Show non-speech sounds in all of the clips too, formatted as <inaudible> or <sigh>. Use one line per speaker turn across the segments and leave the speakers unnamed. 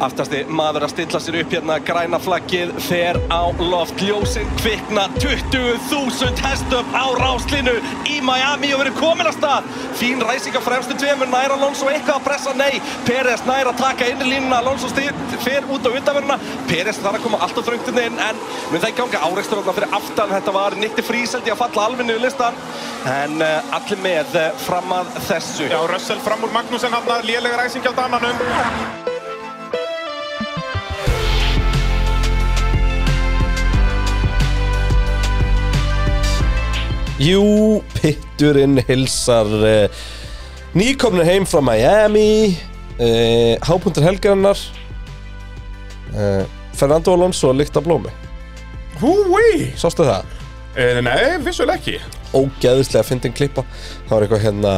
Aftasti maður að stilla sér upp hérna græna flaggið fer á loft. Ljósinn kvikna 20.000 hestöp á ráslinu í Miami og verið komin að stað. Fín ræsing á fremstu tveimur, nær Alonso eitthvað að pressa, nei. Peres nær að taka inn í línuna, Alonso styr, fer út á undanverðina. Peres þarf að koma alltaf þröngtinn inn en mun það ganga áreikstur alltaf fyrir aftan. Þetta var Nikti Fríseldi að falla alveg niður listan en uh, allir með uh, fram að þessu.
Já, Russell fram úr Magnúsen hafna, lélega um. ræsing á dananum.
Jú, pitturinn hilsar uh, nýkomnir heim frá Miami uh, Hápuntur helgarinnar uh, Fernando Alonso að lykta blómi
Húi! Eh,
Sástu það?
Nei, vissulega ekki.
Ógæðislega fyndin klippa Það var eitthvað hérna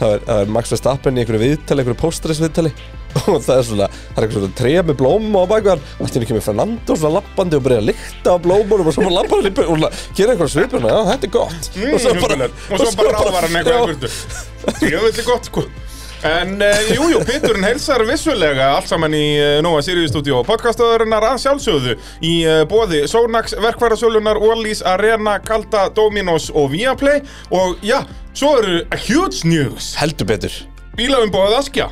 Það er, það er Max Verstappen í einhverju viðtali, einhverju póstræs viðtali <laughs> og það er svona, það er eitthvað svona tré með blóm og bakvar, allt í henni kemur Fernando svona lappandi og byrjar að lykta á blómunum og svo bara lappar hann í byrju og svona gerir einhverju svipurna, já þetta er gott
Mm, og, svo bara, og svo bara ráðvar hann eitthvað í burtu. Djöfulli gott sko En eh, jú, jú, Pitturinn heilsar vissulega allt saman í uh, Nova Sirius Studio podcastaðurinnar að sjálfsögðu í uh, bóði Sónax, Verkvarasölunar, Orlís, Arena, Kalda, Dominos og Viaplay og já, svo eru huge news
Heldur betur
Bílaumbóðið Askja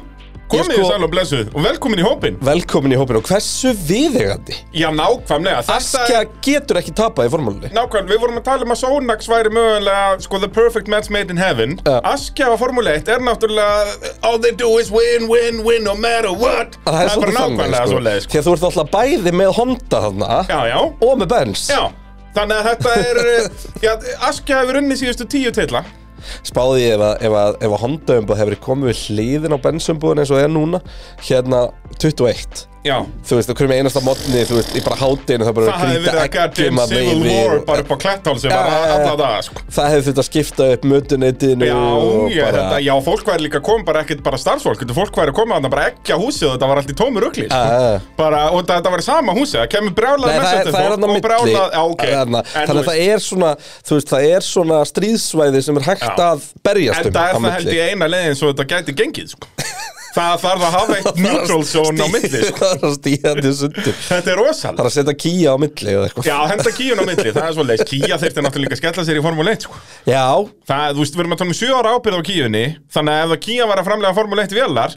Komið
Ég
sko...
sko-
sæl og blessuð og velkomin í hópin
Velkomin í hópin og hversu viðegandi
Já, nákvæmlega Þetta
Askja getur ekki tapað í formúlunni
Nákvæmlega, við vorum að tala um að Sonax væri mögulega sko the perfect match made in heaven
Já.
Askja á Formule 1 er náttúrulega All they do is win, win, win no matter what
Það er svolítið
bara nákvæmlega
sko.
svoleiðis sko.
Því að þú ert alltaf bæði með Honda þarna
Já, já,
Og með Benz
já Þannig að þetta er eh, já, Askja hefur unni síðustu tíu titla
Spáði ég ef að, ef að, ef að Honda umbúð hefur komið við hliðin á Benz umbúðin eins og er núna Hérna 21
Já
Þú veist, það hverjum einasta modni, þú veist, í bara hátinu Það bara
Það hefði verið að
eggjum
goddamn
að
Civil
veifi
War
og-
bara upp á klettál sem
Já,
var
já, já.
alla það sko
Það hefði þurft að skipta upp mötuneytinu
Já,
og
já,
bara-
þetta, já, fólk væri líka komið bara ekkert bara starfsfólk, þetta fólk væri komið að bara ekki á húsið og þetta var allt í tómur ugli, sko.
Já, já, já.
bara, og þetta- þetta var sama húsið, það kemur brjálað
Nei, það, er-
message
það er hann á
fólk
milli
og brjálað, já, ok,
Það er þarna-
en
Þannig að það er svona Þú veist, það er svona stríðsvæði sem er
Já.
hægt að berjast
en
um
það
á
er það
milli.
held ég eina leiðin svo þetta gæti gengið, sko. það þarf að
<laughs>
hafa eitt neutral zone á milli, sko.
Það er að stíða til sundur Það
þetta er rosalega.
er að setja kýja á milli eða eitthvað
Já, henda kíun á milli, það er svo leiðis, kíja þurfti náttúrulega líka að skella sér í Formule 1, sko.
Já,
Það, þú veist, við erum að tala um 7 ára ábyrð á kíunni Þannig að ef það kíja var að framlega Formule 1 vélar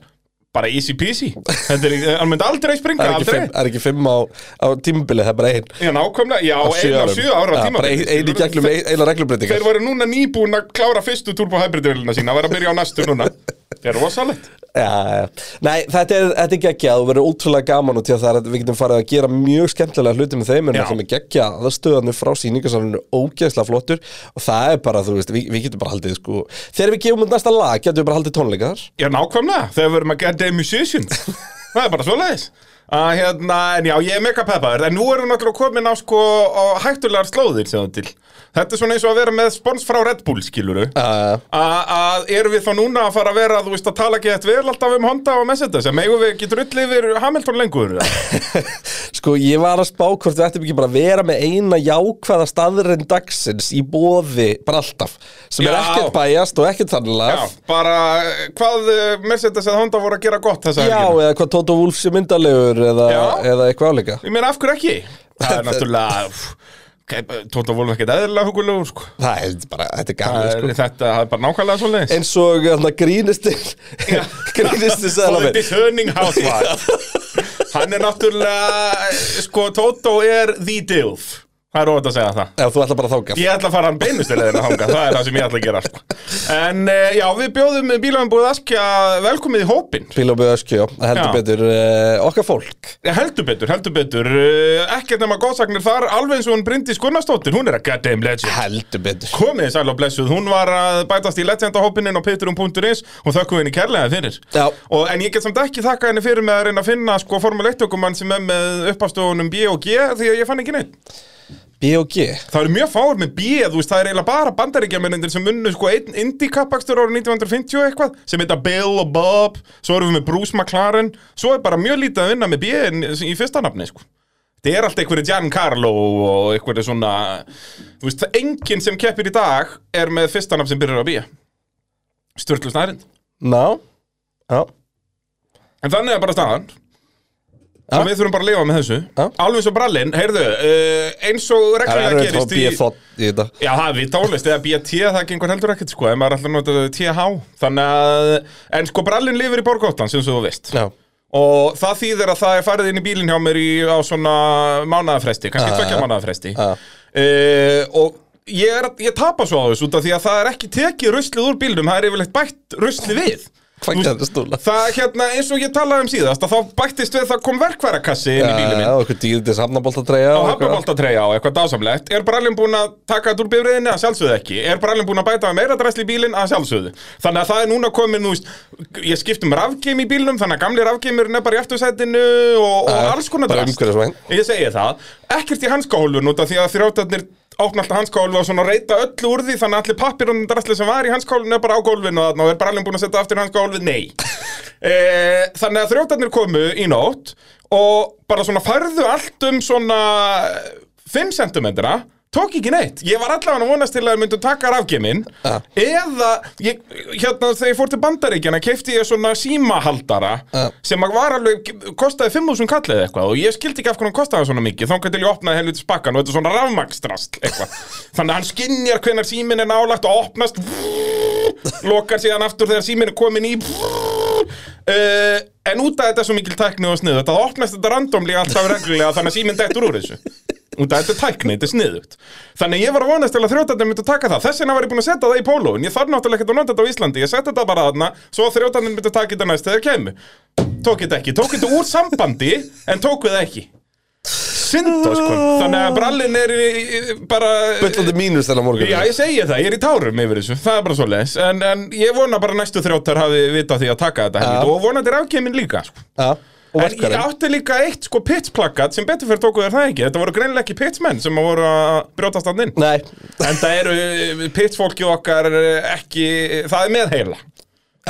Bara easy peasy Þetta er, hann myndi aldrei springa,
það er ekki
aldrei
fimm, það er ekki fimm á, á tímabili, það er bara ein
Já, nákvæmlega, já,
á
einn á 7 ára
Já,
tíma
Bara ein, ein í gegnum ein, eina reglubreitingar
Þeir voru núna nýbúin að klára fyrstu turbo hybridvélina sína Það verður að byrja á næstu núna
<laughs>
Það er rosalegt
Já, já. Nei, þetta er, þetta er geggja, þú verður ótrúlega gaman og til að það er, við getum farið að gera mjög skemmtilega hluti með þeim en
Já.
það sem er geggja, það stöðanir frá síningarsalunum ógeðslega flottur og það er bara, þú veist, við, við getum bara haldið sko, þegar við gefum út næsta lag, getum við bara haldið tónleika þar
Já, nákvæmlega, þegar við verðum að get a musician
<laughs>
Það er bara svoleiðis að, hérna, En já, ég er mega peppaður En nú erum við náttúrulega komin á sko á hættulegar slóðir sem það til Þetta er svona eins og að vera með spons frá Red Bull, skiluru
Já, já.
Að erum við þá núna að fara að vera, þú veist, að tala ekki eftir vel alltaf um Honda og Mercedes En megum við ekki drull yfir Hamilton lengur eða?
<laughs> Sko, ég var að spá hvort við ættum ekki bara að vera með eina jákvæða staðurinn dagsins í bóði, bara alltaf sem er
Já.
ekkert bæjast og ekkert
Já,
þannlega
bara eh, hvað eh, Mercedes eða Honda voru að gera gott þessa
Já,
helgina?
eða hvað Tóta Wolf sé myndalegur eða,
Já.
eða eitthvað álíka
Ég meina, af hverju ekki? <laughs> Það er náttúrulega pff, ok, Tóta Wolf ekkert eðlilega hugulegur, sko
Það er bara, þetta er
Það
gaman,
er-
sko
Þetta það er bara nákvæmlega svoleiðis
eins og þarna grínistinn <laughs> grínistinn sagði hann
Þetta er Hörning <laughs> Housewife Hann er náttúrulega Sko, Tóto er the dilf Það er óvægt að segja það
Já, þú ætla bara að þáka
Ég ætla að fara hann beinustilegðin að hanga, það er það sem ég ætla að gera sko. En eh, já, við bjóðum bílöfumbúið Askja velkomið í hópin
Bíl og byggðu öskju, já, heldur
Já.
betur uh, okkar
Nei,
fólk
Eh, Heldur betur, heldur betur Eh, Ekkert nema góðsagnir þar Alveg eins og hún Bryndís Gunnarsdóttir Hún er að goddamn legend
heldur betur
Komið þið sæl og blessuð, hún var að bætast í legendahópinin á pitturum.is og þökkum henni kærlega fyrir.
Já.
Og, en ég get samt ekki þakka henni fyrir með að reyna að finna sko formule 1 ökumann sem er með uppástofunum B og G því að ég fann ekki neitt.
B og G
Það eru mjög fáir með B, þú veist, það er eiginlega bara bandaríkjamennindir sem unnu sko einn indie-kappakstur árið 1950 og eitthvað sem heita Bill og Bob, svo erum við með Bruce McLaren, svo er bara mjög lítið að vinna með B en- í fyrsta nafni sko. Það er alltaf einhverju Giancarlo og einhverju svona, þú veist, það enginn sem keppir í dag er með fyrsta nafn sem byrjar á bíja. Sturlu snærind.
Ná, já
En þannig er bara staðan. og við þurfum bara að lifa með þessu
Ja.
alveg eins og brallinn, heyrðu, uh, eins og
Það er
reglulega
erfitt að fá
gerist í
BFO í þetta
Já, það er við tólist, eða BT, það gengur heldur ekkert sko, ef maður er alltaf að nota TH þannig að, en sko brallinn lifir í borgóttan sem svo þú veist
Já,
og það þýðir að það er farið inn í bílinn hjá mér í, á svona mánaðafresti kannski
Ah.
tvekja mánaðafresti
Ah.
uh, og ég, er, ég tapa svo á þessu út af því að það er ekki tekið ruslið úr bílnum, það er yfirleitt bætt ruslið við
hvað gerður stúla?
það hérna, eins og ég talaði um síðast að þá bættist við að það kom verkværakassi inn í bílinn minn
Já, okkur dýrðis hafnaboltatreyja
á
og eitthvað.
hafnaboltatreyja og eitthvað dásamlegt er brallin búin að taka þetta úr bifriðinni að sjálfsögðu ekki er brallin búin að bæta með meira drasli í bílinn að sjálfsögðu þannig að það er núna komin þú veist, ég skipt um rafgeim í bílnum þannig að gamli rafgeimurinn er bara í eftursætinu og, og
Já,
alls konar
bara
drast
umhverfisvæn.
ég segi það ekkert í hanskahólfun út af því að þrjóttarnir opna alltaf hanskahólfu og svona reyta öllu úr því þannig að allir pappirunum drasli sem var í hanskahólfun er bara á gólfinu og þannig að er brallin búin að setja aftur í hanskahólfið, nei e, þannig að þrjóttarnir komu í nótt og bara svona færðu allt um svona 5 cm tók ekki neitt, ég var allavega að vonast til að þeir myndu taka rafgeiminn
Ja.
eða, ég, hérna þegar ég fór til bandaríkjana keipti ég svona símahaldara
Ja.
sem að var alveg, kostaði 5.000 kall eða eitthvað og ég skildi ekki af hvernig hann kostaði svona mikið þá til ég opnaði helviti spakkan og þetta er svona rafmagnstrast eitthvað, þannig að hann skinjar hvenar síminn er nálagt og opnast <laughs> lokar síðan aftur þegar síminn er komin í <laughs> uh, en út af þetta er svo mikil tækni og sniðut að það opnast þetta randomlega alltaf reglulega þannig að síminn dettur úr þessu út af þetta er tækni, þetta er sniðut þannig að ég var að vonast til að þrjóttarnir myndu taka það þess vegna var ég búin að setja það í pólóin ég þarf náttúrulega ekkert að nota þetta á Íslandi ég setja þetta bara þarna svo að þrjóttarnir myndu taka þetta næst þegar kemur tók þetta ekki, tók þetta úr sambandi en tók við það ekki Sindós, þannig að brallin er í, í, bara
Bullandi mínus þennan morgun
Já, ég segi það, ég er í tárum yfir þessu, það er bara svo leis en, en ég vona bara næstu þrjóttar hafi vita því að taka þetta helvít og vonandi er afkeimin líka sko.
Já, og
En ég
verkarinn
átti líka eitt sko pitsplakkat sem betur fyrir tóku þér það ekki Þetta voru greinilega ekki pitsmenn sem að voru að brjóta stand inn
Nei, <laughs>
En það eru pitsfólki okkar eh, ekki, það er meðheila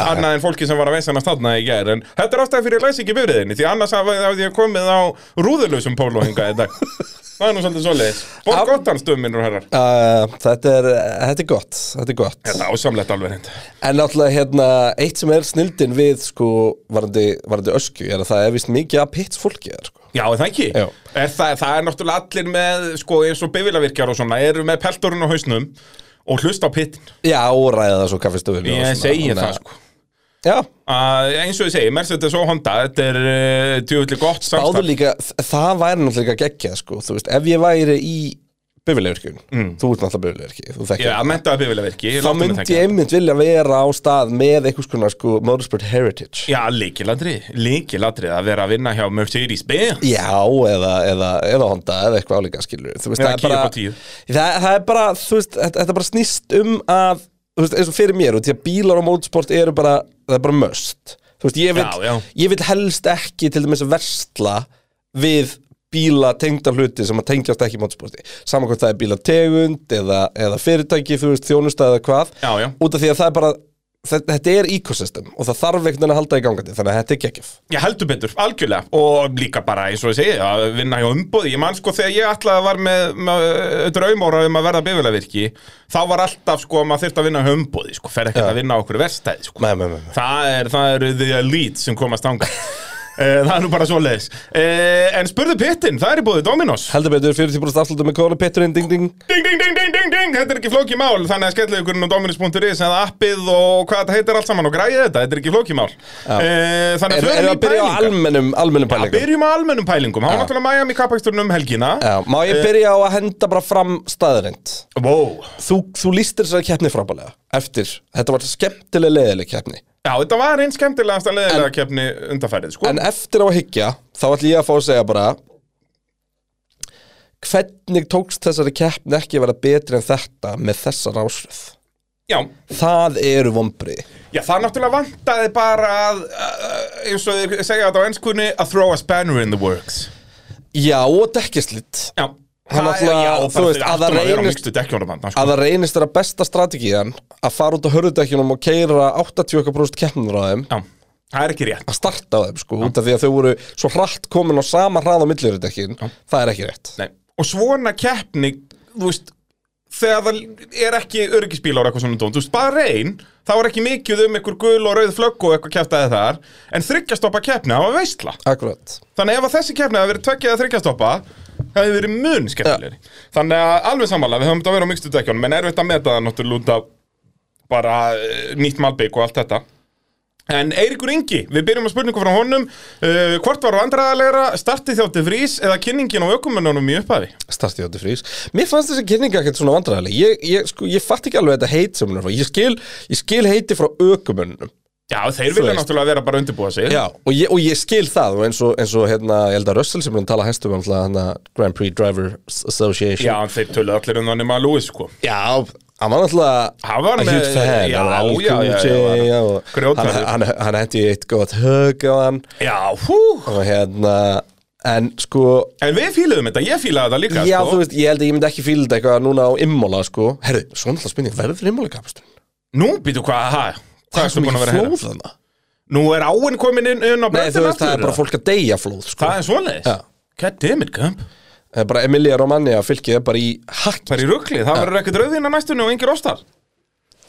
Annað en fólki sem var að veisana stanna í gær En þetta er ástæði fyrir að ég læs ekki bifriðinni Því annars hafði hafði ég komið á rúðulausum pólóhinga í <laughs> dag Það er nú svolítið svoleiðis Borgóttan stömminur herrar
uh, þetta, er, eh, þetta er gott Þetta er gott
Þetta er ásamlegt alveg hreint
En náttúrulega hérna, eitt sem er snildin við sko, varandi, varandi öskju er að það er vist mikið að pits fólki er, sko.
Já, er það ekki?
Já.
Er það, það er náttúrulega allir með, sko, eins og bifilavirkjar og svona, eru með peltorinn á hausnum og hlusta á pittin.
Já, og ræða það svo kaffistöfun
Ég segi það, sko.
Já,
Að, eins og ég segi, Mercedes og Honda, þetta er uh, tjóðvillig gott
báður
samstarf.
líka, þ- það væri náttúrulega geggjað sko, þú veist, ef ég væri í bifilegurkjum, þú ert náttúrulega bifilegurki, þú þekkir
Mm. Já, mentaða bifilavirki.
þá myndi ég einmitt vilja vera á stað með einhvers konar sko motorsport heritage
Já, líkiladri, líkiladri að vera að vinna hjá Mercedes-Benz.
Já, eða, eða, eða Honda eða eitthvað álíka skilur þú veist,
Eða
það, er
Kia
bara,
upp á tíu.
það, það er bara þú veist, þetta, þetta bara snýst um að þú veist, eins og fyrir mér, og því að bílar og motorsport eru bara, það er bara möst þú veist, ég vil,
Já, já.
Ég vil helst ekki til dæmis að versla við bíla tengda hluti sem að tengjast ekki í motorsporti saman hvort það er bíla tegund eða, eða fyrirtæki, þú veist, þjónusta eða hvað
Já, já.
út af því að það er bara þe- þetta er ecosystem og það þarf einhvern veginn að halda í gangandi þannig að þetta er geggjaf
Ég heldur betur, algjörlega og líka bara eins og ég segi að vinna hjá umbóði, ég man sko þegar ég alltaf var með, með draumóra um að verða bifilavirki, þá var alltaf sko að maður þyrfti að vinna hjá umbóði, sko, fer ekkert að vinna á okkur verstæði, sko,
Nei, nei, nei, nei.
það er það eru the elite sem komast
<laughs>
ánga það er nú bara svoleiðis Eh, en spurðu pittin, það er í búið Dominos
heldur betur 40% afslutum með kóla pitturinn ding
ding,
ding
ding, ding, ding, ding, ding, þetta er ekki flókið mál þannig að skellið ykkur inn á dominos.is eða appið og hvað þetta heitir allt saman og græðið þetta, þetta er ekki flókið mál Eh, þannig
erum
að förum
erum við að
í
byrja á
pælingar
almennum, almennum
Já,
pælingum
byrjum á almennum pælingum. Það var náttúrulega Miami kappaksturnum um helgina.
Já, má ég byrja á að henda bara fram staðarind
Wow.
þú, þú lístir þessari keppni frábælega eftir, þetta var skemmtileg leðileg keppni
Já, þetta var einn skemmtilegast að leiðilega keppni undarfærið, sko.
en eftir á að hyggja þá ætlum ég að fá að segja bara hvernig tókst þessari keppni ekki að vera betri en þetta með þessa rásröð
Já,
það eru vombriði
já, það náttúrulega vantaði bara að, uh, eins og þeir segja þetta á ennskunni, að throw a spanner in the works.
Já, og dekkislitt
Já.
Hann náttúrulega,
já,
þú veist, að það
að það
reynist-
reynist... Dekkjónabanda, sko.
að það reynist þeirra besta strategían að fara út á hörðudekkjunum og keira 80% keppnur á þeim
Já, það er ekki rétt.
að starta á þeim sko, út af því að þau voru svo hratt komin á sama hrað á millirudekkin það er ekki rétt
Nei. Og svona keppni, þú veist, þegar það er ekki öryggisbíl ára eitthvað svona dónd, þú veist, bara reyn þá er ekki mikið um einhver gul og rauð flögg og eitthvað kjæftaði þar, en þryggjastoppa keppni, það var veistla.
Akkurat
Þannig ef að þessi keppni hefði verið tveggja eða þryggjastoppa, það hefði verið mun skemmtilegri. Þannig að alveg samanlega, við höfum þetta að vera á mixtu dækjónum, en erfitt að meta það náttúrulega út af bara eh, nýtt malbygg og allt þetta. En Eiríkur Ingi, við byrjum að spurningu frá honum, uh, hvort var vandræðalegra, startið þjótti frís eða kynningin á ökumennunum í upphafi?
Startið átti frís Mér fannst þessi kynninga ekkert svona vandræðileg ég, ég, sko, ég fatt ekki alveg þetta heit sem hún er frá Ég skil, ég skil heiti frá ökumönnum
Já, þeir vilja
veist.
náttúrulega vera bara að undirbúa sig.
Já, og ég, og ég skil það og eins og, eins og hérna, ég held að Russell sem hún tala hæstum um náttúrulega, hana, Grand Prix Driver Association
Já, en þeir töluðu allir um það nema Lewis, sko.
Já, hann var náttúrulega
Hann var
a
með-
huge fan,
já,
hann
já, já, já,
var algjúji
já,
og hann,
grjótharður.
hann, hann hendi eitt gott högg á hann
Já, hú.
og hérna, en sko
En við fíluðum þetta, ég fílaði þetta líka,
Já,
sko.
þú veist, ég held að ég myndi ekki fíla þetta eitthvað núna á immóla, sko Herðu, svo náttúrulega spurning, verður immóla kapasturinn?
Nú, býtu hvað, hæ? Hvað er svo búin að vera hérna?
hérna?
Nú er áinn komin inn, inn á
Nei, þú
bröndin
veist, það er bara fólk að deyja flóð, sko
Það er svoleiðis?
Já.
God damn it, Gump.
Það er bara Emilia Romagna fylgið er bara í hakk
Bara í ruggli, það verður ekkert rauðin að næstunni og engir óstar.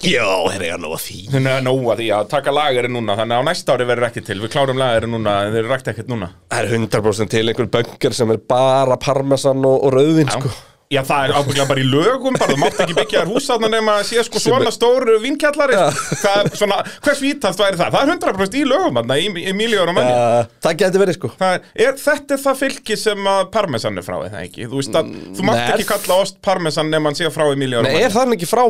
Já, herri, ég er nú að því
Þannig að nóa því að taka lagari núna, þannig að á næsta ári verður ekki til. Við klárum lagari núna, en þeir eru rækt ekkert núna.
Það er 100% til einhver böngar sem er bara parmesan og, og rauðin, sko
Já, það er ábygglega bara í lögum, bara þú mátt ekki byggja þér hús þarna nema að sé sko svona stór vinkjallari. Það er svona, hvers vítast væri það? Það er 100% í lögum, þarna, í Emilio Romagna.
Uh, það geti verið sko
Það er, er, þetta er það fylki sem að parmesan er frá, er það ekki? Þú veist að, þú mátt
Mm, nei,
ekki
er-
kalla ost parmesan nema hann sé frá Emilio
Nei,
Romagna.
er það ekki frá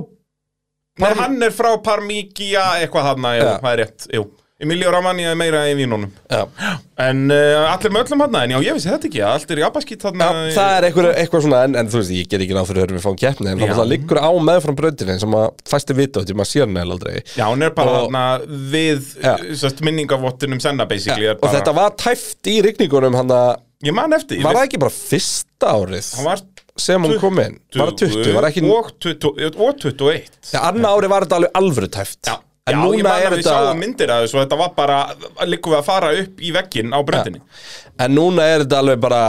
Nei, hann er frá Parmigia, eitthvað hann, jú,
Já.
það er rétt, jú. Emilio Romagna er meira í vínunum.
Já.
En uh, allir með öllum hann, en já, ég vissi þetta ekki, að allt er í abaskýt hann.
Það er eitthvað, eitthvað svona, en, en þú veist, ég get ekki náð fyrir hörum við fáum um keppni, en
Já.
það liggur á meðfram bröndinni sem að fæsti vita á því maður sér hann eða aldrei
Já, hann er bara
Og-
hann við
Já.
sest, minningavottunum senna, basically. er
Og
bara,
þetta var tæft í rigningunum hann að,
Ég man eftir, ég
var það
veist,
ekki bara fyrsta árið
hann var...
sem hún kom inn? Bara 20, var ekki
Og 20 og 21.
Já, anna árið var þetta alveg alvöru tæft
Já, já
En
ég
núna
man að
er
við
þetta
sáum myndir að þessu og þetta var bara líkum við að fara upp í vegginn á bröndinni
En núna er þetta alveg bara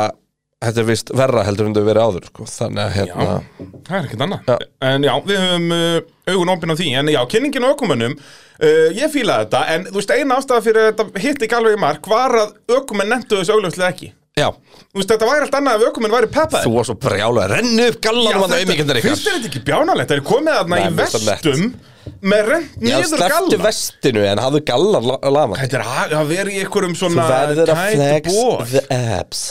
Þetta er vist verra heldur en þau verið áður sko. Þannig að hérna
Það er ekkert annað En já, við höfum uh, augun opinn á því En já, kynningin og ökumönnum uh, Ég fílaði þetta, en þú veist, eina ástæða fyrir að þetta hitt ekki alveg í mark var að ökumenn nentu þessu augljóslega ekki
Já,
Þú veist, þetta væri allt annað ef ökumenn væri peppaði
þú var svo brjálega Rennu upp gallanum að það auðmíkendur ykkar
finnst þér þetta ekki bjánalegt? Það er komið þarna
hérna, Nei,
í
mér finnst það nett.
vestum með rent
Já,
niður
slepptu
galla
vestinu en hafðu gallan la- lafa
Þetta er að- að vera í einhverjum
Þú
svona
verður að
tight
flex
bol.
the abs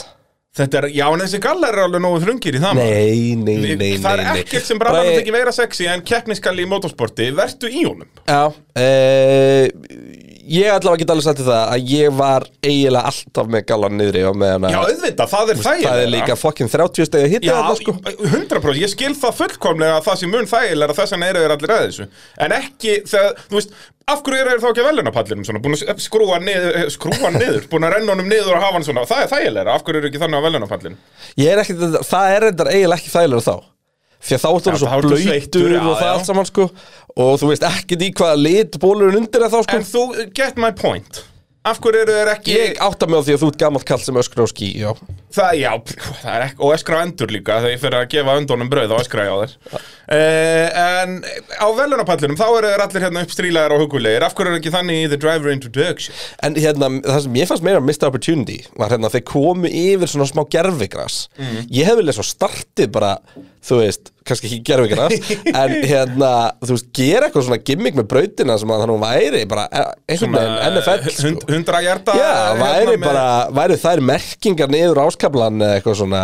Þetta er, já, en þessi gallar er alveg nógu þrungir í það maður.
Nei, nei, nei, nei, nei
Það er ekkert sem brannar
Bragi-
að tekja meira sexy en keppniskalli í motorsporti, vertu í honum
Já, e, ég allavega get alveg sagt þér það að ég var eiginlega alltaf með gallan niðri og með hana
Já, auðvitað, það er þægilega
Það er líka fokkin 30 stegi að hitta
Já,
þetta sko
100% ég skil það fullkomlega að það sé mun þægilega þess vegna eru þeir allir að þessu En ekki, þegar, þú veist, af hverju eru þeir þá ekki að velunapallinum svona, búin að skrúa niður, eh, skrúa hann niður, búin að renna honum niður og hafa hann svona Það er þægilega, af hverju eru ekki þannig á velunapallinum
Ég er ekkert, það er reyndar eiginlega ekki þægilega þá Því að þá
Já,
ertu orðinn svo
þá ertu sveittur,
blöytur
já,
og það
já.
allt saman sko Og þú veist ekkert í hvaða lit bólurinn undir er þá sko
En þú, get my point Af hverju eru þeir ekki
Ég átta mig á því að þú ert gamalt kall sem öskra á skí Já,
Það, já, pff, það er ekki, og eskra á endur líka þegar ég fyrir að gefa öndunum brauð og eskra ég á þér uh, En á velunapallinum þá eru þeir allir hérna uppstrílaðir og hugulegir Af hverju er ekki þannig í The Driver Introduction?
En hérna, það sem ég fannst meira mista opportunity var hérna að þeir komu yfir svona smá gerfigras
Mm.
Ég hef viljað svo startið bara, þú veist, kannski
<laughs>
ekki gerfigras En hérna, þú veist, gera eitthvað svona gimmick með brautina sem að hann væri bara eh, einhvern veginn NFL sko.
hund- Hundra hjarta
Já, væri
með-
bara, væri þær merkingar niður áskablan eða eitthvað svona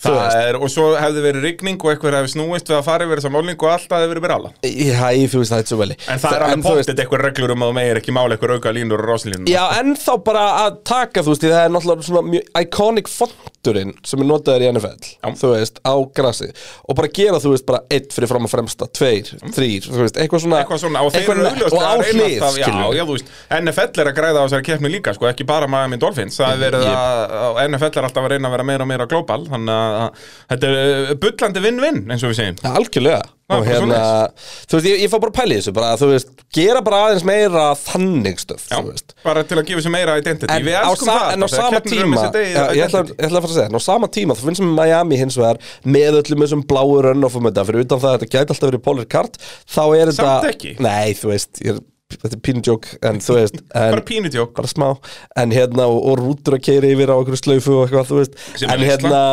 þú
Það
veist.
er, og svo hefði verið rigning og eitthvað hefði snúist við að fara yfir þessa málning og allt hefði verið brjála
Já, ég þú veist það er svo veli
En það er alveg pottið eitthvað reglur um að þú meir ekki mála eitthvað auka línur og rosalínur
Já, en þá bara að taka, þú veist, því það er náttúrulega svona mjög iconic fonturinn sem er notaður í NFL,
Já.
þú veist, á grassi og bara gera, þú veist, bara einn fyrir fram að fremsta, tveir, þrýr, þú veist, eitthvað svona
Eitthvað svona, og þeir eru
nett
augljóslega
og á
að reyna
hlið,
alltaf- Já,
skilur
já, þú veist, NFL er að græða á þessari keppni líka, sko, ekki bara Miami Dolphins Það er verið að, að NFL er alltaf að reyna að vera meira og meira global Þannig að að þetta er uh, bullandi vinn-vinn, eins og við segjum
Algjörlega, og
bara
hérna, þú veist, ég, ég fá bara að pæla í þessu bara, þú veist, gera bara aðeins meira þannig stöf,
Já,
þú veist
bara til að gefa sér meira identity
en
Við
á,
elskum
sa
það
en á
þegar
sama
keppnir um
tíma
þessi degi,
já, ég, ætla,
identity.
ég ætla að fara að segja, en á sama tíma þá finnst mér Miami hins vegar með öllum þessum bláu rönnofum þetta, fyrir utan það að þetta gæti alltaf verið Polar Kart, þá er þetta
Samt ekki.
Nei, þú veist, ég, er- þetta er pínudjók en
<laughs>
þú veist, en
Bara pínutjók
bara smá, en hérna og, og rútur að keira yfir á einhverju slaufu og eitthvað, þú veist
Sem er
en
veisla.
hérna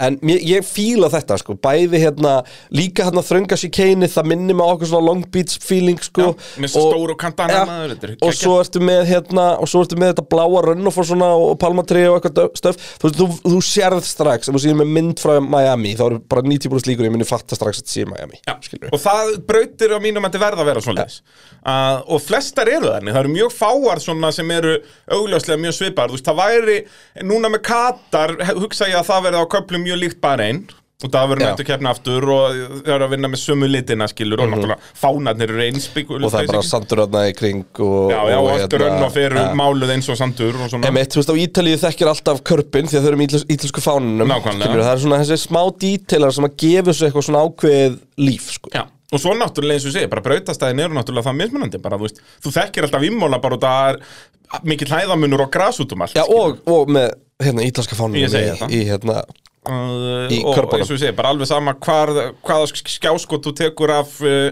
En mér, ég fíla þetta sko, bæði hérna, líka hérna þrönga sikeini, það minnir mig á okkur svona Long Beach feeling sko
Já, með svo stór og kantana maður, þetta er
Og
geggjað.
svo ertu með hérna, og svo ertu með þetta bláa rönn og fór svona og palmatri og eitthvað dö- stöf Þú, veist, þú, þú sérð strax, ef þú séð með mynd frá Miami, þá eru bara 90% líkur, ég muni fatta strax að þetta sé Miami
Já, og það brautir á mínum að þetta verða að vera svoleiðis uh, og flestar eru þannig, það eru mjög fáar svona sem eru augljóslega mjög svipar þú veist, það væri, núna með Katar he- hugsa ég að það verði á köplum mjög líkt bara einn og það verður
Já.
mættu keppna aftur og það eru að vinna með sömu litina skilur og náttúrulega fánarnir eru einspík
Mhm. Og það er bara sandur hérna í kring og hérna-
Já, já, og allt rönn og fyrir
ja.
máluð eins og sandur og svona
Emitt, þú veist, á Ítalíu þekkir alltaf körpin því að þau eru með ítalsku fánunum
Nákvæmlega.
Skilurðu, Það er svona þessi smá dítelar sem að gefa svo eitthvað svona ákveð líf sko.
Já, og svo náttúrulega eins og segja, bara brautastæðin eru náttúrulega það mismunandi bara, þú veist, þú þekkir alltaf ímóla bara og það er mikill hæðamunur og gras út um allt
Já, og, og með hérna, ítalska fánunum
Ég segi
í,
þetta.
í hérna
uh,
Í
og
körpunum.
eins og ég segi, bara alveg sama hvar, hvaða sk- skjáskot þú tekur af uh,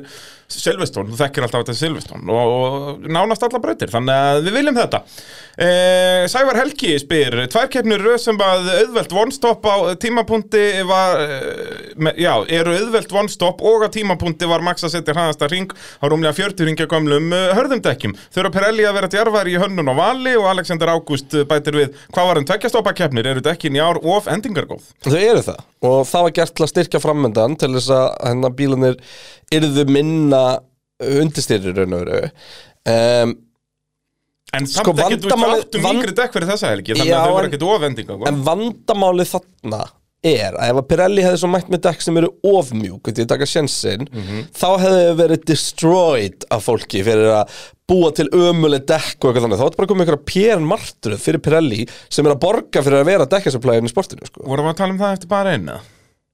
Silveston, þú þekkir alltaf þetta er Silveston og, og nánast alla brautir þannig að við viljum þetta uh, Sævar Helgi spyr tvær keppnir röð sem að auðvelt one-stop á tímapunkti var uh, með, já, eru auðvelt one-stop og á tímapunkti var Max að setja hraðasta ring á rúmlega 40 ringja gömlum uh, hörðumdekkjum þurfa Pirelli að vera djarfari í hönnun og vali og Alexander Ágúst uh, bætir við hvað var um tveggjastoppa keppnir, eru dekkin í ár of endingargóð?
Þau eru það og það var gert til að styrkja frammyndan til þess að hérna, bílanir yrðu minna undirstyrir raun og veru um,
En samt
Sko,
sko, ekki, þú veist,
vandamálið-
við áttum
vand-
yngri dekk fyrir þessa helgi Þannig
Já,
að þau voru
en-
ekkert ofendinga sko.
En vandamálið þarna er að ef að Pirelli hefði svo mætt með dekk sem eru ofmjúk til að taka sjensinn, þá hefði þau verið destroyed af fólki fyrir að búa til ömuleg dekk og eitthvað þannig, þá er bara komið einhverja PN martruð fyrir Pirelli sem er að borga fyrir að vera dekkasuplæðin í sportinu sko.
Vorum við að tala um það eftir bara einu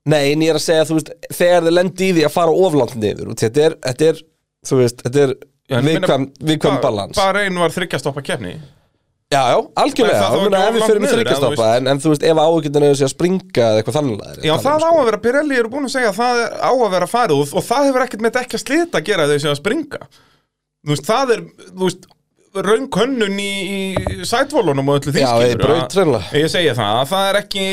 Nei, en ég er að segja, þú veist, þegar þið lendi í því að fara oflant niður, út, þetta er, þetta er þú veist, þetta er viðkvæm, viðkvæm um balans
Bara einu var þryggja stoppa kefni
Já, já, algjörlega,
það þá
ég meina
ekki
ef við
langt
fyrir með
niður, eða þú
þryggjastoppa en, en þú veist, ef áhugjöndan hefur sér að springa eða eitthvað þannig lagðir,
Já,
tala um,
það
sko.
á að vera, Pirelli eru búin að segja að Það er- á að vera farið og, og það hefur ekkert með dekk að slita að gera þau sem að springa Þú veist, það er, þú veist raung hönnun í, í sætvólunum og öllu því
Já,
skilurðu,
í braut,
að-
hreinlega.
Ég segi það, að það er ekki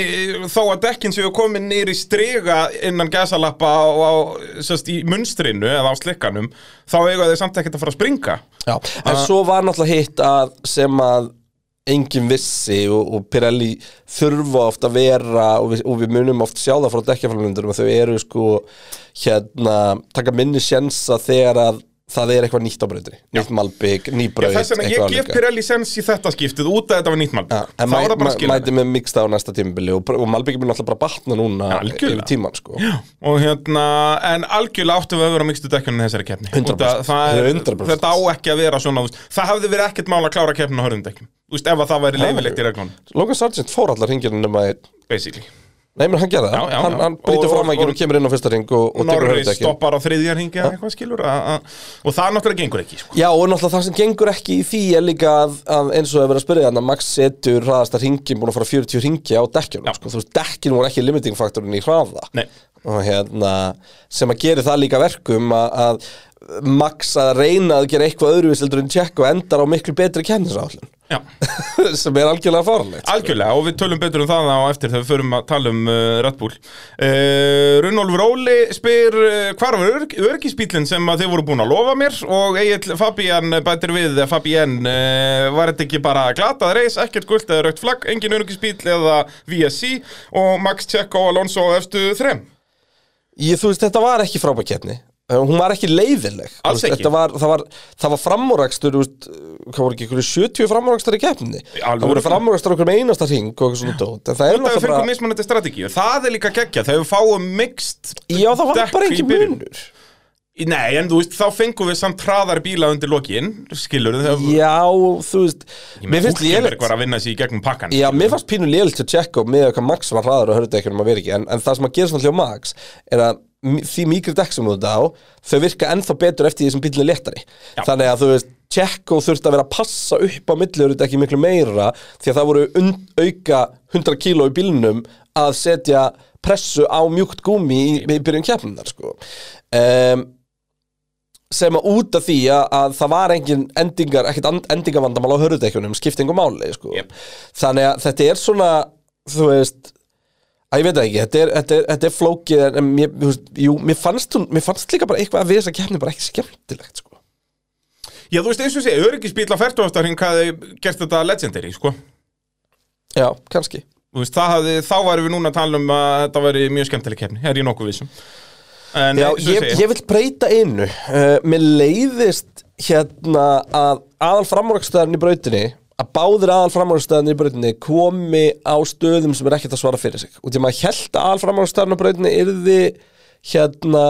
þó að dekkin séu komin nýr í strega innan gæsalappa og á, sérst, í munstrinu eða á slikkanum þá eiga þeir samt ekkert að fara að springa
Já, en
Ah.
svo var náttúrulega hitt að sem að enginn vissi og, og Pirelli þurfa oft að vera og við, og við munum oft sjá það frá dekkjaframlundurum að þau eru sko hérna, taka minni sjensa þegar að það er eitthvað nýtt á brautinni nýtt malbygg, nýbraut,
Þess vegna ég
eitthvað
gef
líka.
Pirelli sens í þetta skiptið út að þetta var nýtt malbik
Já, en
þá er það bara að
mæ,
skilja
mæti með miksta á næsta tímabili og, og malbygg mun alltaf bara batna núna
Já, algjörlega.
yfir tíman sko
og hérna, en algjörlega áttum við að vera mikstu dekkunum þessari keppni
100%.
Út að það er-
100%.
þetta á ekki að vera svona þú veist, það hafði verið ekkert mál að klára keppnum á hörðum dekkjum Þú veist, ef að það væri leifilegt í reglunum
Logan Sargent fór allar hringirinn nema einn
basically
Nei, menn hann gerði það,
Já, já,
hann,
já.
hann
Og-
brýtur fram
og-
ekki og kemur inn á fyrsta ring og, og tekur
Norris
höfðu ekki
stoppar á þriðja hringi eða eitthvað skilur a, a, og það náttúrulega gengur ekki sko.
Já, og náttúrulega það sem gengur ekki í því er líka að, að eins og hefur verið að spyrja þannig að Max setur hraðasta hringin búin að fara 40 hringi á dekkjunum,
Já.
sko, þú veist, dekkin voru ekki limiting faktorin í hraða
Nei.
og hérna, sem að gera það líka verkum að, að Max að reyna að gera eitthvað öðruvís heldur en tjekk og endar á miklu betri kennisállin
Já,
<laughs> sem er algjörlega faranlegt
algjörlega og við tölum betur um það á eftir þegar við förum að tala um uh, Red Bull uh, Runolfur Óli spyr uh, hvar var örg, örgisbílinn sem að þið voru búin að lofa mér og Egil Fabian bætir við að Fabian uh, var þetta ekki bara glatað reis, ekkert gult eða raukt flagg, engin örgisbíl eða VSC og Max Tjekko Alonso á efstu þrem
Ég, þú veist, þetta var ekki frábækjefni Hún var ekki leiðileg
Alls
Þú veist,
ekki.
þetta var, það, var, það var framúrækstur Hvað voru ekki, einhverju 70 framúrækstur í keppni Það voru
örugglega.
framúrækstur okkur með einasta ring og eitthvað svona dót En það er
Það er
náttúrulega
fengið
bara
mismunandi strategíu, það er líka geggja þegar við fáum mixt
Já, það var
dekk
bara
í
engin
byrjun.
munur
Nei, en þú veist, þá fengum við samt hraðar bíla undir lokin, skilur þau
Já, þú veist Mér finnst
Húlkenberg
lélitt
var að vinna sér í gegnum pakkan
Já, mér fannst pínu lélitt að tjekka og með eitthvað Max var hraður og hörðu ekki um að vera ekki en, en það sem að gera svona hljó Max er að m- því mýgri dekk sem þú ert á þau virka ennþá betur eftir því sem bílinn er léttari þannig að þú veist Tjekko þurfti að vera að passa upp á millurut ekki miklu meira því að það voru und, auka 100 kíló í bílnum að setja pressu á mjúkt gúmi í, í byrjun keppnunar sko. um, sem að út af því að, að það var engin endingar, ekkit and- endingavandamál á hörðutekjunum, skiptingu máli sko.
Jep.
þannig að þetta er svona þú veist að ég veit það ekki, þetta er, þetta er, þetta er flókið en- en mér, þú veist, jú, mér, fannst, hún- mér fannst líka bara eitthvað að við þessa keppni bara ekki skemmtilegt sko.
Já, þú veist, eins og sé, öryggisbíl á 40. hring hafði gert þetta legendary, sko
já, kannski
Þú veist, það hafði, þá varum við núna að tala um að þetta væri mjög skemmtileg kefni, er ég nokkuð vissum En,
Já,
eins og
ég,
sé,
ég vil breyta einu uh, Mér leiðist hérna að aðal framúrækstöðarinn í brautinni að báðir aðal framúrækstöðarinn í brautinni komi á stöðum sem er ekkert að svara fyrir sig og því maður held að aðal framúrækstöðarinn í brautinni yrði hérna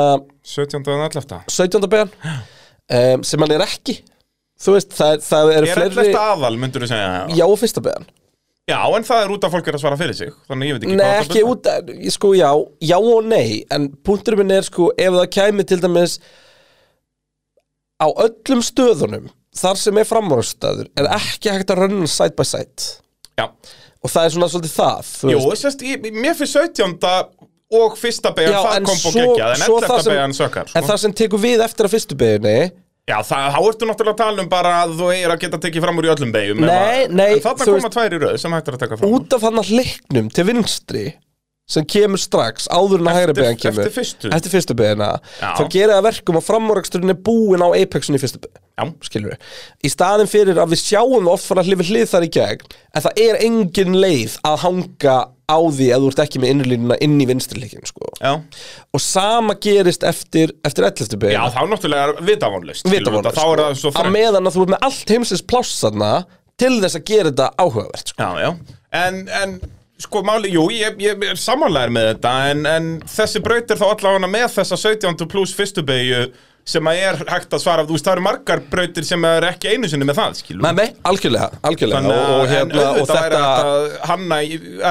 17. en 11.
17. began um, sem hann er ekki þú veist, það, það eru
Er
fleiri
11. aðal, myndur þú segja
Já, og fyrsta began
Já, en það er út af fólk er að svara fyrir sig Þannig að ég veit ekki
Nei,
hvað
ekki út, að- ég sko já, já og nei En punkturinn minn er sko, ef það kæmi til dæmis Á öllum stöðunum Þar sem er framvarustöður Er ekki hægt að runna side by side
Já,
Og það er svona svolítið það þú
jú,
veist.
sérst, ég, mér fyrir 17. og fyrsta beigjan,
Já,
það
en
kombo
svo-
geggjað En
svo
11.
það sem-
beigjan sökkar sko.
En það sem tekur við eftir að fyrstu beginni
Já, það, þá ertu náttúrulega að tala um bara að þú eigir að geta tekið fram úr í öllum beigum
Nei, nei,
En þarna
þú
koma
veist-
tvær í röð sem hægt er að taka fram úr.
Út af þannig leiknum til vinstri Sem kemur strax áður en að hægri beigjan kemur
eftir fyrstu.
Eftir fyrstu beigina
Já.
Þá gerir það verkum að framvarustöðurinn er búin á Apexun í fyrstu beigina
Já,
skilur við í staðin fyrir að við sjáum það oft fara hlifið hlið þar í gegn en það er engin leið að hanga á því að þú ert ekki með innurlínuna inn í vinstrileikin sko.
já
og sama gerist eftir, eftir 11.
Já,
beina
þá náttúrulega er vitavonlust
Vitavonlaust, sko.
Þá er það svo
að
frægt
meðan að þú ert með allt heimsins plássarna til þess að gera þetta áhugavert sko.
Já, já En, en sko máli, jú, ég, ég er samanlegar með þetta En, en þessi braut er þá allavega með þessa 17. pluss fyrstu beigju sem að er hægt að svara þú veist, það eru margar brautir sem er ekki einu sinni með það, skilur
Nei, nei, algjörlega, algjörlega
Þannig
og,
að-
og, hérna,
en
og
auðvitað væri
þetta
hægt að, hanna,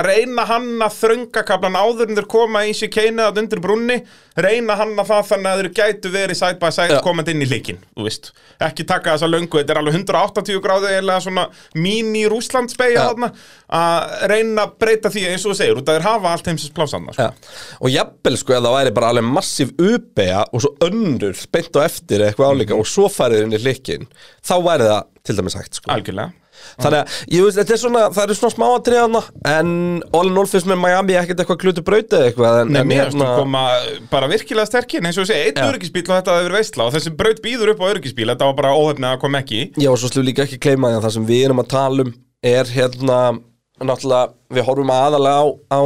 að reyna hanna þröngakablan áður en þeir koma í sér keinið að undir brunni reyna hanna það þannig að þeir gætu verið side by side
Já.
komandi inn í leikin þú veist, ekki taka þessa löngu þetta er alveg 180 gráði eða svona mini rúslandsbeigja
Já.
þarna að reyna að breyta því eins og þú segir út að þeir hafa allt heimsins plásanna sko.
Já. Og jafnvel sko að það væri bara alveg massíf uppeja og svo önnur beint á eftir eitthvað álíka
Mhm.
og svo farið inn í hlikkin þá væri það til dæmis hægt sko.
algjörlega
Þannig að, ég veist, þetta er svona, það eru svona smá að dreðana En all in all finnst mér Miami ekkert eitthvað klutu braut eða eitthvað En, hérna-
Nei,
en
mér erstu að koma bara virkilega sterkinn eins og þú segir, einn
Já.
öryggisbíl og þetta hefur veistla og þessi braut býður upp á öryggisbíl þetta var bara óhefni að koma ekki í
Já, og svo slú líka ekki gleyma því að það sem við erum að tala um Er hérna, náttúrulega, við horfum aðalega á, á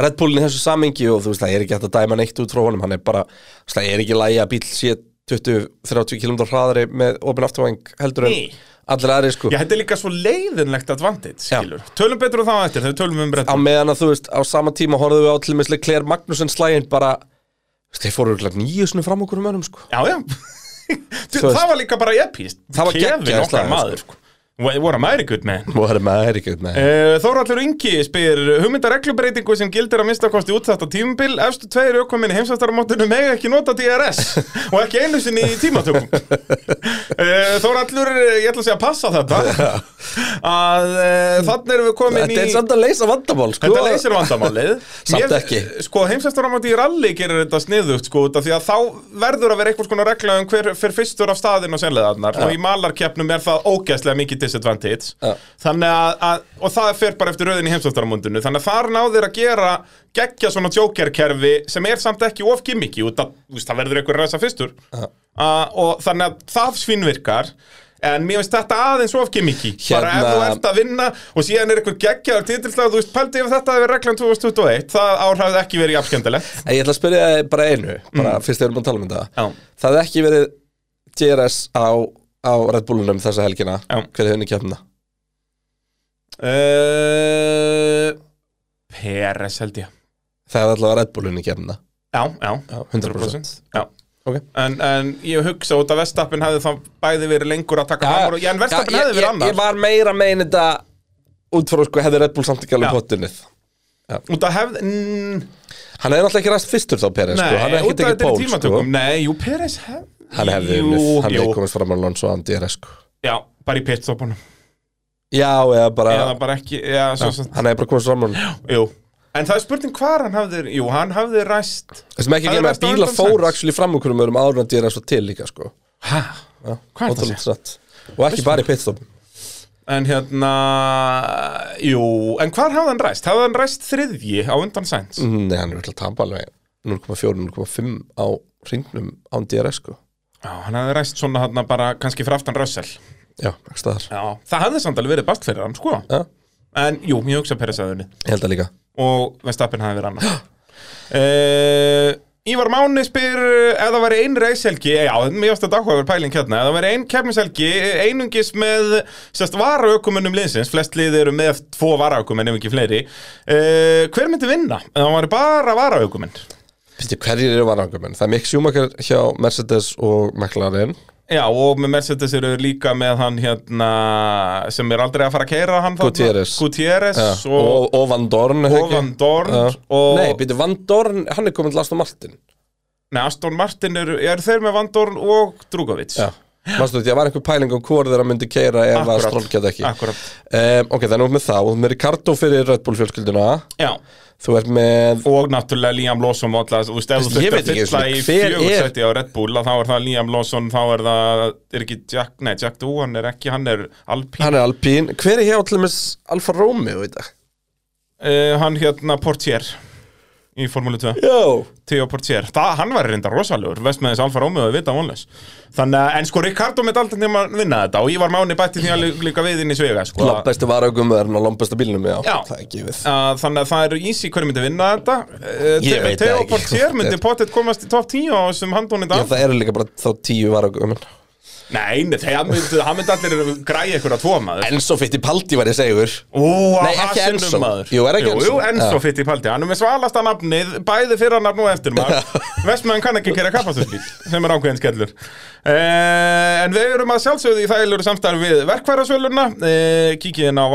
Red Bullin í þessu samingi Og þú veist, það er ekki hægt að dæma neitt út frá honum Hann er bara, þú veist, það er ekki lægi að bíl sé 20-30 km hraðari með opin afturvæng heldur en
Nei.
allir aðri sko
Já, þetta er líka svo leiðinlegt advantage,
Já.
skilur. Tölum betur um það á eftir, þegar við tölum um
á
brettum.
meðan að þú veist, á sama tíma horfðum við á til misli Claire Magnusson slægin bara þú veist, þeir fóru örugglega níu sinni fram okkur um önum sko.
Já,
<laughs>
já. Þú,
Þú veist-
það var líka bara epíst.
Það var geggjað
okkar
slag,
maður, sko. Við vorum aðri gutt með.
og það er með Eiríkjöld með
Þórallur Eh, Ingi spyr hugmynda reglubreytingu sem gildir að minnstakosti út þetta tímubil efstu tveir aukominni heimsvæstaramóttinu mega ekki nota DRS og ekki einu sinni í
<laughs>
tímatökum Eh, Þórallur, ég ætla að segja að passa þetta að eh, þannig erum við komin í
Þetta er samt að leysa vandamál sko.
Þetta leysir vandamálið
<laughs> Samt ekki.
Sko, heimsæstaramandi í rally gerir þetta sniðugt sko, út af því að þá verður að vera eitthvað skona regla um hver fyrir fyrstur af staðin og senleðarnar og í malarkeppnum er það ógæslega mikið disadvantage
Já.
þannig að, að og það fer bara eftir rauðin í heimsæstaramundinu þannig að þar náður að gera geggja svona jokerkerfi sem er samt ekki of gimmiki út af, þú veist, það verður eitthvað ræsa fyrstur uh, og þannig að það svinvirkar En mér finnst þetta aðeins of gimmiki Bara ef
Hérna-
þú ert að vinna og síðan er eitthvað geggjaður titilslag þú veist, pældi ef þetta hefur reglan 2021 það ár hafði ekki verið jafnkendilegt
En ég ætla að spyrja þig bara einu bara
Mm.
fyrst þegar við erum að tala um þetta
Já.
Það hefði ekki verið DRS á, á Red Bullunum þessa helgina
Já.
Hver hefði henni kemna?
uh, Peres held ég
Það hefði allavega Red Bullunni kemna
Já, já,
100%
já.
Ok.
En, en ég hugsa út að Vestappin hefði þá bæði verið lengur að taka
Já,
fram úr Já, en Vestappin
já,
hefði
ég-
verið
ég- Ég
annar
var meira megin þetta út frá sko hefði Red Bull samt ekki alveg
Já.
pottunnið
Út að hefð mm,
Hann er náttúrulega ekki ræst fyrstur þá Peres sko. Hann er
út
ekki
að
tekið
þetta er
pól sko.
tímatökum Nei, jú, Peres hefð
Hann hefði
Jú,
unnið, hann
jú.
hefði komast fram að Lons og Andi er sko.
Já, bara í pitstopunum
Já, eða bara
Eða bara ekki, já, svo svo
Hann hefði bara komast fram að
Jú En það er spurning hvar hann hafði, jú, hann hafði ræst
Það sem ekki
Það er
ekki með
ræst á
að bílar
undan
fóru
sex.
actually fram úr hverjum öðrum áður en DRS var til líka sko.
Hæ? Hvað er það að
Ótrúlega satt Og ekki bara í pitstop
En hérna, jú, en hvar hafði hann ræst? Hafði hann ræst þriðji á undan sæns?
Nei, hann er alltaf að tapa alveg 0,4-0,5 á hringnum án DRS sko.
Já, hann hafði ræst svona hann bara kannski fyrir aftan Russell.
Já, ekki staðar
Já, það hafði samt alveg verið bast fyrir hann, sko.
Já,
En jú, ég hugsa Peres að unni.
ég held að líka
Og Vestapen hafði verið <gasps> annar. uh, Ívar Máni spyr eh, ef það væri ein reishelgi, já, mér ást að daghugaver pæling hérna, ef það væri ein kefnishelgi, eh, einungis með, sérst, varaaukumunum liðsins, flest lið eru með tvo varaukumenn ef ekki fleiri, uh, hver myndi vinna? Ef það væri bara varaukumenn?
Fyrstu, hverjir eru varangamenn? Það er Mick Schumacher hjá Mercedes og McLaren
Já, og með Mercedes eru líka með hann hérna, sem er aldrei að fara að keira hann þarna.
Gutierrez.
Gutierrez
Já,
og,
og, og Van Dorn er
og
það ekki?
Van Dorn
Já.
og,
Nei, býttu, Van Dorn, hann er komin til Aston Martin
nei, Aston Martin eru, eru þeir með Van Dorn og Drugovic
Já Manstu, það var einhver pæling um hvort þeirra myndi keira ef að
Akkúrat.
Stroll geta ekki
Akkúrat.
um, Ok, það er nú með það og þú ert með Ricardo fyrir Red Bull fjölskylduna
Já,
Þú ert með
og náttúrulega Liam Lawson og alltaf, þú veist, ef þú
Ég
þurft
veit
að
ekki
fylla
einu
í
sinni, hver er-
fjögursætti á Red Bull, að þá er það Liam Lawson, þá er það, er ekki Jack, nei, Jack Doo, hann er ekki, hann er Alpine,
Hann er Alpín Hver er hjá til dæmis Alfa Romeo í dag?
uh, hann hérna Portier í Formule 2
Já
Theo Portier, það, hann var reynda rosalegur veist með þess Alfa Romeo að vita vonlaus þannig að, en sko Ricardo með alltaf nema að vinna þetta og ég var máni bætti því að lí- líka við inn í svega sko, að,
Loppestu varagumöðurinn og loppestu bílnum, já,
Já.
Það er ekki við
að, Eh, þannig að það eru ísi hverju myndi vinna þetta Eh,
Ég veit
Theo
það ekki.
Portier
<laughs>
myndi pottet komast í topp 10 á þessum handónið
Já,
af
það eru líka bara þá tíu varagumöðurinn
nei, nei, þegar myndi, hann myndi allir græja ykkur að tvo maður
Enzo Fittipaldi var ég segur
Ó, á
Nei, ekki
hasinum,
Enzo.
maður.
Jú, er ekki
Jú,
Enzo?
Enzo
Já.
fyrt í paldi Hann er með svalasta nafnið, bæði fyrir nafn og eftir maður Vestmann kann ekki kera kappastusbíl sem er ákveðin skellur eh, En við erum að sjálfsögðu í þægilegu samstarfi við verkfærasöluna eh, Kíkið inn á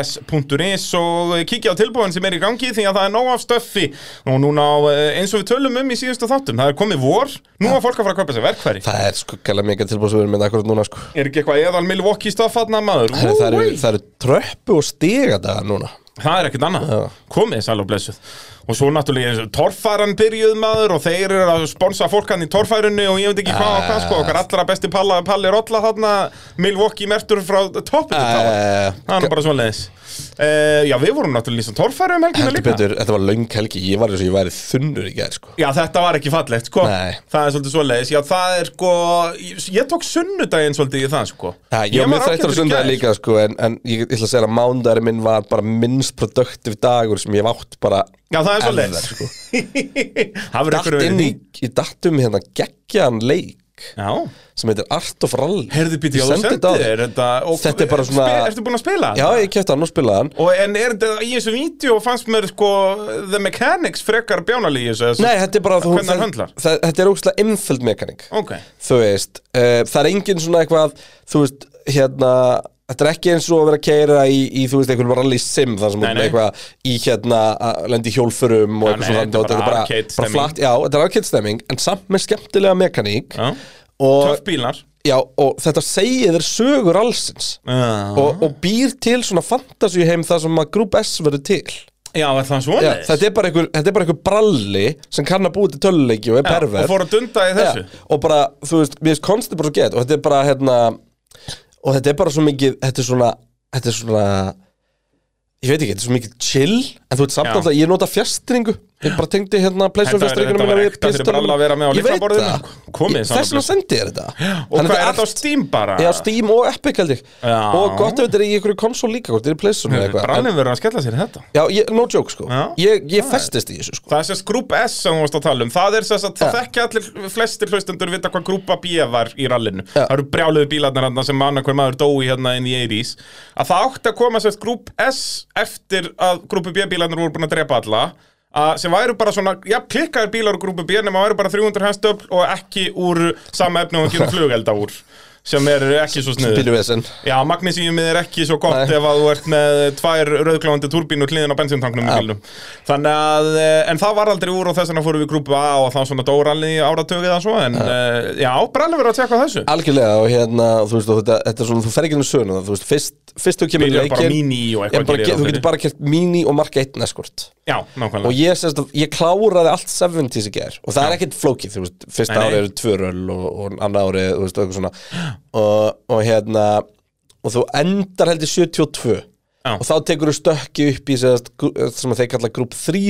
ffs.is og kíkið á tilbúin sem er í gangi því að það er nóg af stöffi og núna á, eh, eins og við tölum um í síðustu þáttum það er komið vor, nú er fólk að fara að kaupa sér verkfæri
Það er sko gæla mikið tilbúið sem við erum með akkurat núna sko
Er ekki eitthvað eðal Milwaukee stoffatna maður?
Herri, Það eru,
Úi.
það eru tröppu og stiga það núna
Það er ekkert annað, komið sæl og blessuð Og svo náttúrulega er torfaran byrjuð maður Og þeir eru að sponsa fólk hann í torfærunni Og ég veit ekki hvað og hvað sko Okkar allra besti palla, palli rolla þarna Milwaukee mertur frá toppinu uh,
Eh,
Það er nú
Heldur
bara svona leiðis Já, við vorum náttúrulega lýsa torfæru um helgina líka
betur, þetta var löng helgi Ég var eins og ég væri þunnur í gær sko
Já, þetta var ekki fallegt sko
Nei.
Það er svolítið svo leiðis Já, það er sko Ég, ég tók sunnudaginn svolítið í það sko
Já, ég var mér þreyttur að
ágætur í
sunda
gær.
líka sko, en, en ég ég ætla að segja að mándagari minn var bara minnst produktiv dagur sem ég hef átt bara
Já, það er svo
ever,
leiðis
sko.
<laughs> Það verður
Datt
ykkur
inn
verið
í, í dattum hérna geggjan leik
Já
sem heitir Art of Rally
Herðu býtti, já,
Ég
þú
sendi
sendið
þetta á þig.
þér þetta og-
Þetta er bara svona-
Spe- Ertu búin að spila
Já,
þetta?
ég kæfti hann og spilaði hann
Og en er þetta, í þessu vídeo fannst mér sko The Mechanics frekar bjánalíi þessu þessu-
Nei, þetta er bara
Hvernig hann höndlar?
það, Þetta er ógustlega einföld mekanik
Ok,
Þú veist, uh, það er engin svona eitthvað Þú veist, hérna Þetta er ekki eins og að vera að keira í, í þú veist, einhverjum rally sim þar sem
Nei,
út
nei.
með eitthvað í hérna, að lendi hjólfurum og
Já,
eitthvað
nei,
svona
þetta er
dót.
bara
Þetta
arcade
bara
stemming.
flatt, já, þetta er arcade stemming en samt með skemmtilega mekaník
já
og,
Töff bílar
já, og þetta segir þér sögur allsins
Já,
og, og býr til svona fantasy heim þar sem að Group S verður til
já er það
Já,
svona
þetta, er bara einhver, þetta er bara einhver bralli sem kann að búi til töluleiki og er perver
Og fór að dunda í þessu
Já, og bara, þú veist, mér finnst konstið bara svo gett og þetta er bara, hérna og þetta er bara svo mikið, þetta er svona þetta er svona ég veit ekki, þetta er svo mikið chill en þú veit samt
Já.
alltaf, ég nota fjastringu ég bara tengdi hérna
Þetta
pleysum
er- þetta
fjastringuna
var
mína við
ekta fyrir
pistoluna.
bralla að vera með á
Ég veit
lyklaborðinu,
það.
sko. Komið
Ég-
saman
þess vegna
blessuð.
sendi ég þetta
Og
Þannig
hvað er
allt-
þetta á Steam bara?
Já, Steam og Epic held ég
Já.
og gott ef þetta er í einhverju konsól líka hvort þetta er í pleysum eða eitthvað En-
Brannum verður að skella sér í þetta
Já, ég, no joke sko
Já.
Ég, ég festist í þessu sko
Það er sérst grúp S sem þú varst að tala um Það er sérst að það þekkja allir flestir hlustendur vita hvað grúpa B var í rallinu Það eru brjáluðu bílarnar hann sem annar hver maður dói hérna inn í 80s að það átti að koma sérst grúp S eftir að grúpu B bílarnar voru búin að drepa alla að sem væru bara svona, já, klikkaður bílar úr grúpu B nema væru bara 300 hestöfl og ekki úr sama efni og ekki um flugelda úr sem er ekki svo sniður
Pínu vesen
Já, magnesíumið er ekki svo gott
Nei.
ef að þú ert með tvær rauðglóðandi turbínu hliðin á bensíntanknum í
Já.
bílnum Þannig að, eh, en það var aldrei úr og þess vegna fórum við í grúpu A og þá svona dóralli áratögu eða svo En já, já brallið verið að tjekka á þessu
Algjörlega og hérna, þú veist, og þetta, þetta er svona, þú fer ekki um söguna, þú veist, fyrst, fyrst þú kemur í
Bílar bara
leikinn-
mini og eitthvað
er bara
gerir
ge-
ráð
Þú
fyrir.
getur bara kert mini og marka eitt neskort
Já, nákvæmlega
Og ég, semst, að- ég kláraði allt 70s í ger Og það er ekkert flókið, þú veist, fyrsta
Nei, nei.
ári eru tvö röll og, og annað ári, þú veist, og eitthvað svona og, og hérna, og þú endar heldur 72
Já.
Og þá tekur þú stökki upp í semst, grú- sem að þeir kalla grúp 3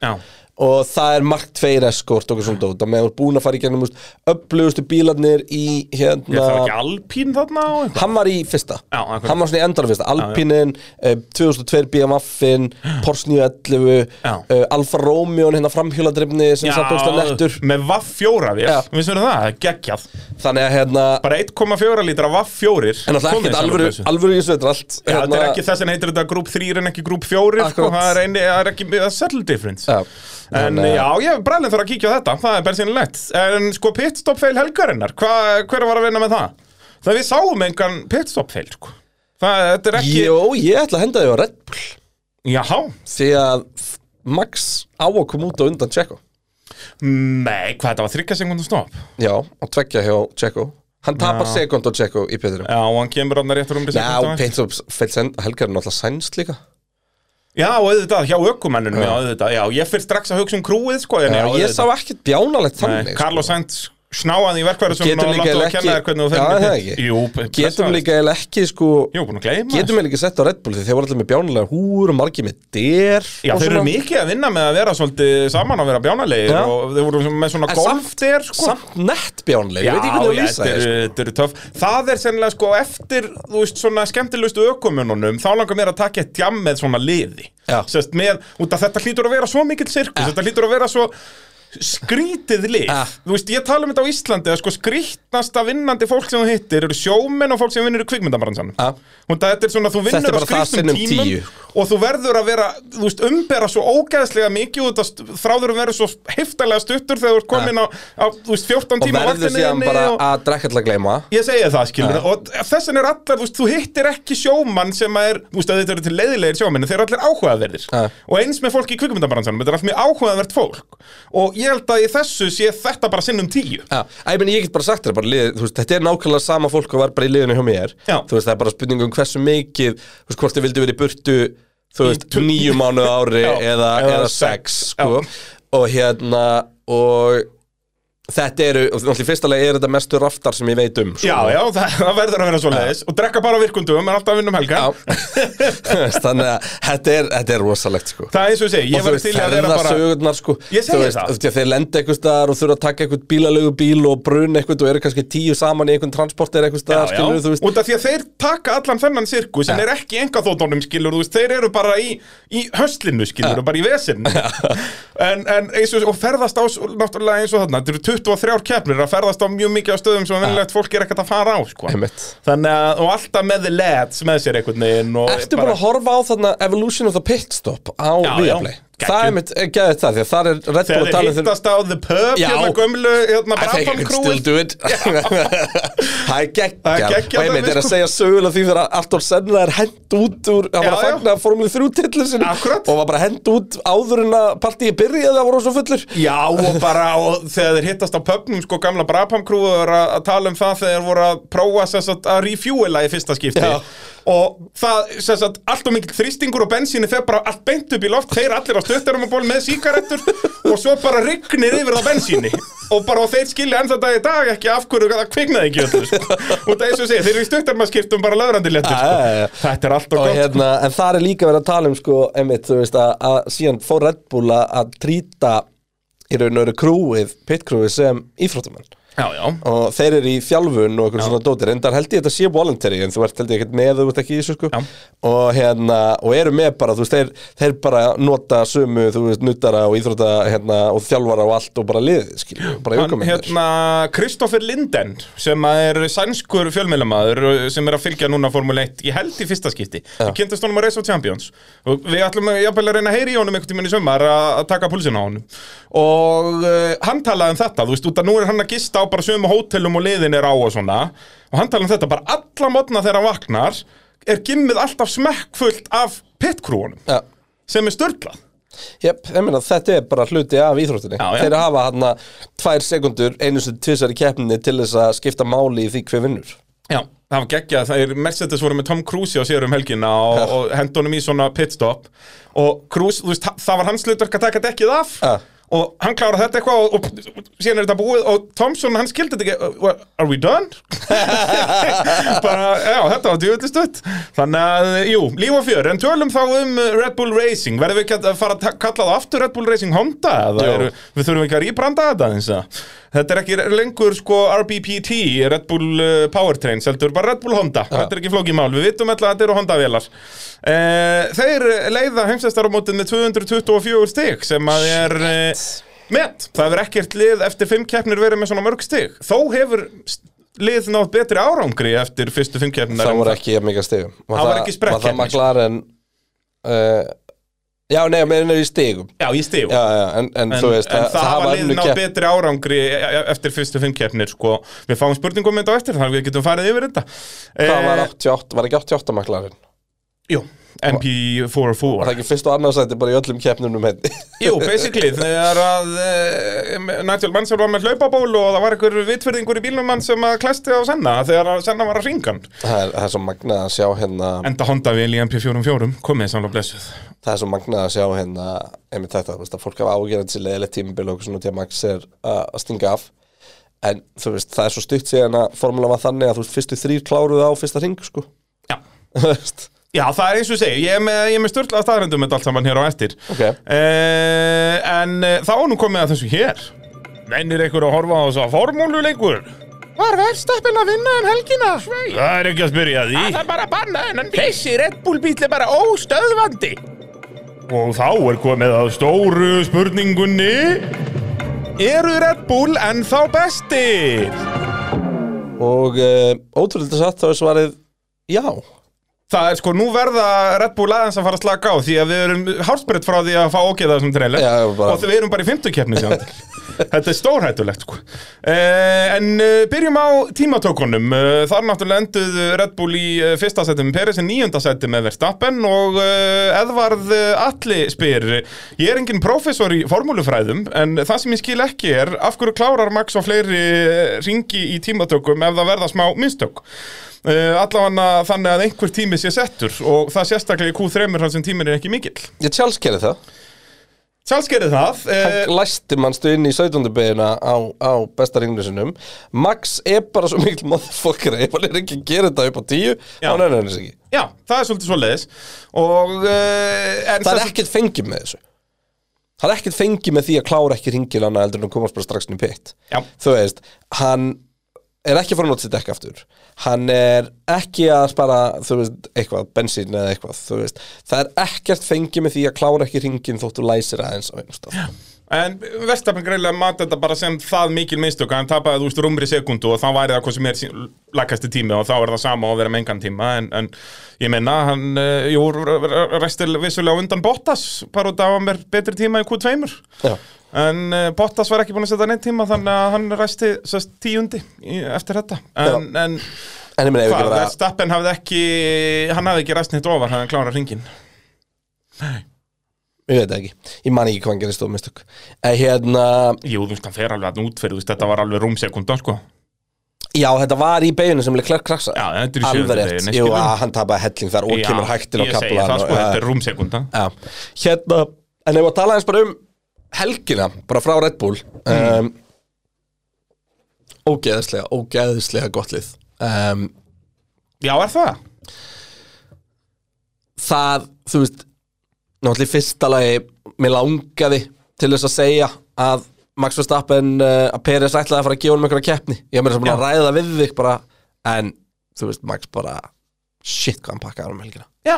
Já,
og það er margt tveir eskort og svona dót, að meðan þú er búin að fara í gegnum upplugustu bílarnir í
ég
hérna,
þarf ekki alpín þarna og eitthvað
hann var í fyrsta
Já, akkurat.
hann var svona í endanum fyrsta, Alpinin eh, 2002 BMW-in,
<gasps>
Porsche 911
Já.
eh, Alfa Romeo hérna framhjóladrifni sem satt ógst að nettur
með vaff fjóra við,
Já.
við sem verðum það, geggjað
þannig að hérna,
Bara 1,4 lítra vaff fjórir
en alltaf
Komið
ekkert
þið
alvöru,
sjálfur þessu.
alvöru í þessu þetta er allt
Já,
hérna-
þetta er ekki þess að heitir þetta grúp 3 en ekki grúp 4 sko,
Akkurat.
það er, einni, það er ekki það er subtle difference
Já.
En
Þannig að-
já, ég bræðin þarf að kíkja á þetta, það er bensinlegt En sko pitstop fail helgarinnar, hva, hver var að vinna með það? Það við sáum engan pitstop fail sko. Það þetta er ekki
Jó, ég ætla að henda því á Red Bull
Jáhá,
því að Max á að koma út á undan Tjekko
nei, hvað þetta var þryggja sekundum stopp Já,
já, og tveggja hjá Tjekko hann tapar sekund á Tjekko í Petrinum
og hann kemur hann réttur um
Já, Paintsops fell send, Helgar er náttúrulega sænst líka
Já, auðvitað, hjá ökumennunum, já. auðvitað Já, ég fyrir strax að hugsa um krúið, sko en,
Já,
já,
ég
auðvitað.
sá ekkert bjánalegt
Nei,
þannig sko.
Carlos Sainz snáði í verkværi sem
Getum
að
líka
láta
eiginlega
að kenna þér hvernig
ekki-
þú
Já,
fyrir
það
með
ekki.
þitt. Jú, blessaður.
Getum líka eða ekki sko
Jú, búin að gleyma
Getum
þessu.
eða ekki sett á Red Bull því þeir voru alltaf með bjánalega húr og margir með der
Já,
og
þeir eru
svona.
mikið að vinna með að vera svolítið saman að vera bjánalegir
Já.
og þeir voru með svona
En
golfdir sko.
Samt nett bjánalega,
Já,
ég veit ekki
já,
hvernig að lýsa
þetta
þeir sko.
eru- þetta eru töff Það er sennilega sko eftir, þú veist, svona skemmtilegustu ökumununum þá langar mér að taka eitt jam með svona liði
Já.
Sest, með, út af þetta hlýtur að vera svo mikill sirkus, þetta hlýtur að vera svo skrítið lið
Ja.
Þú veist, ég tala um þetta á Íslandi að sko skrítnasta vinnandi fólk sem þú hittir eru sjómenn og fólk sem vinnur í kvikmyndabransanum
Ja.
Þetta er svona, þú
Þetta er
vinnur á
bara það
skrítnum
sinnum
tímum
tíu.
og þú verður að vera, þú veist, umbera svo ógæðslega mikið og það þráður að vera svo heftalega stuttur þegar þú ert komin á, á þú veist, 14
Og
tíma
verður síðan bara
og...
að drekka til að gleyma
Ég segi það, skilur, og þessan er allar, þú veist, þú hittir ekki sjómann sem að er, þú veist, að þetta eru til leiðilegir sjómann, en þeir eru allir áhugaverðir.
Ja.
Og eins með fólk í kvikmyndabransanum, þetta er allt mjög áhugavert fólk. Og ég held að í þessu sé þetta bara sinnum tíu.
Já, Æ, ég, meni, ég get bara sagt þér, bara lið, þú veist, þetta er nákvæmlega sama fólk og var bara í liðinu hjá mér
Já.
Þú veist, það er bara spurning um hversu mikið, þú veist, hvort þið vildu verið í burtu, þú veist, níu mánuð á ári
<laughs> Já,
eða,
eða
eða
sex,
sex, sko Og hérna, og þetta eru, og náttúrulega í fyrsta lagi er þetta mestu raftar sem ég veit um sko.
Já, já, <laughs> það, það verður að vera svo leiðis. Og drekka bara á virkundum, en alltaf að vinna um helga.
Þú veist, <laughs> Þannig að þetta er, þetta er rosalegt, sko
Það er eins og ég segi, ég
og þú
verður
veist,
til í að vera bara...
ferðasögurnar sko
Ég segi
Þú veist,
það.
þú veist, Þeir lenda einhvers staðar og þurfa að taka einhvern bílalögu bíl og bruna einhvern og eru kannski tíu saman í einhvern transporter einhvers staðar, skilur þú veist
Út af því að þeir taka allan þennan sirku sem
Já.
er ekki enga þóttunum skilur þú veist, þeir eru bara í, í höslinu skilur þú, bara í vesinn en, en eins og, og ferðast á s- náttúrulega eins og þarna, þetta eru 23 keppnir að ferðast á mjög mikið á stöðum sem vennilegt fólk er ekkert að fara á sko.
Einmitt.
þannig að, og alltaf með the lads með sér einhvern veginn og
Ertu bara að horfa á þarna Evolution of the Pit Stop á
Já,
Viaplay
já, geggjum.
Það er mitt, geðið það, því að það er Red Bull
þegar
að
þeir
tala um þeir-
hittast á the pub
Já.
hérna gömlu, hérna
I think I
Brabham
can still
crewið
do it <laughs> Það er
Það
geggjað
er geggjað
Og ég
dæmi,
meint er að
sko.
segja sögulega því þegar Artur Senna er hend út úr Hann var að
Já, já.
fagna Formule 3 titlu sinni
Akkurat.
Og var bara hend út áður en að partíi byrjaði að voru svo fullur
Já og bara og þegar þeir hittast á pöpnum sko gamla Brabham crew er að, að tala um það þegar þeir voru að prófa sem sagt, að refuela í fyrsta skipti
Já.
og það sem sagt, allt og mikill þrýstingur og bensíni þegar bara allt beint upp í loft þeir allir á stöttarum og ból með síkarettur og svo bara rignir yfir það bensíni og bara og þeir skilja ennþá dag í dag ekki af hverju það kviknaði ekki öllu sko. og það er svo að segja þeir eru í stöttarum að skiptum bara löðrandi léttir
Já, já, já.
sko. þetta er allt og
og
gott
hérna, en það er líka verið að tala um sko, einmitt, þú veist að, að síðan fór Red Bull að- að trýta í raun og veru krúið, pitkrúið sem íþróttumenn
Já, já,
og þeir eru í þjálfun og einhvern svona dótir en þar held ég þetta sé voluntary en þú ert held ég ekkert með þú ert ekki í þessu sko
Já.
og hérna, og eru með bara, þú veist, þeir, þeir bara nota sömu, þú veist, nuttara og íþrótta hérna, og þjálfara og allt og bara liðið, skilju, bara
Hann,
aukumennir
hérna, Kristoffer Linden sem að er sænskur fjölmiðlamaður uh, sem er að fylgja núna Formule 1 ég held í fyrsta skipti, við kynntist honum að Race of Champions og við ætlum að, jafnvel að reyna að heyri í honum einhvern tímann í sömmar að að taka púlsina á honum og uh, hann talaði um þetta, þú veist, út að nú er hann að gista á bara sömu hótelum og liðin er á og svona og hann tala um þetta bara alla mótna þegar hann vaknar er gimmið alltaf smekkfullt af pitkrúunum
Já.
sem er störtlað
Jep, ég meina þetta er bara hluti af íþróttinni
Já, já.
Þeir hafa hann að tvær sekundur einu sem tvisar í keppninni til þess að skipta máli í því hver vinnur
Já, það var geggjað, það er Mercedes voru með Tom Cruise á sér um helgina
Já.
og, og hendunum í svona pitstop og Cruise, þú veist, þa- það var hans hlutverk að taka dekkið af
Já.
og hann kláraði þetta eitthvað og, og, og síðan er þetta búið og Thompson, hann skildi þetta ekki, uh, well, are we done? Bara, já, þetta var djúvöldi stutt Þannig að, jú, líf og fjör, en tölum þá um uh, Red Bull Racing Verðum við ekki að fara að ta- kalla það aftur Red Bull Racing Honda? eða
Jú.
Eru, við þurfum ekki að rýbranda þetta eins og Þetta er ekki lengur sko RBPT, Red Bull uh, Powertrains, heldur bara Red Bull Honda Þetta er ekki flókið mál, við vitum alltaf að þetta eru Honda-vélar uh, Þeir leiða heimsæstaramótið með 224 stig sem að er uh, met Það hefur ekkert lið eftir fimm keppnir verið með svona mörg stig Þó hefur s- lið nátt betri árangri eftir fyrstu fimm keppnir
Það voru ekki jafn mikið stigum Var
Það voru ekki
Var það
sprekkkeppni, sko.
McLaren uh, Já, nei, ég meina í stigum
Já, ég stig
Já, já, en, en,
En,
þú veist
en það, hafa
önnur
liðin á
kepp-
betri árangri e- e- eftir fyrstu fimm keppnir sko. Við fáum spurningum með þetta á eftir þannig að við getum farið yfir þetta
Hvað var
Eh,
88, var ekki 88 McLaren?
Jú, MP44
Var það ekki fyrst og annarsætti bara í öllum keppnunum hérna? henni?
Jú, basically, þegar að uh, Nigel Mansell var með hlaupaból og það var einhver vitfyrðingur í bílnum hann sem að klæsti á Senna þegar að Senna var að ringa hann
það, er, það er svo magnað að sjá hérna
Enda Honda vil í MP44, komið samlega blessuð
það er svo magnað að sjá hérna einmitt þetta, þú veist að fólk hafa ágjörðan sér leiðilegt tímabil og eitthvað svona til að Max er að að stinga af en þú veist, það er svo stutt síðan að formúlan var þannig að þú veist, fyrstu þrýr kláruðu á fyrsta ring, sko <laughs>
Já,
Þú veist,
Já, það er eins og ég segi, ég er með, ég er með störlaða staðrendum með allt saman hér á eftir
Ok.
Eh, En uh, þá er nú komið að þessu hér Mennir ykkur að horfa á þess að formúluleikur Var verðstappin að vinna um helgina? Svei Það er ekki að spyrja því Það er bara að banna þennan bíl Þessi Red Bull bíl er bara óstöðvandi Og þá er komið að stóru spurningunni Eru Red Bull ennþá bestir?
og uh, ótrúlega satt þá er svarið já,
Það er sko, nú verða Red Bull aðeins að fara að slaka á því að við erum hálsbreytt frá því að fá ógeða þessum trailer
Já, bara-
og við erum bara í fymtukeppni síðan <laughs> Þetta er stórhættulegt sko. eh, En eh, byrjum á tímatökunum eh, Þar náttúrulega enduð Red Bull í eh, fyrsta seti með Peres en níunda seti með Verstappen og eh, Edvard eh, Atli spyr Ég er engin prófessor í formúlufræðum en það sem ég skil ekki er af hverju klárar Max og fleiri eh, ringi í tímatökum ef það verða smá minnstök Uh, allavega þannig að einhver tími sé settur og það sérstaklega í Q3 þar sem tímin er ekki mikill
ég tjáls gerði það
Sjálfs gerir það uh,
hann læsti mannstu inn í 17. beina á, á besta ringnu sinum Max er bara svo mikil motherfucker ef hann er ekki að gera þetta upp á tíu
Já.
þá nefnir hann þess ekki
Já, það er svolítið svo leiðis og uh, en
það
sem-
er ekkert fengið með þessu það er ekkert fengið með því að klára ekki ringil annað heldur en að komast bara strax inn í pitt
Já.
þú veist, hann er ekki að fara að nota sitt dekk aftur hann er ekki að spara þú veist, eitthvað, bensín eða eitthvað þú veist, það er ekkert fengið með því að klára ekki ringin þótt þú læsir aðeins á einum stað
En Verstafn greiðlega mat þetta bara sem það mikil mistök að hann tapaði þú veist rúmri sekundu og þá væri það hvað sem er lakasti tími og þá er það sama að vera með engan tíma en, en ég menna hann, uh, jú, restil vissulega á undan Bottas bara út af að hann er betri tíma í Q2
Já.
en uh, Bottas var ekki búin að setja neitt tíma þannig að hann resti sest, tíundi í, eftir þetta en, en
en ég meina ef ekki
hvað,
bara
Verstappen hafði ekki hann hafði ekki rest neitt ofar, hann klára ringin
ég veit það ekki, ég man ekki hvað hann gerist og mistök en hérna,
Jú, þú veist, hann fer alveg að útferð, þú veist, þetta var alveg rúmsekunda, sko
já þetta var í beinu sem Leclerc krasa
Já, þetta er í
alveg
sjöundu
rétt,
beginni,
jú
skilurðu.
að hann tapaði helling þar og kemur hægtin á
ég segi
kaplan
það sko, þetta er rúmsekunda
Já, hérna, en ef að tala eins bara um helgina, bara frá Red Bull um, Ógeðislega, ógeðislega gott lið um,
Já, er það?
Það, þú veist, náttúrulega í fyrsta lagi, mér langaði til þess að segja að Max Verstappen, uh, að Peres ætlaði að fara að gefa honum einhverja keppni Ég meira sem búin að ræða það við þig bara, en þú veist, Max bara, shit hvað hann pakkaði um helgina
Já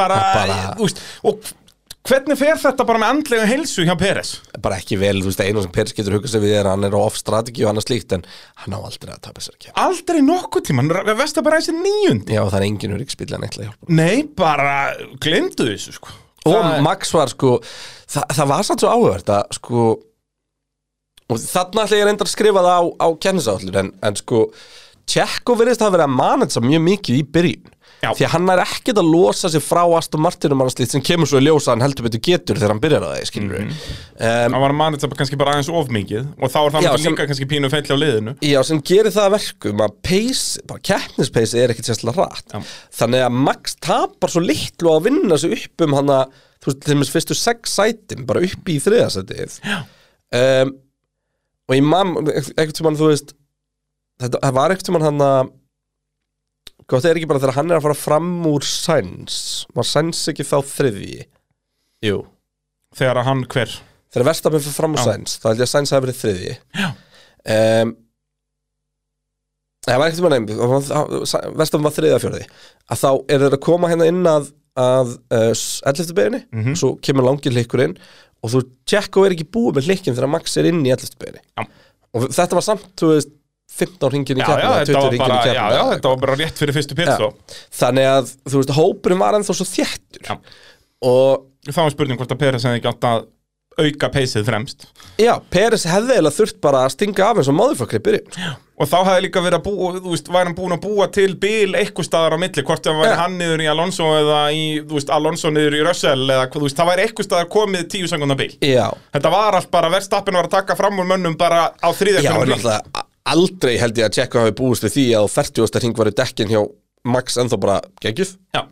Bara,
Bara-
þú veist, og hvernig fer þetta bara með andlega heilsu hjá Peres?
bara ekki vel, þú veist, einu sem Peres getur huggað sér við er að hann er á off-strategi og annað slíkt en hann á aldrei að tapa sér að keppni
Aldrei nokkuð tíma, hann vest að bara þessi níundi
Já, það er enginn öryggsbíl en eitthvað hjálpa
Nei, bara, glemdu þessu, sko
Og
Það-
Max var sko, það, það var satt svo áhugavert að sko og þarna ætla ég reyndar að skrifa það á, á kennisállur en, en sko Tjekko verðist að vera að manetsa mjög mikið í byrjun
Já.
því að hann er ekkert að losa sig frá Aston Martin um hann slíkt sem kemur svo í ljósa hann heldur betur getur þegar hann byrjar að það skilur
Mhm.
mm
hann var að manna þetta kannski bara aðeins of mikið og þá er það
Já,
náttúrulega
sem-
líka kannski pínu fell á liðinu
Já, sem gerir það að verkum að pace, bara keppnispace er ekkert sérstaklega rætt
Já.
Þannig að Max tapar svo litlu á að vinna sig upp um hana þú veist, til þess fyrstu sex sætin bara upp í þriðasætið um, Og ég man, ekkert sem hann, þú veist þetta það var ekkert sem hann hann að Gótt er ekki bara þegar hann er að fara fram úr Sainz Var Sainz ekki þá þriðji? Jú
þegar að hann hver
Þegar Verstafinn fyrir fram úr
Já.
Sainz, þá held ég að Sainz hafi verið þriðji.
Já.
Um, það var ekkert með nefn, Verstafinn var þriðja fjörði. Að þá eru þeir að koma hérna inn að, að uh, 11. beginni,
Mhm.
svo kemur langir hlikkur inn og þú tjekko er ekki búið með hlikkinn þegar Max er inn í 11. beginni.
Já.
Og þetta var samt, þú veist, 15 ringin í
já, já,
keppina,
þetta
20
var
ringin
bara,
í
já,
keppina.
já, þetta var bara rétt fyrir fyrstu
Já.
pitstó
Þannig að, þú veist, hópurinn var ennþá svo þéttur.
Já.
Og
þá er spurning hvort að Peres hefði ekki átt að auka peysið fremst
Já, Peres hefði eiginlega þurft bara að stinga af eins og motherfucker í byrjun sko.
og þá hefði líka verið að búa, þú veist, væri hann búin að búa til bil eitthvað staðar á milli, hvort það væri
Já.
hann niður í Alonso eða í, þú veist, Alonso niður í Russell eða, hvað, þú veist, það væri eitthvað staðar komið tíu sekundar bil.
Já,
Þetta var allt bara, verðstappin var að taka fram úr mönnum bara á
já, en
þrýðjarkunum
náttúrulega a- aldrei held ég að Tjekko hafi búist við því að á 40. hring varu dekkin hjá Max ennþá bara geggjuð
Já,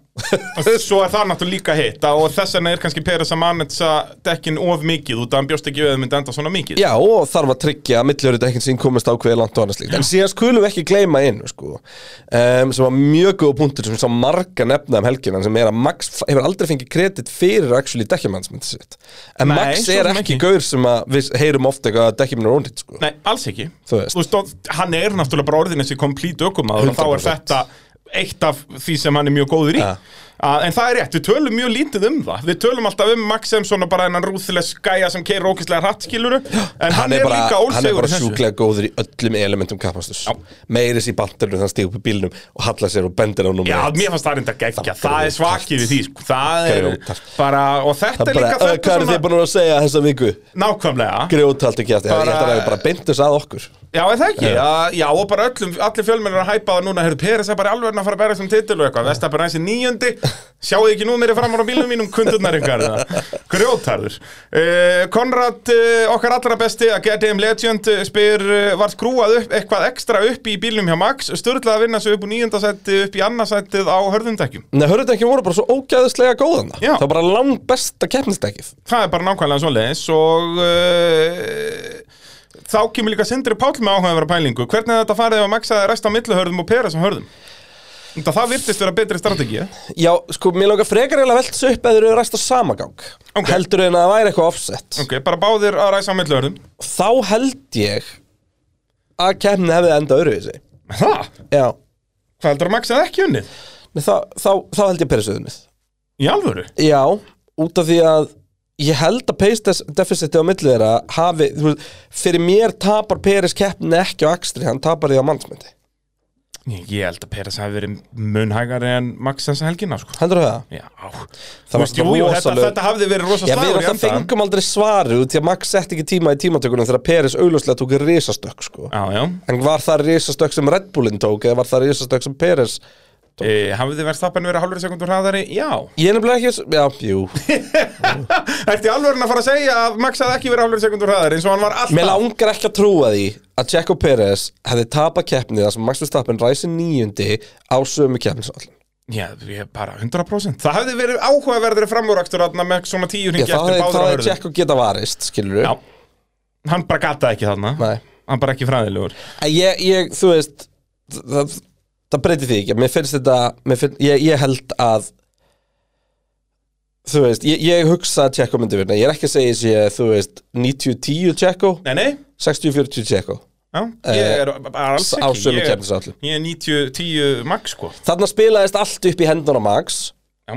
og svo er það náttúrulega líka hitt og þess vegna er kannski Peres að mannetsa dekkin of mikið út að hann bjóst ekki við að það myndi enda svona mikið.
Já, og þarf að tryggja að milljöru dekkin sín komist ákveði langt og annars líkt En síðan skulum við ekki gleyma inn, sko um, sem var mjög góð punktur sem sá marga nefna um helginan sem er að Max f- hefur aldrei fengið kredit fyrir actually dekkjumannsmyndi sitt En
Nei,
Max
svo
er
sem
ekki
ekki.
gaur sem að við heyrum ofta eitthvað að dekkjuminn er ónýtt, sko
Nei, alls ekki.
Þú veist.
Þú veist, og hann er náttúrulega bara orðin þessi komplít ökumaður og þá er
100%.
þetta eitt af því sem hann er mjög góður í.
Ja.
Að, en það er rétt, við tölum mjög lítið um það. Við tölum alltaf um Max sem svona bara hennan rúðilega skæja sem keir ókislega hratt, skiluru. En hann,
hann er, bara,
líka
hann er
ólsegur
bara
í þessu.
sjúklega góður í öllum elementum kappasturs meiris í bandarinu þannig stíð upp í bílnum og hallar sér og bendir á númer
Já,
eitt.
mér fannst það reynda geggja. Það
Það bara
er svakið við því, sko. Það er
Grjótart.
bara, og þetta er
það er bara,
líka
"Ö, hvað
þetta
eru þið búin að segja þessa viku?
nákvæmlega.
grjótalt ekki eftir,
Bara-
ég held að það er bara beintus að okkur
Já, er það ekki? Já, já og bara öllum, allir fjölmennir að hæpa það núna, heyrðu, Peres er bara alveg að fara að bæra þessum titil og eitthvað, Vestapur hans er níundi, sjáu ekki nú meiri framar á bílum mínum, kundurnar ykkar, grjótarður. Uh, Konrad, uh, okkar allra besti, að Get Him Legend, uh, spyr, uh, var skrúað upp, eitthvað ekstra upp í bílum hjá Max, störðlega að vinna sig upp úr níundasætti, upp í annarsættið á hörðundekjum.
Nei, hörðutekkin voru bara svo ógæðislega góðan
Já.
það var bara langt besta keppnistekið
Það er bara nákvæmlega svoleiðis og uh, þá kemur líka Sindri Páll með áhugaverða pælingu. Hvernig er þetta farið ef að Max hefði rest á milluhörðum og Peres á hörðum? Það, það virtist vera betri eh? strategið.
Já, sko, mér langar frekar eiginlega að velta þessu upp eða þeir eru ræst á samagang
Ok. Mm.
heldur en að það væri eitthvað offset
Ok, bara báðir að ræsa á milluhörðum.
þá held ég að keppnin hefði enda öruvísi
Það?
Já,
Hvað heldur að Max hefði ekki unnið?
Nei, þá, þá, þá held ég perisuðunnið
Í alvöru?
Já, út af því að ég held að pace des- deficitið á milli þeirra hafi, þú veist, fyrir mér tapar Peris keppni ekki á Akstri, hann tapar því á mannsmyndi.
Ég ég held að Peres hefði verið munhægari en Max þessa helgina, sko.
Heldur það?
Já,
Það
Þú
var
veist, jú, jú, þetta,
rosaleg-
þetta hafði verið rosa
Já, við
slagur í
erum það
endan.
fengum aldrei svarið út því að Max sett ekki tíma í tímatökunum þegar Peris augljóslega tók risastökk, sko.
Já, já.
En var það risastökk sem Red Bullin tók eða var það risastökk sem Peris?
E, hafði verðstappen verið hálfur sekundur hraðari? Já.
Ég er nefnilega ekki, já, jú.
Ertu í alvörin að fara að segja að Max hafði ekki verið hálfur sekundur hraðar eins og hann var alltaf
Mér langar ekki að trúa því að Checo Peres hefði tapað keppnið þar sem Max Verstappen ræsi nýjundi á sömu keppnisallin.
Já, ég bara 100% Það hefði verið áhugaverðri framúrakstur þarna með svona tíu
Já,
hringi
það
eftir
hefði- þá
báður
hefði Tjekko geta varist, skilur
Já, hann bara gataði ekki þarna
Nei.
Hann bara ekki fræðilegur
Ég, ég, þú veist, það, það breytir því ekki. Mér finnst þetta, mér finn, ég, ég held að, þú veist, ég, ég hugsa að Tjekko myndi vinna. Ég er ekki að segja þessi, þú veist, 90-10 Tjekko,
Nei, nei,
60-40 Tjekko.
já, ég er bara alls
Eh, á
ekki
sömu
Ég er,
keppnisáætlun.
ég er 90-10 max sko
Þarna spilaðist allt upp í hendun á Max,
Já,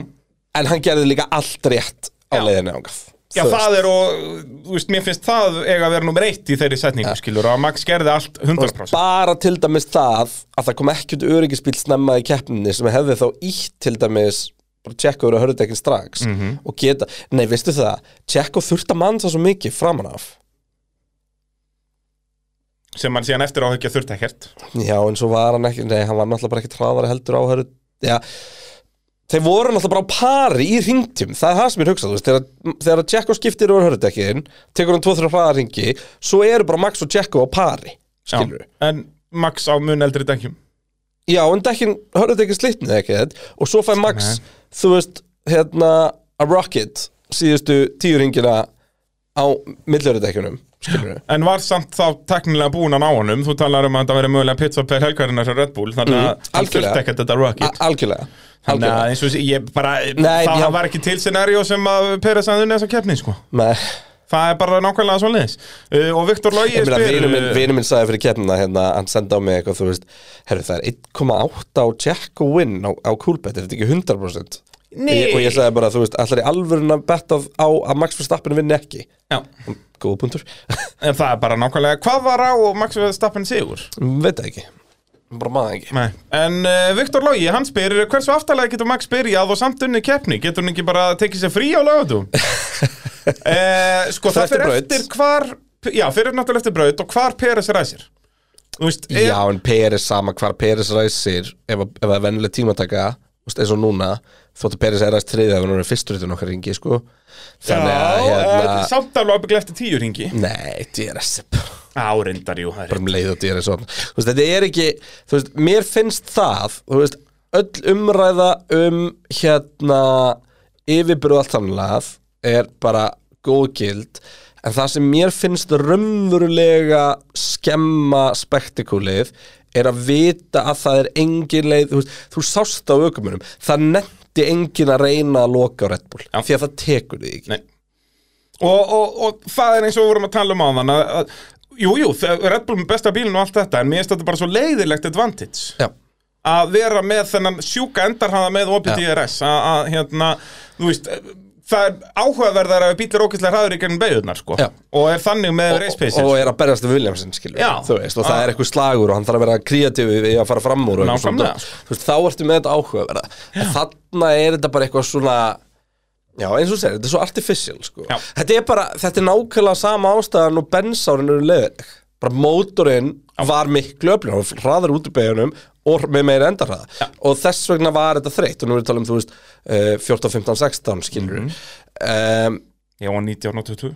en hann gerði líka allt rétt á
Já.
leiðinni ángað.
já það er og, þú veist, mér finnst það eiga að vera nummer eitt í þeirri setningu skilur og að max gerði allt 100%
bara til dæmis það að það kom ekkert öryggisbíl snemma í keppninni sem hefði þá ítt til dæmis bara Tjekko eru að hörðu dekkin strax og geta, nei veistu það Tjekko þurft að mann það svo mikið framan af
sem hann síðan eftir áhyggja þurfti ekkert
Já, en svo var hann ekki, nei, hann var náttúrulega bara ekki traðari heldur á hörðu, já, þeir voru náttúrulega bara á pari í ringtjum, það er það sem ég hugsa, þú veist, þegar, þegar að Jacko skiptir yfir hörðutekkin, tekur hann 2-3 hraða ringi, svo eru bara Max og Jacko á pari,
Já.
skilur við.
en Max á mun eldri dekkjum
Já, en dekkin, hörðutekkin slitnið ekki þetta, og svo fær Max, þú veist, hérna, a rocket, síðustu tíu ringina á millhörðutekkinum, skilur við.
en var samt þá teknilega búin að ná honum þú talar um að þetta veri mögulega pizza per helgarinnar sem Red Bull, þannig að
Mhm,
hann
algjörlega.
þurfti ekkert þetta rocket
Algjörlega,
þannig
algjörlega.
að eins og sé- ég bara
Nei,
það
já.
var ekki til scenario sem að Peres að unni þessa keppni sko
Nei.
Það er bara nákvæmlega svo leiðis uh, Og Viktor Lógi
Ég eh, meina, vinur minn, vinur minn sagði fyrir keppnina hérna, hann sendi á mig eitthvað, þú veist herru, það er 1,8 á check og win á, á coolbet, er þetta ekki 100%?
Nei.
Ég- Og ég sagði bara, þú veist, allar í alvörun að betta á- á að Max Verstappen vinni ekki
uh, Já,
Góða punktur, <laughs>
en það er bara nákvæmlega Hvað var á og Max Verstappen sigur?
veit það ekki bara maður ekki
Nei. En uh, Viktor Lógi, hann spyrir Hversu aftalega getur Max byrjað og samt unni keppni? Getur hann ekki bara tekið sér frí á
<laughs>
lögatum? uh, sko,
Fer
það
eftir
fyrir
braut.
eftir hvar Já, fyrir náttúrulega eftir braut og hvar Peres ræsir Þú veist, ef-
Já, en Peres sama hvar Peres ræsir ef, ef það er vennileg tímataka þú veist, eins og núna, þóttu Peres er ræst þriðið ef hann er fyrstur þetta nokkar ringi, sko Þannig að,
Já,
hérna
eh, samt alveg ábygglega eftir tíu ringi
Nei, DRS er bara
Árindar, jú, það er
bara um leið og dýra svona þú veist, þetta er ekki, þú veist, mér finnst það þú veist, öll umræða um hérna yfirbyrðu allt samlað er bara góðgild en það sem mér finnst raunverulega skemma spektakulið er að vita að það er engin leið, þú veist, þú sást á aukumunum, það nefndi engin að reyna að loka á Red Bull,
Já.
því að það tekur þig ekki
Nei. Og, og, og það er eins og við vorum að tala um á þann Jú, jú, þe- Red Bull með besta bílinn og allt þetta En mér finnst þetta bara svo leiðilegt advantage
Já.
Að vera með þennan sjúka endarhaða með opið DRS Að, að, hérna, þú veist Það er áhugaverðar að bílir ókvæslega hraður í gennum beigurnar, sko
Já.
Og er þannig með race
og,
paces
og er að berjast við Williamson skilur
Já.
þú veist, og það
Ah.
er eitthvað slagur og hann þarf að vera kreatífi við að fara fram úr og eitthvað svona.
Nákvæmlega.
Þú veist, þá ertu með þetta áhugaverða en þarna er þetta bara eitthvað svona já eins og þú segir, þetta er svo artificial sko.
Já.
þetta er bara, þetta er nákvæmlega sama ástæðan og bensárin eru leðileg bara mótorinn var miklu öflun og hraðar út í beginum og með meira endarhraða og þess vegna var þetta þreytt og nú erum við að tala um, þú veist, eh, 14, 15, 16 skilur mm
Mhm. Já, og 19 og 20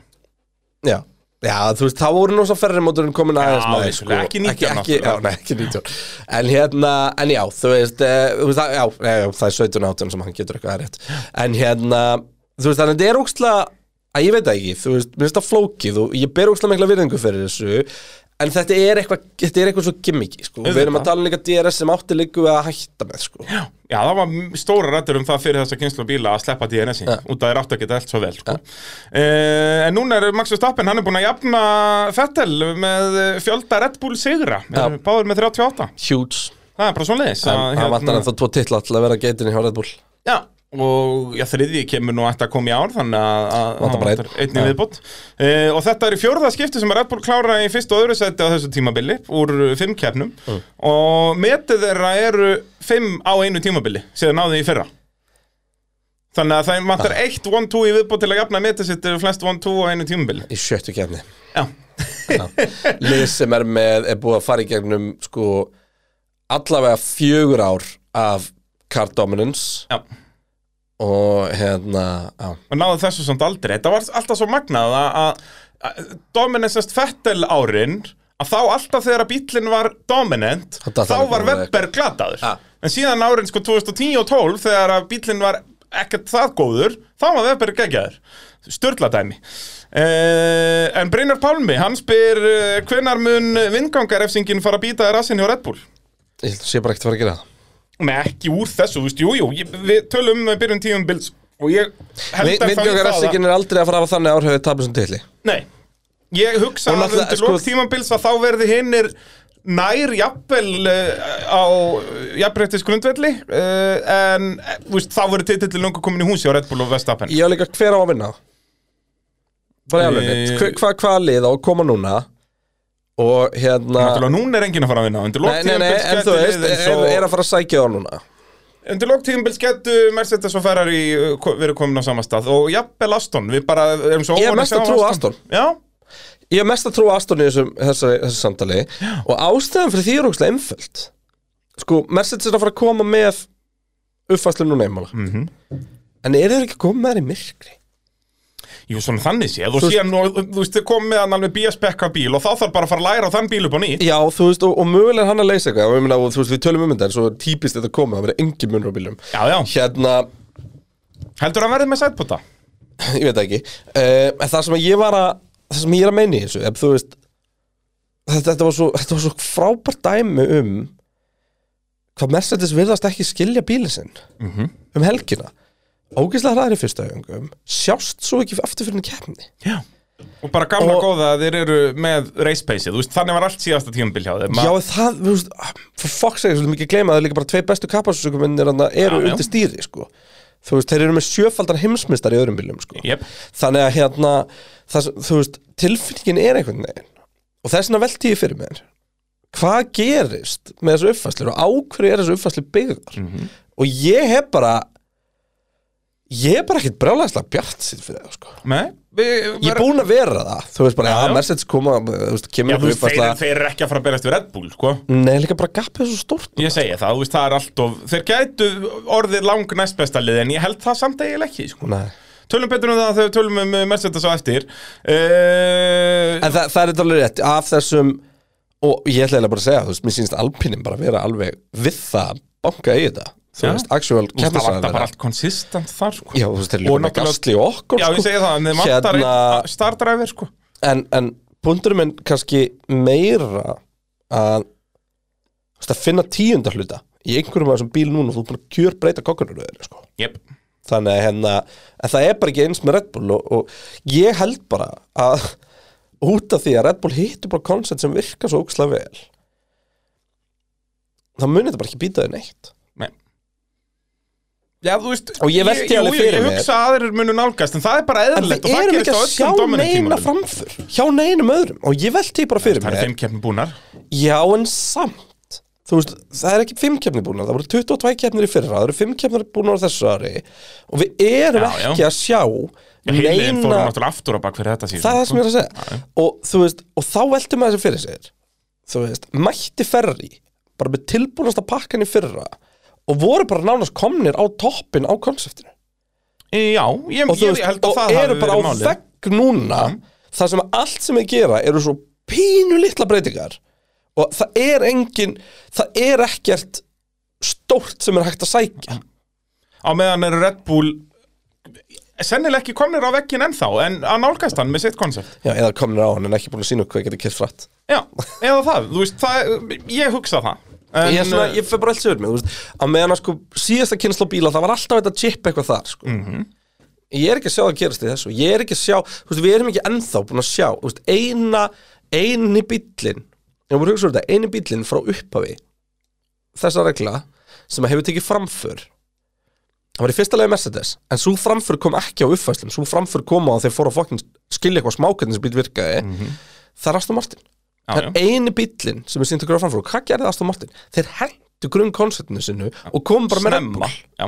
Já, já þú veist, þá voru nú svo ferri móturinn komin aðeins með sko.
vissulega, ekki 19
ekki, já,
náttúrulega.
nei, ekki 19 En hérna, en já, þú veist, eh, þú veist það- já, já, já, það er 17 átján sem hann getur eitthvað að rétt En hérna, þú veist, þannig að þetta er ókslega að ég veit það ekki, þú veist, mér finnst það flókið og ég ber ókslega mikla virðingu fyrir þessu En þetta er eitthvað, þetta er eitthvað svo gimmiki, sko Við erum að tala um líka DRS sem átti líku að hætta með, sko
Já, það var m- stóra rættur um það fyrir þessa kynslu bíla að sleppa DNS-i út að þeir áttu að geta allt svo vel sko. uh, En núna er Max Verstappen, hann er búinn að jafna Fettel með eh, fjölda Red Bull sigra Þeir eru Báður með 38
Huge,
Það er bara svona leiðis
hann hérna. vantar ennþá tvo titla til að vera geitinni hjá Red Bull
Já, og já, þriðji kemur nú eftir að koma í ár þannig að- að
Vantar bara
hann
einn.
einni
Já.
viðbót uh, og þetta er í fjórða skipti sem að Red Bull klára í fyrst og öðru seti á þessu tímabili úr eh, fimm keppnum
Mm.
og metið þeirra eru fimm á einu tímabili síðan náðu í fyrra þannig að það vantar
Ah.
eitt 1-2 í viðbót til að jafna metið sitt eru flest 1-2 á einu tímabili
í sjöttu kefni
Já,
lið sem er með er búið að fara í gegnum sko allavega fjögur ár af card dominance
já
og hérna á,
og náðu þessu samt aldrei þetta var alltaf svo magnað að- að að dominansast Fettel árin að þá alltaf þegar að bíllinn var dominant
Þá datt
þá
hann
var
ekki úr
Webber glataður
Ja.
en síðan árin sko 2010 og 12 þegar að bíllinn var ekkert það góður þá var Webber geggjaður störladæmi uh, en Brynjar Pálmi, hann spyr uh, hvenar mun vingangarefsingin fara að býta þér rassin hjá Red Bull?
ég held að sé bara ekkert að fara að gera það
Nei, ekki úr þessu, þú veist, jú, jú, ég, við tölum um byrjun tíum bils og ég held að þannig
Vindjókar
það að-
Essingin er aldrei að fara að hafa þannig áhrifið tapið sem titli
Nei, ég hugsa
Og
að
náttúrulega,
undir
sko-
sko, tímambils að þá verði hinnir nær jafnvel uh, á jafnbreytis grundvelli uh, en eh, þú veist, þá verður titill lungu komin í húsi á Red Bull og Vestapen
ég hef líka hver á að vinna bara ég alveg
Eh,
hvað hva, hva lið á að koma núna og hérna
Náttúrulega núna er enginn að fara að vinna undir lok
nei, nei, nei,
tímambils
en þú
gæti
veist
liðið
er,
svo-
er að fara að sækja það núna
Undir lok tímambils getu Mercedes og eh, Ferrari uh, ko- verið komin á sama stað og jafnvel Aston, við bara erum svo
Ég hef
óvanir að
mesta
sjá
trú á Aston.
Já,
Ég hef mest að trúa Aston í þessum, þessu, þessu samtali og ástæðan fyrir því er ógstlega einföld Sko, message er að fara að koma með uppfæslu núna einmála mm -hmm. En eru þeir ekki að koma með þær í myrkri?
Jú, svona þannig sé, þú sé nú, þú veist, þið komið með hann alveg bíaspekka bíl og þá þarf bara að fara að læra á þann bíl upp á nýtt.
Já, þú veist, og, og mögulega er hann að leysa eitthvað og, ég meina, og þú veist, við tölum um þetta en svo er típist þetta að koma, það verður engin munur á bílum
Já, já,
Hérna,
heldur hann verðið með sætbúta?
<laughs> ég veit það ekki uh, en það sem að ég var að það sem ég er að meina í þessu ef, þú veist, þetta, þetta, var svo, <laughs> þetta var svo frábært dæmi um hvað Mercedes virðast ekki skilja bílinn sinn -hmm. um helgina ógeðslega hraðir í fyrsta öfingum sjást svo ekki aftur fyrir henni keppni
Já. Og bara gamla
Og-
góða að þeir eru með race pace-ið, þú veist, þannig var allt síðasta tímabil hjá þeim.
Já, en það, þú veist, ah, for fuck's sake, svolítið mikið gleyma að það er líka bara tvei bestu kapasúsukuminnir eru
Já, já.
undir stýri, sko Þú veist, þeir eru með sjöfaldan heimsmyndar í öðrum bílum, sko
Jep.
Þannig að hérna, það, sem- þú veist, tilfinningin er einhvern veginn Og þess vegna velti ég fyrir mér Hvað gerist með þessu uppfæslu og á hverju er þessu uppfæslu byggðar?
Mhm.
Og ég hef bara, ég er bara ekkert brjálæðislega bjart síðan fyrir það, sko
Nei, við...
Ég er búinn að vera það, þú veist bara,
Já,
já,
já.
Mercedes koma, þú veist, kemur
Já,
einhver
þú veist,
uppfærsla-
þeir, þeir eru ekki að fara að berjast við Red Bull, sko.
Nei, líka bara gapið er svo stórt
Ég segi það, þú veist, það er allt of... Þeir gætu orðið lang næstbesta lið, en ég held það samt eiginlega ekki, sko.
Nei.
Tölum betur um það þegar við tölum um uh, Mercedes á eftir. Uh,
En það, það er þetta alveg rétt Af þessum, og ég ætla eiginlega bara að segja Þú veist, mér sýnst alpinin bara vera alveg Við það að banka í þetta Þú
Já.
veist, actual
þú veist, það var
keppnisræðan
það bara
þeirra.
allt konsistent þar, sko.
Já, þú veist, þeir eru
Og
líka með
náttúrulega-
gasli og okkur sko.
Já, ég segi það, en þeir vantar
hérna,
einn stardræfir, sko.
En, en punkturinn minn kannski meira Að, þú veist, að finna tíunda hluta Í einhverjum af þessum bíl núna Þú er búin að kjör breyta kokkunur sko.
Jep.
Þannig að hérna, en það er bara ekki eins með Red Bull og, og ég held bara að út af því að Red Bull hittu bara koncept sem virkar svo ógslag vel þá muni þetta bara ekki býta þau neitt
Nei. Já, þú veist,
Og ég velti
jú,
alveg
jú,
fyrir
ég
mér.
hugsa að þeir munu nálgast, en það er bara
En
eðlilegt
við
og það
erum
gerist
ekki
á
að sjá
öllum
neina
dominitímanum.
framför hjá neinum öðrum og ég velti bara fyrir
Það er
mér
fimm keppni búnar.
Já en samt Þú veist, það er ekki fimm keppnir búnar, það voru 22 keppnir í fyrra, það eru fimm keppnir búnar á þessu ári og við erum
Já, já.
ekki að sjá
Heiliðin fórum
neina
náttúrulega aftur á bak fyrir þetta síðan.
það er það sem ég er að segja og, þú veist, og þá veltum maður þessi fyrir sér þú veist, mætti ferri bara með tilbúinasta pakkan í fyrra og voru bara nánast komnir á toppin á konseptinu
Já, ég,
og, þú
ég, ég held að
og
það
eru
hafi
bara á
verið málið. Mm.
vegg núna þar sem allt sem þeir gera eru svo pínu litla breytingar og það er engin það er ekkert stórt sem er hægt að sækja
Mm. Á meðan eru Red Bull sennilega ekki komnir á veggin ennþá, en að nálgast hann með sitt koncept.
Já, eða komnir á hann en ekki búin að sína hvað getur kert frætt
Já, eða það, þú veist, það, ég hugsa það. En, uh,
ég, er svona, ég fer bara alls yfir mig þú veist, að meðan að sko síðasta kynnsla bíla það var alltaf þetta chip eitthvað þar sko. ég er ekki að sjá það gerast í þessu ég er ekki að sjá, þú veist, við erum ekki ennþá búin að sjá, þú veist, eina eini bíllinn ég voru að hugsa um þetta, eini bíllinn frá upphafi þessa regla sem að hefur tekið framför það var í fyrsta leiði Mercedes en svo framför kom ekki á uppfæslum svo framför kom á að þeir fóru að fokkin skilja eitthvað smákvæðin sem bíl virkaði það er Aston Martin
Já,
Það er eini bíllinn sem er sýnt okkur á framfóru Hvað gerði Aston Martin? Þeir hendu grunnkonceptinu sinu og komu bara með Red
snemma.
Bull
Já.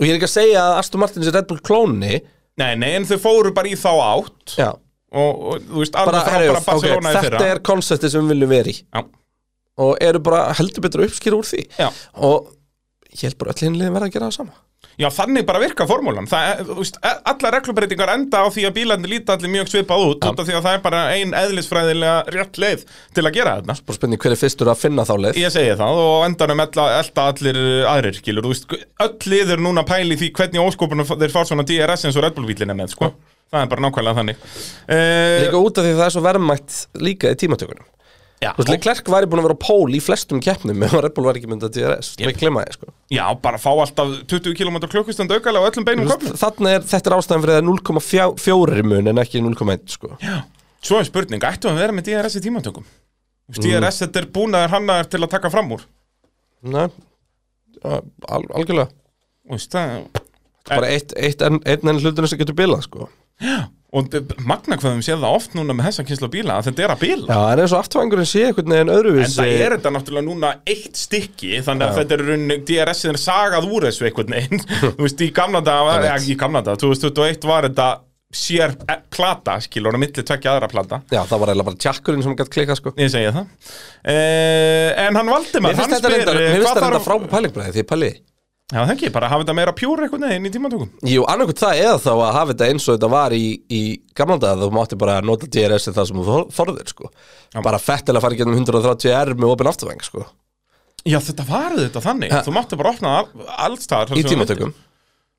Og ég er ekki að segja að Aston Martin sé Red Bull klóni
Nei, nei, en þau fóru bara í þá átt
Já,
og, og þú veist, alveg
bara,
frá
herru,
bara Barcelona
okay,
í
þetta
fyrra.
er koncepti sem við viljum vera í
Já.
Og eru bara heldur betur að uppskýra úr því
Já.
Og ég held bara öll hinlega verða að gera það sama
Já, þannig bara virka formúlan Það er, þú veist, e- Allar reglubreitingar enda á því að bílarnir líta allir mjög svipað út út af því að það er bara ein eðlisfræðilega rétt leið til að gera þetta
Bara spurning hver er fyrstur að finna þá leið
Ég segi það og á endanum ella, elda allir aðrir skilur, þú veist, öll lið er núna pæli því hvernig óskopunum þeir fá svona DRS eins og Red Bull bílina með, sko Það er bara nákvæmlega þannig uh,
Líka út af því að það er svo verðmætt líka í tímatökunum
já,
Þú veist, Leclerc væri búin að vera á pól í flestum keppnum ef Red Bull væri ekki myndað DRS Þú veist, ekki glemma því, sko.
já, bara fá alltaf 20 km klukkustund aukalega á öllum beinum
Þú
kopnum
veist, þarna er, þetta er ástæðan fyrir það 0,4 mun en ekki 0,1 sko.
Já. Svo er spurning, ættu að vera með DRS í tímatökum? Þú veist, DRS, þetta er búnaður hannaður til að taka fram úr
Nei, al algjörlega
Þú veist, það,
bara eitt, eitt en, einn enn hlutinu sem getur bilað sko.
og b- b- magna hvað við séð það oft núna með þessa kynsla bíla að þetta er að bíla
Já, en eins og aftvæðingurinn sé einhvern veginn
en
öðruvísi
það er þetta náttúrulega núna eitt stykki þannig að þetta er runni DRS-in
<laughs>
sagað úr þessu einhvern veginn þú veist í gamla daga, ja, í gamla daga 2021 var þetta sér eh, plata, skilur, á milli tvekja aðra plata
Já, það var eiginlega bara tjakkurinn sem gætt klika sko
Ég segi það uh, En hann Valdimar,
Mér finnst
hann
þetta
spyr
reyndar,
eh,
mér finnst
hvað
þetta reyndar
þarf-
frábæð pælingbræði því pæli
Já, það ekki, bara hafa þetta meira pjúr eitthvað neginn í tímatökum
Jú, annarkvæmt það eða þá að hafa þetta eins og þetta var í, í gamla dag þú mátti bara nota DRS það sem þú þor- þorðir sko Bara fettilega að fara í gegnum 130R með opinn afturvæng sko
Já, þetta var þetta þannig,
Ha.
þú máttu bara opna það all- alls staðar
Í tímatökum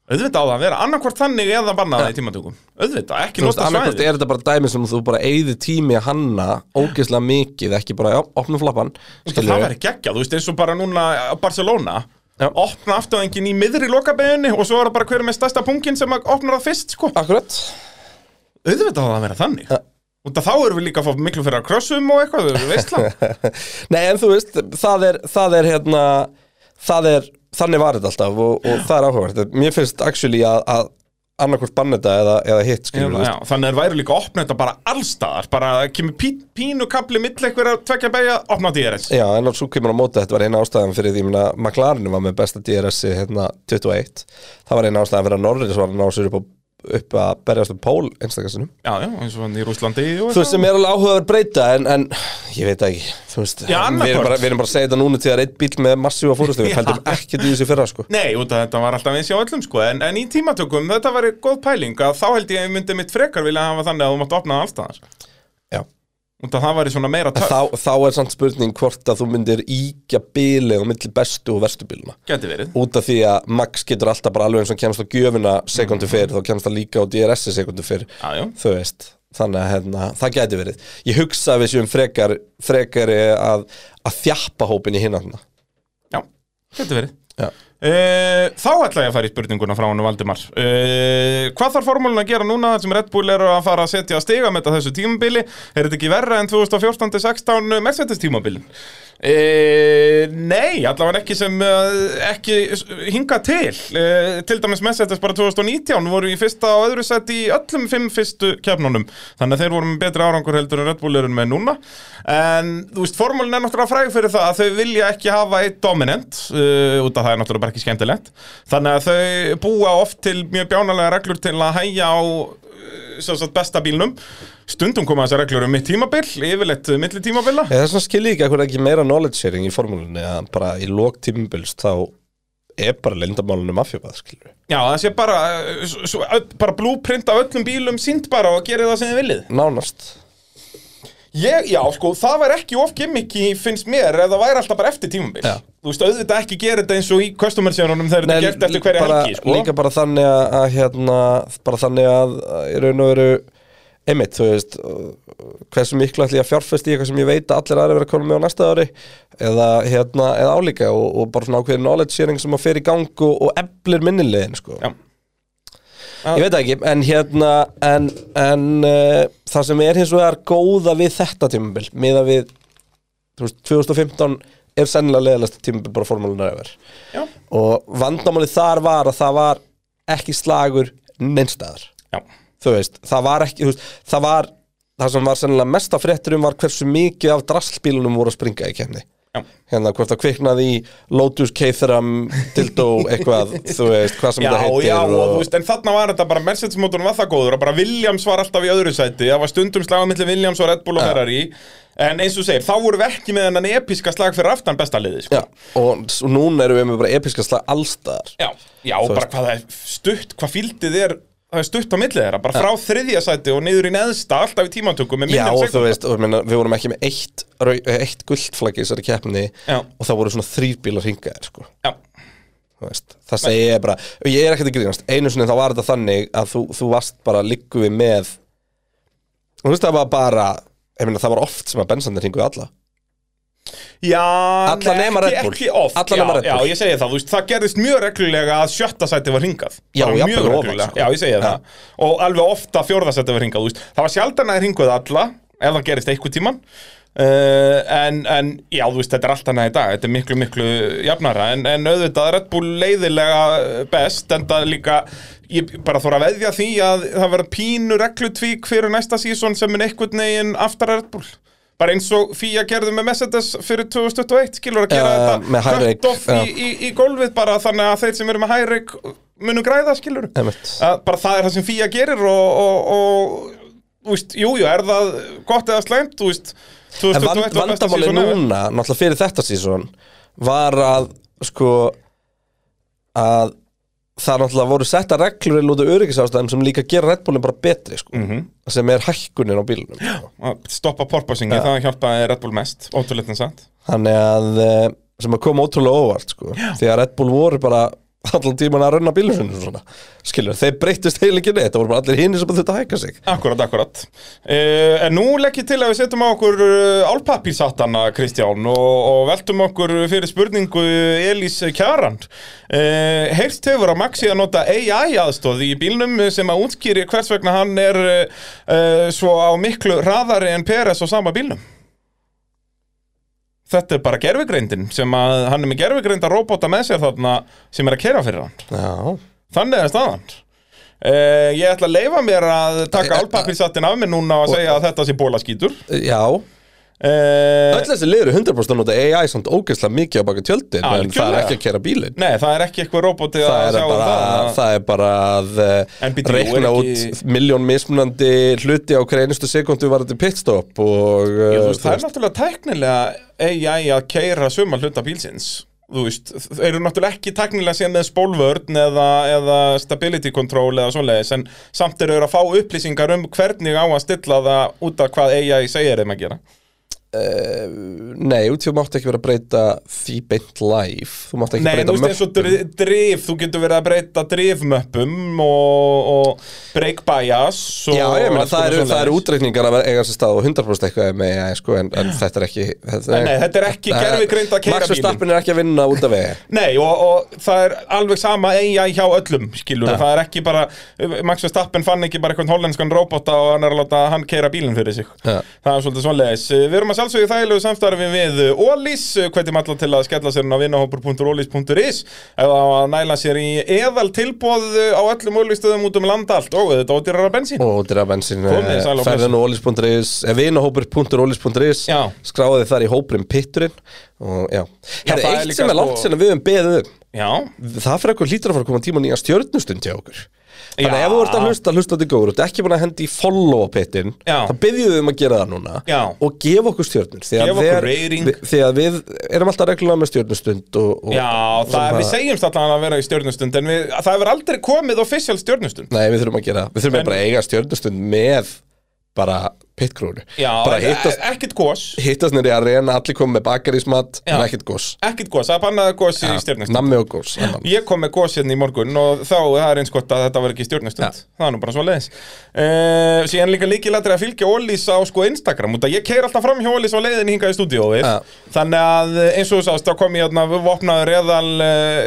Auðvitað á það að vera annarkvort þannig eða bannað það í tímatökum Auðvitað, ekki
Þú veist,
nota
annarkvæmt
svæði
er þetta bara dæmi sem þú bara eyði tími að hanna ógeðslega mikið, ekki bara, já, opnum flappan
Það
skilurðu.
verður geggjað, þú veist, eins og bara núna á Barcelona
Já.
Opna afturðingin í miðri lokabeginni og svo er það bara hver er með stærsta punkin sem að opnar það fyrst, sko
Akkurat <laughs>
Auðvitað á það að vera þannig
Ja.
Og þá erum við líka að fá miklu fyrir að krossum og eitthvað, þú veist
<laughs>
það
Nei, en þú veist, það er, það er hérna, það er, þannig var þetta alltaf og, og það er áhugavert. Mér finnst actually að, að annarkvort banna þetta eða, eða hitt, skilur við.
Já, þannig er væri líka að opna þetta bara allstaðar bara að kemur pí, pínu kapli milli einhverja tvekja beigja, opna DRS
Já, en svo kemur á móti, þetta var eina ástæðan fyrir því, ég meina, McLaren var með besta DRS -ið, hérna 21. Það var eina ástæðan fyrir að Norris var að ná sér upp, á, upp að berjast um pól einstakarsinum.
Já, já, eins og hann í Rúslandi og
Þú veist, sem er alveg áhugaður breyta, en, en ég veit það ekki, þú veist,
Já,
við, erum
annaðhvort.
bara, við erum bara að segja þetta núna til að einn bíl með massífa fórustu,
<laughs>
við
Já.
fældum ekkert í þessu í fyrra, sko.
Nei, út að þetta var alltaf eins hjá öllum sko en, en í tímatökum þetta var góð pæling að þá held ég að ég myndi mitt frekar vilja hafa þannig að þú mátt opna það allstaðar
Já.
Út að það væri svona meira töff
þá, þá er samt spurning hvort að þú myndir íkja bilið á milli bestu og verstu bíluna
Gæti verið
út af því að Max getur alltaf bara alveg eins og hann kemst á gjöfina sekundu fyrr þá kemst það líka á DRS sekundu fyrr
Já, já,
þú veist þannig að hérna, það gæti verið ég hugsa að við séum frekar, frekari að, að þjappa hópin í hinn hérna.
já, gæti verið
Já.
Uh, þá ætla ég að fara í spurninguna frá hann Valdimar uh, Hvað þarf formúlun að gera núna þar sem Red Bull eru að fara að setja að stiga með þessu tímabili? Er þetta ekki verra en 2014-16 Mercedes tímabilin? Uh, nei, allavega ekki sem uh, ekki s- hinga til uh, Til dæmis Mercedes bara 2019 voru í fyrsta og öðru sett í öllum fimm fyrstu kefnunum Þannig að þeir voru með betri árangur heldur en Red Bull eru með núna En þú veist, formúlun er náttúrulega fræg fyrir það að þau vilja ekki hafa eitt dominant uh, út af það er náttúrulega bara ekki skemmtilegt þannig að þau búa oft til mjög bjánalega reglur til að hægja á uh, sem sagt, besta bílnum stundum koma þessar reglur um mitt tímabil yfirleitt uh, milli tímabila
Ég, þess vegna skil ég ekki að hvernig ekki meira knowledge sharing í formúlunni að bara í lok tímubils þá er bara lindamálunum afhjópað skilur við
já það sé bara, uh, s- s- ö- bara blúprint af öllum bílum sínt bara og gera það sem þið viljið
nánast
Ég, já, sko, það var ekki of gimmicki finnst mér ef það væri alltaf bara eftir tímabil
Já.
þú veist, auðvitað ekki gera þetta eins og í customer sjónunum þegar þetta er gert eftir hverja
bara,
helgi sko.
Líka bara þannig að, að hérna, bara þannig að að í raun og veru einmitt, þú veist uh, hversu miklu ætli ég að fjárfesta í eitthvað sem ég veit að allir aðri vera að koma með á næsta ári eða, hérna, eða álíka og, og bara svona ákveðin knowledge sharing sem að fer í gang og, og eflir minnilegin sko.
Já.
Ég veit það ekki, en hérna en, en uh, það sem er hins vegar góða við þetta tímabil miða við þú veist, 2015 er sennilega leðalast tímabil bara formúlunar yfir
já,
og vandamáli þar var að það var ekki slagur neinstæðar
já
þú veist, það var ekki þú veist, það var, það sem var sennilega mest af frétturum var hversu mikið af draslbílunum voru að springa í kemni
Já.
hérna hvort það kviknaði í Lotus, Caterham, Dildo eitthvað, þú veist, hvað sem
Já,
þetta heitir
já, og, þú veist, en þarna var þetta bara Mercedes mótorn var það góður, að bara Williams var alltaf í öðru sæti, það var stundum slaga milli Williams og Red Bull og Ferrari, en eins og segir þá voru við ekki með hennan episka slag fyrir aftan besta liði, sko.
Já, og, og núna erum við með bara episka slag allstaðar
Já, já, og bara
veist.
hvað það er stutt, hvað fíldið er, það er stutt á milli þeirra, bara frá þriðja sæti og niður í neðsta, alltaf í tímantökum með
Já,
minnum
og þú
sekundum.
veist, og, ég meina, við vorum ekki með eitt, rau- eitt guldflagg í þessari keppni
Já.
og það voru svona þrýr bílar hingaðir sko.
Já,
Þú veist, það segi ég bara og ég er ekkert að grínast, einu sinni þá var þetta þannig að þú, þú varst bara líku við með þú veist það var bara ég meina það var oft sem að bensandir hinguði alla
Já,
Alla
nei,
nema
ekki-
Red Bull.
Ekki oft,
Alla
já,
nema Red
já,
Bull.
ég segi það, þú veist, það gerðist mjög reglulega að sjötta sæti var hringað
Já,
Bara
jafnvel
mjög
ofar,
reglulega,
sko.
já, ég segi það Og alveg ofta fjórða sæti var hringað, þú veist Það var sjaldan að hringuð alla, ef það gerist einhver tíman uh, en, en, já, þú veist, þetta er allt annað í dag Þetta er miklu, miklu jafnara En, en auðvitað, Red Bull leiðilega best En það líka, ég bara þóra að veðja því að það verða pínu reglutvík fyrir næsta sísón sem er einhvern veginn aftar Red Bull bara eins og Fía gerði með Mercedes fyrir 2021, skilur að gera
Já,
þetta
með high
cut
rake,
off í, í, í gólfið bara þannig að þeir sem eru með high rake munum græða skilur
Einmitt.
að bara það er það sem fíja gerir og, og, og úst, jú, jú, er það gott eða slæmt, þú veist
En vand, vandamáli núna, náttúrulega fyrir þetta sísón Var að, sko Að Það náttúrulega voru setta reglur í lútu öryggisástæðum sem líka gera Red Bullin bara betri sko,
Mhm.
sem er hækkunin á bílunum sko.
að stoppa porpoisingi, það hjálpaði Red Bull mest ótrúleitt en satt
þannig að eh, sem að koma ótrúlega óvart sko, því að Red Bull voru bara allan tíman að rönna bílunum sinni, svona. skilur, þeir breyttist heil ekki neitt það voru bara allir hinni sem þurftu að hækka sig
Akkurat, akkurat uh, En nú legg ég til að við setjum á okkur uh, álpappírshattana, Kristján og, og veltum okkur fyrir spurningu eh, Elís Kjarand uh, Heyrst hefur að Maxi að nota AI aðstóð í bílnum sem að útskýri hvers vegna hann er uh, uh, svo á miklu hraðari en Peres á sama bílnum Þetta er bara gerfugreindin sem að hann er með gerfugreinda robóta með sér þarna sem er að kera fyrir hann
Já,
Þannig er staðan uh, Ég ætla að leifa mér að
Eh,
taka álpappirsattin af mér núna og segja að þetta sé bólaskítur
já
uh,
Öll þessi liður er 100% að nota AI samt ógeðslega mikið á baka tjöldin en það er
Algjörlega.
ekki að kera bílinn
Nei, það er ekki eitthvað robóti
það
að
er,
sjá um
bara, það,
það
er bara að eh,
En bíddu,
reikna
er
ekki...
ekki-
út miljón mismunandi hluti á hverju einustu sekundu var þetta pitstop og
Ég,
eh,
þú veist, Það er náttúrulega tæknilega AI að keira suma hluta bílsins Þú veist, þeir eru náttúrulega ekki tæknilega síðan með spólvörn eða, eða stability control eða svoleiðis en samt eru þeir að fá upplýsingar um hvernig á að stilla það út af hvað AI segir þeim að gera
Nei, YouTube mátti ekki vera að breyta því beint live Þú mátti ekki
Nei, en
breyta
þú veist eins og
möppum.
dri- drif, þú getur verið að breyta drifmöppum og, og break bias og
Já, ég meina,
alls
það
konar
eru, það eru
svoleiðis.
útreikningar að vera eiga sér stað og 100% eitthvað með, ja, sko, en, en þetta er ekki þetta
Nei, þetta er ekki gervigreind að keyra
Max
bílinn.
Verstappen er ekki að vinna út af E vegi
Nei, og, og það er alveg sama eiga hjá öllum, skilur,
Ja.
það er ekki bara Max Verstappen fann ekki bara eitthvað hollenskan róbóta og hann er að láta hann keira bílinn fyrir sig
Ja.
Það er svolítið svoleiðis Við erum að sjálfsögja þægilegu samstarfi við Ólís Hvernig maður til að skella sér inn á vinnahópur.ólís.is eða að næla sér í eðal tilbóð á öllum ólistöðum út um land allt og þetta ódýrara bensín
og eh, dyrra bensin
Komið sæl og
ferðin og olis.is vinahópur.olis.is
Já.
skráði eh, þar í hópurinn pitturinn og já,
Já,
Herra,
það er
eitt
líka
sem er langt
sko-
sinna við um beðið um
Já,
það fyrir okkur lítur að fara að koma tíma nýja stjörnustund hjá okkur Þannig að
Já.
ef þú ert að hlusta, hlusta til góður Þú ert ekki búin að hendi í follow á pittin
Já.
Það byggjum við um að gera það núna
Já.
Og gefa okkur stjörnur Því
Gefa
að,
okkur
þegar-
rating.
vi- því að við erum alltaf reglulega með stjörnustund og, og,
Já,
og
það,
svona-
við segjumst allan að vera í stjörnustund en við, það hefur aldrei komið official stjörnustund
Nei, við þurfum að gera Við þurfum
En-
bara að eiga stjörnustund með bara pitkrúnu
Já,
Bara
e-
hittast,
e- ekkert gós
hittast nýri að reyna Allir komið með bakarísmat
Já.
En ekkert gós
Ekkert gós, það er bannaði gós í stjörnustund
Nammi og gós annan.
Ég kom með gós hérna í morgun og þá það er eins gott að þetta var ekki stjórnustund Það er nú bara svo leiðis Síðan líka líkilættir að fylgja Ólís á sko Instagram út að ég keir alltaf fram hjá Ólís á leiðin hingað í stúdíóið
Já.
Þannig að eins og þú sást þá kom ég hérna vopnaður eðal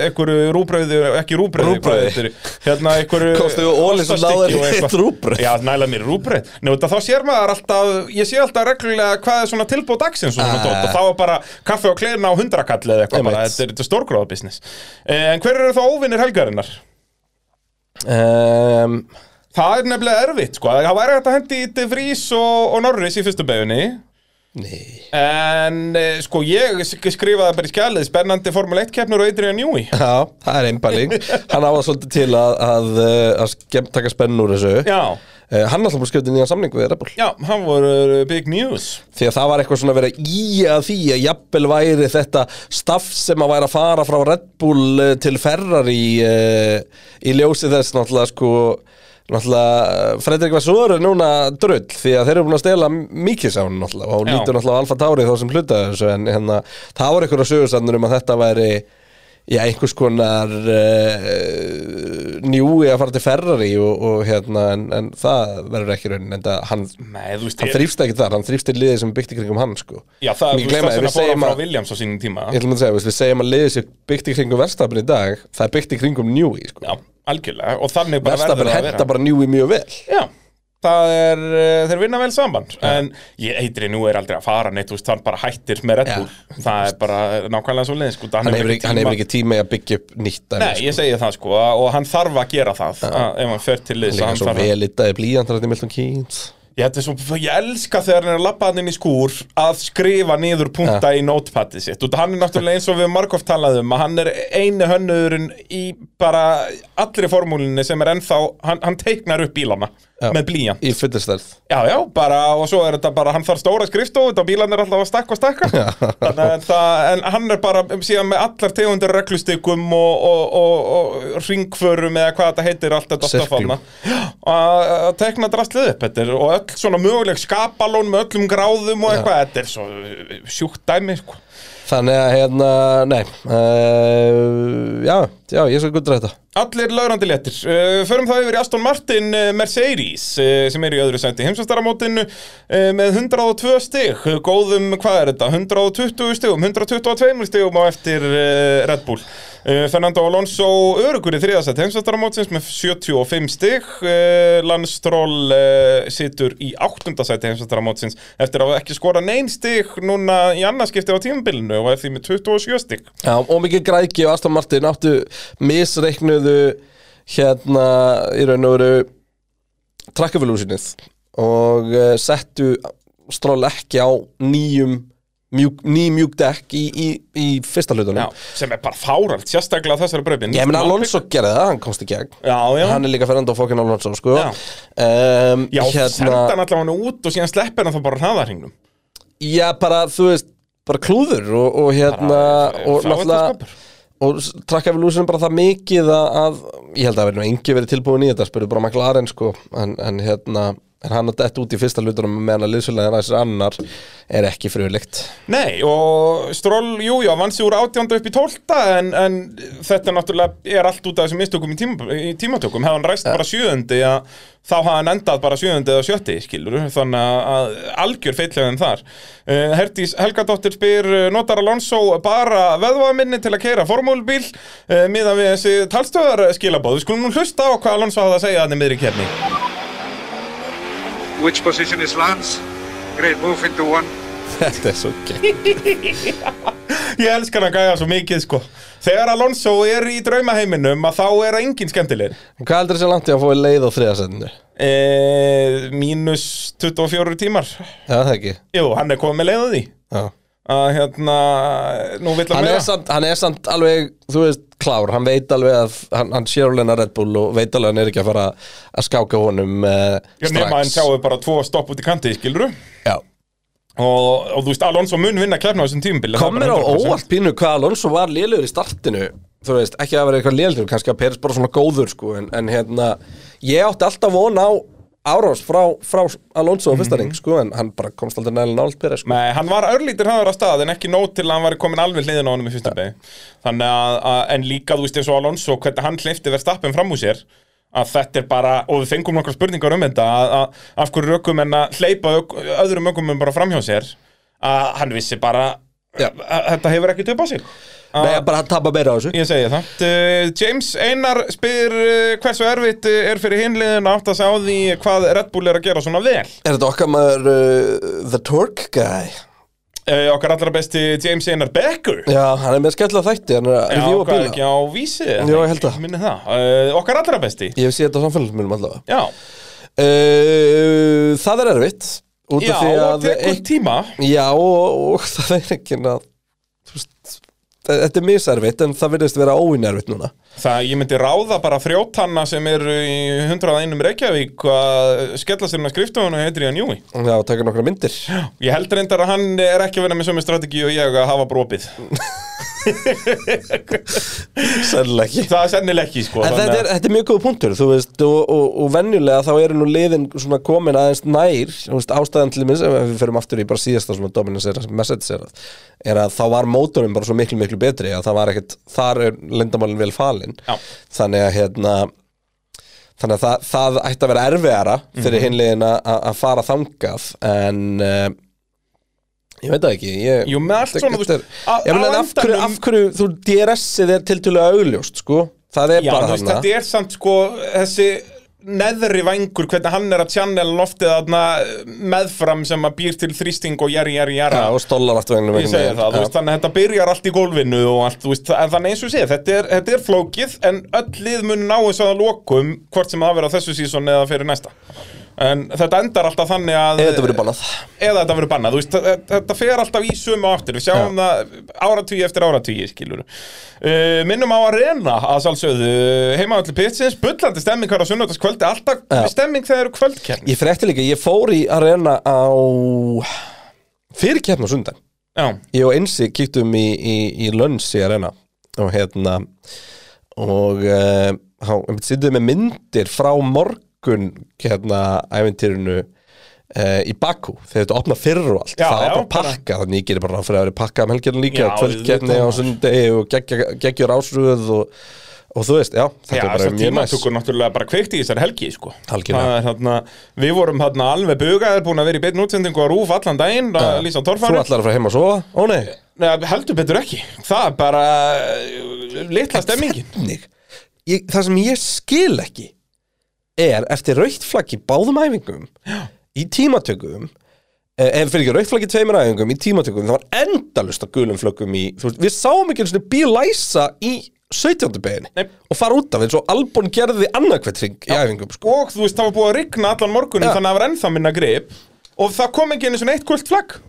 einhverju rúbröðu, ekki rúbröðu hvað
Rúbrauði.
þetta er, Hérna einhverju
Komstu við Ólís og náðir
ostastykki og eitthvað.
þitt rúbrauð.
Já, næla mér rúbröð Nei, út að þá sér maður alltaf, ég sé alltaf reglulega hvað er svona tilbúð dagsins og svona
Ah.
dót og þá er bara kaffe og kleina á hundrakall eða eitthvað bara,
Einmitt.
þetta er, þetta er stórgróða business Eh, En hver eru þá óvinnir helgarinnar?
um,
Það er nefnilega erfitt, sko Það væri hægt að hendi í De Vries og, og Norris í fyrstu beginni
Nei
En eh, sko, ég sk- skrifaði bara í skjalið Spennandi Formule 1 keppnur og Adrian Newey
Já, það
<laughs>
er einbæling Hann á það svolítið til að, að, eh, að skemm, taka spenn úr þessu
Já,
Eh, Hann alltaf bara skjöfði nýjan samning við Red Bull
já, hann voru eh, big news
Því að það var eitthvað svona að vera í að því að jafnvel væri þetta staff sem að væri að fara frá Red Bull eh, til Ferrari eh, í ljósi þess náttúrulega sko náttúrulega eh, Fredrik Vassur er núna drull því að þeir eru búin að stela mikið sá hann náttúrulega og
Já.
lítur náttúrulega á Alfa Tauri þá sem hluta þessu en hérna það voru einhverja sögursannur um að þetta væri Já, einhvers konar uh, njúi að fara til Ferrari og, og hérna, en, en það verður ekki raunin, en það, hann
Nei, þú veist,
hann þrýfst ekki þar, hann þrýfst í liðið sem er byggt í kringum hann sko.
Já, það
Mikið
er
gleyma
það
því,
sem
við
að bóra
segjum
frá
að
Williams á sínum tíma
Ég ætlum að segja, við segjum að liðið sér byggt í kringum verstafin í dag, það er byggt í kringum njúi sko.
Já, algjörlega Og þannig bara verður
verstafin
það að vera
henda bara njúi mjög vel
Já, það er, eh, þeir vinna vel saman En ég eitri nú er aldrei að fara neitt Þú veist, hann bara hættir með Red
Já.
Bull Það er bara nákvæmlega svo leiðin sko,
hann hefur, ekki, hann hefur ekki tíma í að byggja upp nýtt dæmi,
Nei, ég segi það sko og hann þarf að gera það að, ef hann fer til þess að
sko. líka
hann
svo
þarf að
vel í dag blíðan þar að Milton Keynes
Ég, þetta er svo, ég elska þegar hann er að labba hann inn í skúr að skrifa niður punta í notepaddi sitt og hann er náttúrulega eins og við Markov talaðum að hann er eini hönnurinn í bara allri formúlinni sem er ennþá, hann, hann teiknar upp bílana
Já.
með blíjan
Í fullistærð
Já, já, bara, og svo er þetta bara, hann þarf stóra skrifstofu þetta bílan er alltaf að stakka og stakka Þannig að það, en hann er bara um, síðan með allar tegundir reglustykum og, og, og, og ringförum eða hvað þetta heitir allt þetta
Sirklum.
stöfanna að að tekna drastlið upp þetta er, og öll svona möguleg skapalón með öllum gráðum og eitthvað, þetta er svo sjúkt dæmi, sko
Þannig að hérna, nei uh, Já, já, ég skal gudra þetta
Allir laurandi léttir. Uh, förum þá yfir í Aston Martin uh, Mercedes uh, sem er í öðru sendi heimsastaramótinu uh, með 102 stig, uh, góðum, hvað er þetta, 120 stigum, 122 stigum á eftir uh, Red Bull. Uh, Fernando Alonso örugur í þriðasett heimsastaramótsins með 75 stig, uh, Lance Stroll uh, situr í áttundasett heimsastaramótsins eftir að ekki skora neyn stig núna í annarskipti á tímabilinu og er því með 27 stig.
Já, og mikið græki og Aston Martin áttu misreiknuðu hérna í raun og veru trakkafélúsinnið og uh, settu stról ekki á nýjum mjúk, ný mjúk dekk í, í, í fyrsta hlutunum
Já, sem er bara fáralt, sérstaklega á þessari bröfin
Ég meina Alonso gerði það, hann komst í gegn
Já, já,
Hann er líka ferðandi á fokkin Alonso, sko
Mm. Já.
um,
já senda hann allavega hann út og síðan sleppir hann þá bara hraðarhingnum
Já, bara, þú veist, bara klúður og, og hérna
Bara, þá er
og
þetta
náttúrulega
skapur.
og trakka við lúsinu bara það mikið að, að ég held að verið nú engi verið tilbúin í þetta spurði bara McLaren sko en, en hérna, en hann að detta út í fyrsta hlutunum meðan að liðsfélagin aðeins annar er ekki fröðlegt
Nei, og Stroll, jú, já, vann sig úr átjánda upp í tólta en, en þetta náttúrulega er allt út af þessum mistökum í, tíma, í tímatökum hefði hann ræst bara sjöundi að þá hafði hann endað bara sjöundi eða sjötti, skilur þannig að- að algjör feitlegum þar uh, Herdís Helgadóttir spyr uh, notar Alonso bara veðvaminni til að keira formúlbíl uh, miðan við þessi talstöðar skilabóð við skulum nú hlusta á hvað Alonso hafði að segja þannig miðri kefni
Which position is Lance? Great move into one.
<laughs> Þetta er svo gegn
Ég elskar hann gæja svo mikið sko Þegar Alonso er í draumaheiminum að þá er engin skemmtilegir
Hvað heldur þessi langt ég að fóið leið á þriðasendinu?
e, Mínus 24 tímar
Já, það ekki
Jú, hann er komið með leið á því
Já.
að hérna, nú vill hann
Hann er,
meira
samt, hann er samt alveg, þú veist, klár Hann veit alveg að, hann, hann sér alveg hennar Red Bull og veit alveg að hann er ekki að fara að skáka honum eh,
Ég nema hann
strax
sjáu bara tvo stopp út í kanti, skilur og,
Já.
og þú veist, Alonso mun vinna klefna á þessum tímbil
kom mér á óvart pínu hvað Alonso var lélugur í startinu þú veist, ekki að vera eitthvað lélugur kannski að Peres bara svona góður sko en, en hérna, ég átti alltaf von á árás frá, frá Alonso á fyrsta ring sko, en hann bara komst aldrei nægilega nált Peres sko.
Nei, hann var örlítur hraður á stað en ekki nót til að hann var komin alveg hliðin á honum í fyrsta begi Þannig að, að, en líka þú veist eins og Alonso hvernig hann hleyfti verðstappin fram úr sér að þetta er bara, og við fengum nokkra spurningar um þetta að, að af hverju rökum en að hleypa ök, öðrum ökum en bara fram hjá sér að hann vissi bara
Já.
að, að þetta hefur ekki töp á sér
Nei, bara hann tapa meira á þessu
Ég segi það. Uh, James Einar spyr uh, hversu erfitt uh, er fyrir hinliðin að átta sig á því hvað Red Bull er að gera svona vel
Er þetta okkar maður uh, The Torque Guy?
uh, Okkar allra besti James Einar Becker
Já, hann er með skemmtilega þætti, hann er að
Já,
reviewa
hvað
bíla
ekki á vísi
Jú, ég held það.
Minni það, uh, okkar allra besti
Ég sé þetta á samfélagsmiðlum allavega
Já,
uh, Það er erfitt út
já
af því
og
að
tekur tíma
Já, og, og <laughs> það er ekki að, þú veist, þetta er miservitt en það virðist vera óinervitt núna
Það ég myndi ráða bara frjótanna sem er í 101 Reykjavík að skella sér með skriftofunum og heitir ég að njúi
Já, og taka nokkra myndir
Ég held reyndar að hann er ekki að vera með sömu strategi og ég að hafa brópið
Sennilega ekki
Það er sennilega ekki sko
En
þannig
þetta
að-
er, þetta er mjög góð punktur, þú veist, og, og, og venjulega þá eru nú liðin svona komin aðeins nær, þú veist, ástæðan til minns, ef við ferum aftur í bara síðasta svona dominance era, message era, er að þá var mótorinn bara svo miklu, miklu betri, að það var ekkit, þar er lindamálinn vel falinn,
Já.
þannig að hérna, þannig að það, það ætti að vera erfiðara
Mhm.
fyrir mm -hmm. hinlegin að fara þangað, en... Uh, Ég veit það ekki ég,
Jú, með allt
þetta-
svona, þú
þetta er-
veist, á-
Ég meina,
á
en af hverju,
endanum-
af hverju, þú, DRS-ið er tiltölulega augljóst, sko Það er
Já,
bara
þú veist,
þarna.
þetta er samt sko þessi neðri vængur hvernig hann er að channel loftið þarna meðfram sem að býr til þrýsting og jari, jari, jara
Já, og stólar allt veginn
Ég segi það, þú veist, þannig að þetta byrjar allt í gólfinu og allt, þú veist, en þannig eins og sé, þetta er, þetta er flókið, en öll lið mun ná þess að lokum, hvort sem það verður á þessu sísón eða fyrir næsta. En þetta endar alltaf þannig að
Eða þetta verður bannað.
Eða þetta verður bannað, þú veist, þa- þa- þetta fer alltaf í sömu aftur Við sjáum það áratugi eftir áratugi, skilur uh, Minnum á að reyna að sálsögðu Heimavalli Pitsins, bullandi stemming hver á sunnudagskvöldi Alltaf
Já.
stemming þegar eru kvöldkerni
Ég frétti líka, ég fór í arena á fyrir keppn á sundan
Já,
Ég og Einsi kíktum í, í, í Lönns í arena og hérna og uh, hann sýttum með myndir frá morgun hérna æventýrinu uh, í Bakú þegar þetta opna fyrr og allt
Já,
það var
já,
bara pakka þannig ég gerir bara ráð fyrir að vera pakka um helgjörn líka
Já,
kvöldkerni
auðvitað,
á
maður.
sundegi og geggja- geggjur ásröð og, og þú veist, já, þetta
Já,
er bara
þessar
mjög næs
tímatökur náttúrulega bara kveikti í þessari helgi sko.
Algjörlega.
Það er þarna, Við vorum þarna alveg bugaðir búin að vera í beinn útsendingu á rúf allan daginn að lýsa
Þú
torfæru
ætlar að fara heim að sofa? Ó nei
Nei, heldur betur ekki Það er bara uh, litla stemmingin
Hvernig? Ég, það sem ég skil ekki er eftir rauðflagg í báðum æfingum Já. í tímatökum eh, ef fyrir ekki rauðflagg í tveimur æfingum í tímatökum, það var endalust á gulum flöggum í, þú veist, við sáum ekki einu sinni bíl læsa í 17. beginni
Nei.
og fara út af eins og Albon gerði annarkvættring í æfingum sko.
Og þú veist, það var búið að rigna allan morgunin
Já.
Þannig að það var ennþá minna grip Og það kom ekki einu svona eitt kvöld flagg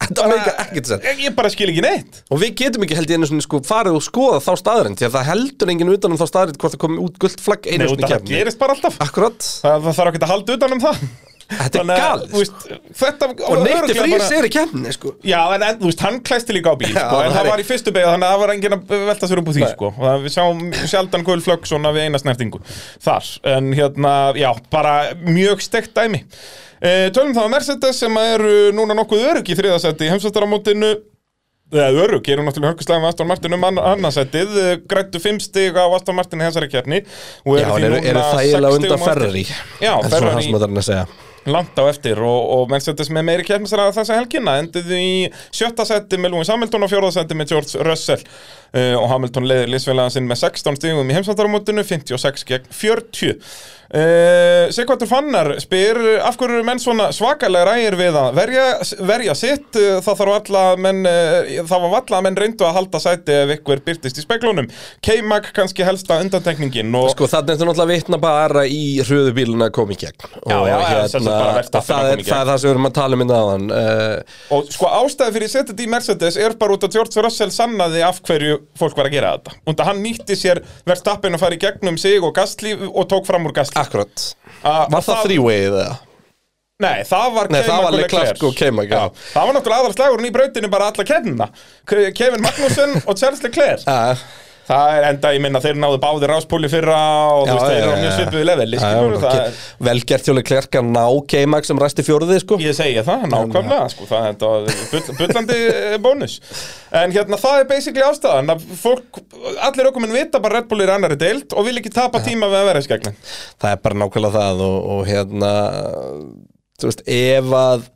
Eh,
Nei, þetta meika ekkert sér
Ég, ég bara skil ekki neitt
og við getum ekki held í einu sinni sko farið og skoða þá staðrind því að það heldur enginn utan um þá staðrind hvort það komi út gult flagg
Nei,
einu
út
sinni
að það
kemni
gerist bara alltaf
Akkurat,
Það, það þarf ekki að halda utan um það
þetta er
Þannig að,
galið sko.
þú veist, Þetta
og neytti
örugglega
frýs
bara-
er í kemni sko.
Já, en, en þú veist, hann klæsti líka á bíl
Já,
sko, En
það
það
er-
var í fyrstu beigð Þannig að það var enginn að velta sér upp úr því
Nei.
sko. Og það- Við sjáum sjaldan Gull Flögg svona við eina snertingu Þar, en hérna, já, bara mjög steikt dæmi e, Tölum þá að Mercedes sem eru núna nokkuð örug í þriðasetti í heimsvættaramótinu eða örug, eru náttúrulega hörkuslega með Aston Martin um annarsettið, grættu fimm stig á Aston Martin í þessari kjarni
Já, en eru, eru þægilega undan Ferrari
Já,
En svona það
Ferrari
sem það er að segja
langt á eftir og, og Mercedes með meiri kefnisraða þessa helgina enduðu í sjötta seti með Lewis Hamilton og fjórða seti með George Russell uh, og Hamilton leiðir liðsfélagan sinn með 16 stigum í heimsvættaramótinu 56 gegn 40 uh, Sigvartur Fannar spyr af hverju eru menn svona svakalega rægir við að verja, verja sitt uh, það þarf alla að menn uh, það var alla að menn reyndu að halda seti ef ykkur byrtist í speglunum K-Mag kannski helsta undantekningin og
Sko þannig er þetta náttúrulega vitna bara í hröðu bíluna að koma í gegn
Já,
Og hérna,
já, já, sem sagt bara Verstappen að
það,
koma í
er,
gegn.
það er það sem við erum að tala um innan áðan uh,
Og sko ástæði fyrir að setja þetta í Mercedes er bara út að George Russell sannaði af hverju fólk var að gera þetta. Und að hann nýtti sér verðstappin að fara í gegnum sig og gastlí og tók fram úr gastlí.
Akkurat
A-
Ah, Var það
það-
þrývegið eða?
Nei, það var
Nei, það var
Leclerc.
Leclerc og Keimag Já,
Það var náttúrulega aðalslagurinn í brautinu bara alla kennina. Ke- Kevin Magnussen
<laughs>
og Charles Leclerc.
Já,
Það er enda, ég minna, þeir náðu báðir ráspúli fyrra og þú
já,
veist, þeir eru á
já,
mjög
já.
svipuðu leveli.
Já,
skilurðu,
já,
það
ok. Vel gert hjóli klerka ná K-Mag sem ræsti fjóruði sko
Ég segi það, nákvæmlega, sko, það er þetta bull- bullandi eh, bónus. En hérna, það er basically ástæðan að fólk, allir okkur vita bara Red Bull er í annarri deild og vil ekki tapa tíma við að vera í skegnin.
það er bara nákvæmlega það og, og hérna þú veist, ef að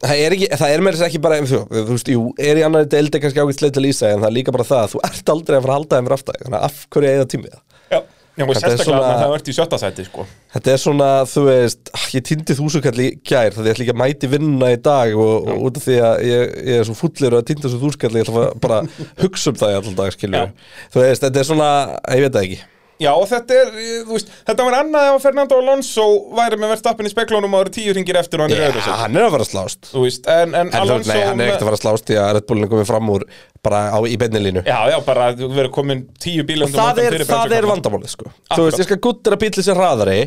það er, ekki, það er með þess ekki bara þú, þú veist, jú, er í annari deildi kannski ágætlega til lýsa en það er líka bara það að þú ert aldrei að fara að halda þeim fyrir aftan þig, þannig að af hverju eða tímið það
Já. Já, og
Þetta er
sérstaklega
svona-
svona... það ert í sjötta sæti, sko.
Þetta er svona, þú veist, ah, ég týndi þúsukall í gær það ég ætla ekki að mæti vinnuna í dag og, og út af því að ég, ég er svo fullur að týnda þessu þúsukall, ég ætla að bara hugsa um það í allan dag, skiljum Þú veist, þetta er svona, ég veit það ekki
Já, og þetta er, eh, þú veist, þetta var annað ef að Fernando Alonso væri með verðstappin í speklunum og það eru tíu ringir eftir og hann er
Já,
öðru sér.
hann er að fara að slást
Þú veist, en, en,
En Alonso, nei, hann er ekkert að fara að slást í að Red Bullin er komið fram úr bara á, í beinni línu
Já, já, bara þú verður komin tíu bílum
það er, það er vandamálið sko þú
Akkurat.
veist, ég skal guttir að bíli sér hraðari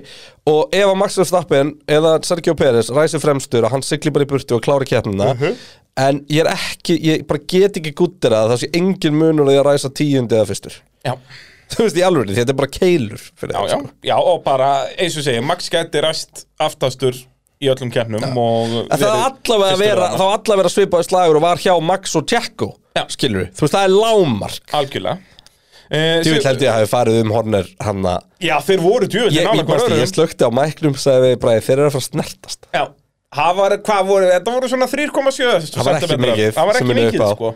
og ef að Max Verstappen eða Sergio Pérez ræsi fremstur og hann sigli bara í burtu og klári keppnina
Mhm.
en ég er ekki, ég bara get ekki guttir að það sé engin munur að ég ræsa tíundi eða fyrstur <laughs>
Já,
þú veist, í alveg, því þetta er bara keilur fyrir
já,
það
já,
sko
já, og bara, eins og segja, Max gæti ræst aftastur í öllum kjarnum og
En það var allavega að vera, það var allavega að vera svipaði slagur og var hjá Max og Tjekko
Já.
skilur þú veist, það er lámark
Algjörlega Eh,
Þú
Sig-
held ég að hafi farið um Horner hann að
Já, þeir voru djúvöldin
ég, ég, bara, ég slökti á mæknum sagði við bara þeir eru að fara að snertast
Já, það var, hvað voru, þetta voru svona 3,7
Það var ekki
sentimetrar.
mikið
Það var
sem
ekki
minni
mikið,
upp á.
sko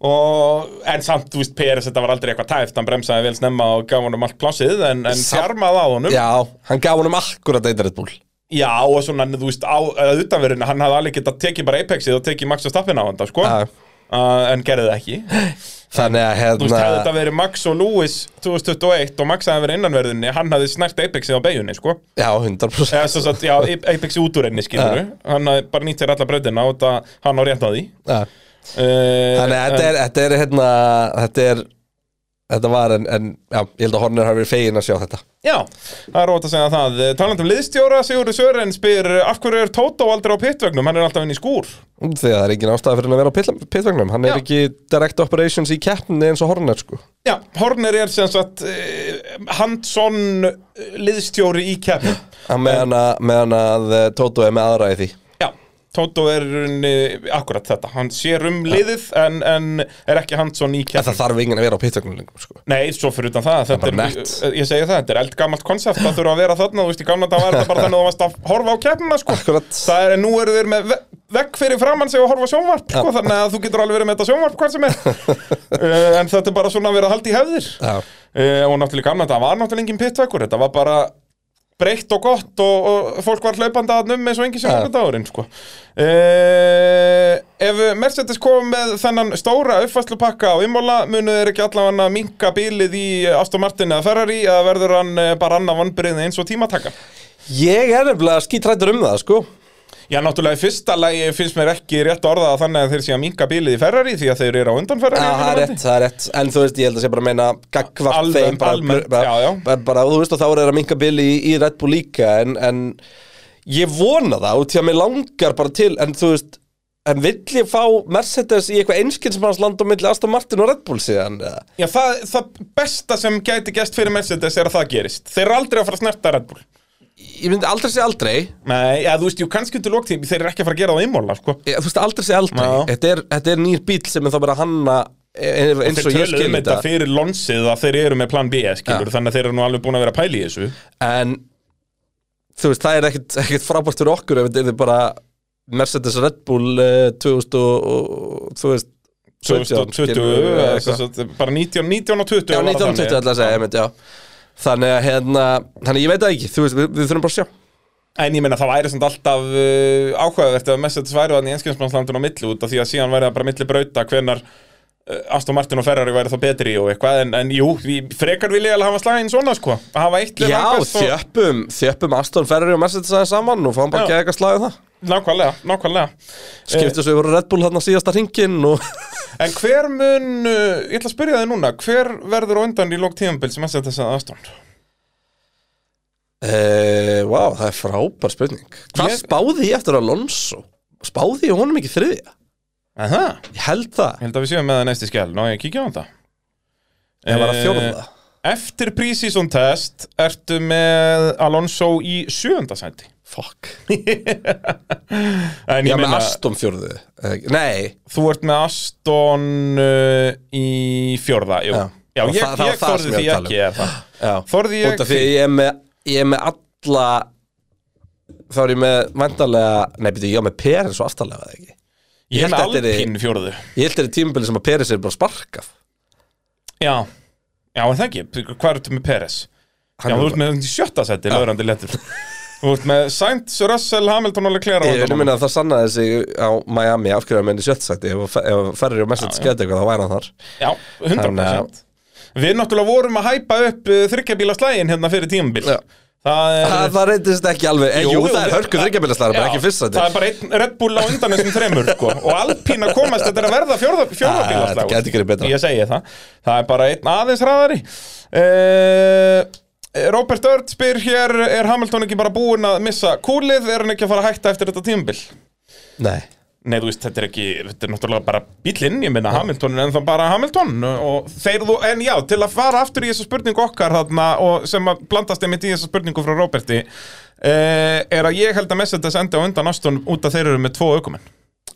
Og, en samt, þú veist, Peres, þetta var aldrei eitthvað tæft Hann bremsaði vel snemma og gaf honum allt plássið En, en
Samt-
fjarmaði á honum
Já, hann gaf honum akkurat eitt Red Bull
Já, og svona, þú veist, á utanverðinu, hann hafði alveg getað tekið bara Apexið og tekið Max Verstappen á hann, sko.
Já.
uh, en gerði það ekki
Þannig að
Þú veist, hefði
hérna
þetta verið Max og Lewis 2021 og Max hefði verið innanverðinni hann hefði snert Apexið á beigunni, sko
Já, 100%
Eða, svo satt, já, Apexið út úr henni, skilur hann hefði bara nýtt sér alla brautina og það, hann á rétt að því
Já.
uh,
Þannig að þetta er, þetta er hérna Þetta er Þetta var en, en já, ég held að Horner hafi verið fegin að sjá þetta
Já, það er rót að segja það Talandum liðstjóra, Sigurður Sören spyr eh, af hverju er Tótó aldrei á pittvögnum, hann er alltaf inn í skúr
Þegar það er engin ástæða fyrir hann að vera á pitla- pitvagnum Hann er
Já.
ekki direct operations í keppni eins og Horner sko
Já, Horner er sem sagt uh, Hansson liðstjóri í keppni
Að meðan að, meðan að eh, Toto er með aðra í því
Já, Tótó er uh, akkurat þetta, hann sér um liðið en, en er ekki Hansson í
En
keppni
það þarf enginn að vera á pitvagnum lengur sko
Nei, svo fyrir utan það, þetta
bara
er, eh,
nett.
ég segi það, þetta er eldgamalt konsept að þurfa að vera þarna, þú veist, í gamla dag var þetta bara þannig að þú varst að horfa á keppnina, sko
Akkurat.
Það er, en nú eru þeir með ve vekk fyrir framann sig að horfa á sjónvarp, sko, þannig að þú getur alveg verið með þetta sjónvarp hvað sem er
<laughs>
uh, En þetta er bara svona að vera að halda í hefðir uh,
Já,
Og náttúrulega í gamla, þetta var náttúrulega engin pittvekkur, þetta var bara breytt og gott og, og fólk var hlaupandi að um eins og engin sem
Já.
hlaupandi áurinn, sko uh, Ef Mercedes kom með þennan stóra uppfæslupakka á Imola munu þeir ekki allavega að minka bílið í Aston Martin eða Ferrari eða verður hann eh, bara annað vonbyrðið eins og tímataka
ég er nefnilega skítrættur um það sko
Já, náttúrulega í fyrsta lagi finnst mér ekki rétt orða að þannig að þeir sé að minka bílið í Ferrari því að þeir eru á undan Ferrari
Já,
í
það er
Englandi.
rétt, það er rétt En þú veist, ég held að sé bara að meina Gagvart
Alveg,
þeim bara,
almennt,
bara,
já, já.
bara, bara, Þú veist, og þá er það að minka bili í, í Red Bull líka En, en ég vona það Út í að mig langar bara til En þú veist, en vill ég fá Mercedes í eitthvað einskilsmannsland á milli Aston Martin og Red Bull síðan eða?
Já, það, það besta sem gæti gæst fyrir Mercedes er að það gerist Þeir eru aldrei að fara að snerta Red Bull
Ég myndi aldrei sé aldrei
Nei, ja, þú veist, jú, kannski undir lóktími þeir eru ekki að fara að gera það á Imola, sko
ég, Þú veist, aldrei sé aldrei
Já.
þetta er, þetta er nýr bíl sem er þá bara að hanna e- e- eins
Þeir
og ég
töluðu
skil
um þetta fyrir lonsið að þeir eru með plan B, skilur
Já.
Þannig að þeir eru nú alveg búin að vera að pæla í þessu
En þú veist, það er ekkit, ekkit frábært fyrir okkur ef þetta er bara Mercedes Red Bull uh, 2000 og, og þú veist
2020,
skilur við,
eða
eða
sem
eitthvað.
sagt, bara 19, 19 og 20
Já,
var það
1920
þannig.
ætla að segja, einmitt, já Þannig að hérna, þannig að ég veit það ekki, þú veist, við, við þurfum bara að sjá
En ég meina það væri samt alltaf uh, áhugavert ef Mercedes væri þannig í einskjöfnsmannslandinu á milli út af því að síðan væri það bara milli brauta hvenar uh, Aston Martin og Ferrari væri þá betri og eitthvað en, en jú, ég- frekar vil ég alveg hafa slaginn svona sko að hafa eitt lið
Já,
langbest og-
þjöppum, þjöppum Aston Ferrari og Mercedes aðeins saman og fáum bara
Já. Eh.
ekki eitthvað slagið það
Nákvæmlega, nákvæmlega Eh,
Skiptu svo yfir á Red Bull þarna síðasta ringin
<laughs>
og
En hver mun, uh, ég ætla að spyrja þig núna hver verður á undan í lók tíðanbils Mercedes að Aston?
Eh, Vá, það er frábær spurning Hvað
Ég-
spáði ég eftir Alonso? Spáði ég honum ekki þriðja?
Aha,
Ég held það
ég held að við séum með það næsti skjál, ná ég að kíkja á þetta
Ég var að
Eh,
fjórða
Eftir pre-season test ertu með Alonso í sjöunda
<laughs>
sæti
Fuck
En
Já,
ég
með
meina,
Aston fjórðu eða ekki? Nei,
þú ert með Aston uh, í fjórða, jú.
Já.
Já, ég,
Það- það var
ég
það sem
þorði því
ég var að tala um.
ekki eða það.
<gasps> já
Þorði ég
Út af því
því-
að ég er með, ég er með alla Þá er ég með vandarlega Nei, byrju, ég er með Peres og aftarlega eða ekki
Ég er
held
með
þetta er í-
Alpín fjórðu.
Ég held þetta tímabili sem að Peres er bara sparkað
Já, já, en það ekki, hvað ertu með Peres? Já,
er
þú
bara-
ert með hann í sjötta sæti, löðrandi
<laughs>
lettur. Þú ert með Sainz, Russell, Hamilton og Leclerc á
Ég vil
undan
minna að það sannaði sig á Miami Af hverju að menni sjötsætti Ef að ferri og message
Já, já.
skeiði eitthvað, þá væri hann þar
Já, 100%. Við náttúrulega vorum að hæpa upp þryggjabíla slægin hérna fyrir tímabil.
Já.
Það er...
Það, það reyndist ekki alveg Jú,
Jú,
jú
jú,
það er hörku þryggjabilaslæður, bara
Já,
ekki fyrst sætti
Það er bara einn Red Bull á undan þessum þremur sko. og Alpín að komast, þetta er að verða fjórða, fjórða
Ah,
bílaslagur.
þetta gæti ekki verið betra.
Ég segi það, það er bara einn aðeins hraðari uh, Robert Ört spyr hér er Hamilton ekki bara búinn að missa kúlið er hann ekki að fara að hætta eftir þetta tímabil?
Nei
Nei, þú veist, þetta er ekki, þetta er náttúrulega bara bílinn, ég minna Hamilton en það bara Hamilton og þeir þú, en já, til að fara aftur í þessa spurningu okkar þarna og sem að blandast einmitt í þessa spurningu frá Róberti eh, er að ég held að Mercedes endi á undan Aston út að þeir eru með tvo aukumenn.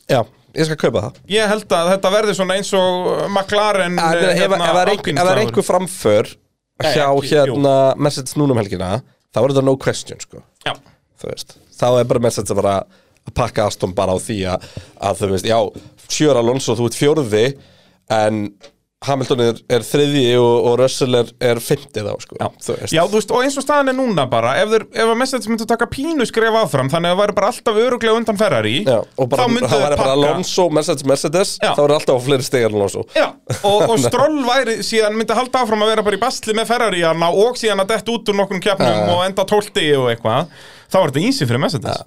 Já, ég skal kaupa það
Ég held að þetta verði svona eins og McLaren
En
eh,
ef- ef það er einhver- ef það er
Alpine-slagur.
einhver framför
Nei,
hjá
ekki,
hérna Mercedes núna um helgina þá er þetta no question sko
Já,
þú veist þá er bara Mercedes að bara að pakka Aston bara á því að, að þú veist já, sjör Alonso þú ert fjórði en Hamilton er, er þriðji og, og Russell er, er fymtið þá sko.
Já.
þú veist
Já, þú veist, og eins og staðan er núna bara ef, þeir, ef að Mercedes myndi taka pínu skref áfram þannig að það væri bara alltaf öruglega undan Ferrari
Já, og bara,
þá myndi
það væri bara Alonso, Mercedes, Mercedes
Já.
þá er alltaf á fleiri stegar en Alonso
Já, og, og Stroll væri síðan myndi halda áfram að vera bara í bastli með Ferrari hana og síðan að dett út úr nokkrum keppnum og enda tólti og eitthvað þá er þetta ísi fyrir Mercedes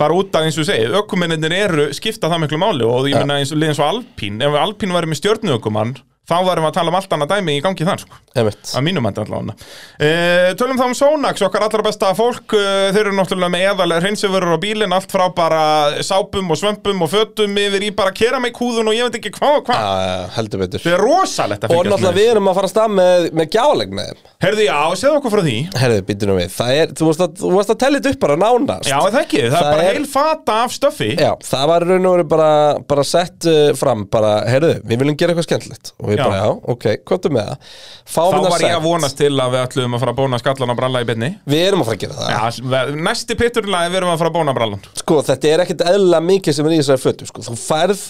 bara út af eins og segið, ökumennir eru skipta það miklu máli og ég meina eins og liðin svo Alpín ef Alpín væri með stjörnuökumann þá varum við að tala um allt annað dæmi í gangi þar sko.
Einmitt.
að mínum enda allavega e, tölum þá um Sonax, okkar allra besta fólk e, þeir eru náttúrulega með eðal hreinsöfurur á bílinn, allt frá bara sápum og svömpum og fötum yfir í bara keramíkhúðun og ég veit ekki hvað og hvað
Já, já, heldur betur
Þetta er rosalegt að
og
fylgjast
náttúrulega
með.
við erum að fara að stað með, með gjáleik með þeim
Herði, já, segðu okkur frá því.
herðu, býtum við, það er, þú varst að, þú varst að tella þetta upp bara nánast
Já, það ekki. Það,
Það
er bara
er-
heil fata af stöffi.
Já, það var í raun og verið bara, bara sett uh, fram, bara, heyrðu, við viljum gera eitthvað skemmtilegt og við
Já.
bara, já, ok, komdu með það
Þá
Fáum það
var ég að
sent.
vonast til að við ætlum að fara að bóna skallan og bralla í byrni.
Við erum að fara að gera það
Já, ve- næsti pitturlega við erum að fara að bóna brallan.
Sko, þetta er ekkert eðla mikið sem er í þessari fötu sko. Þú færð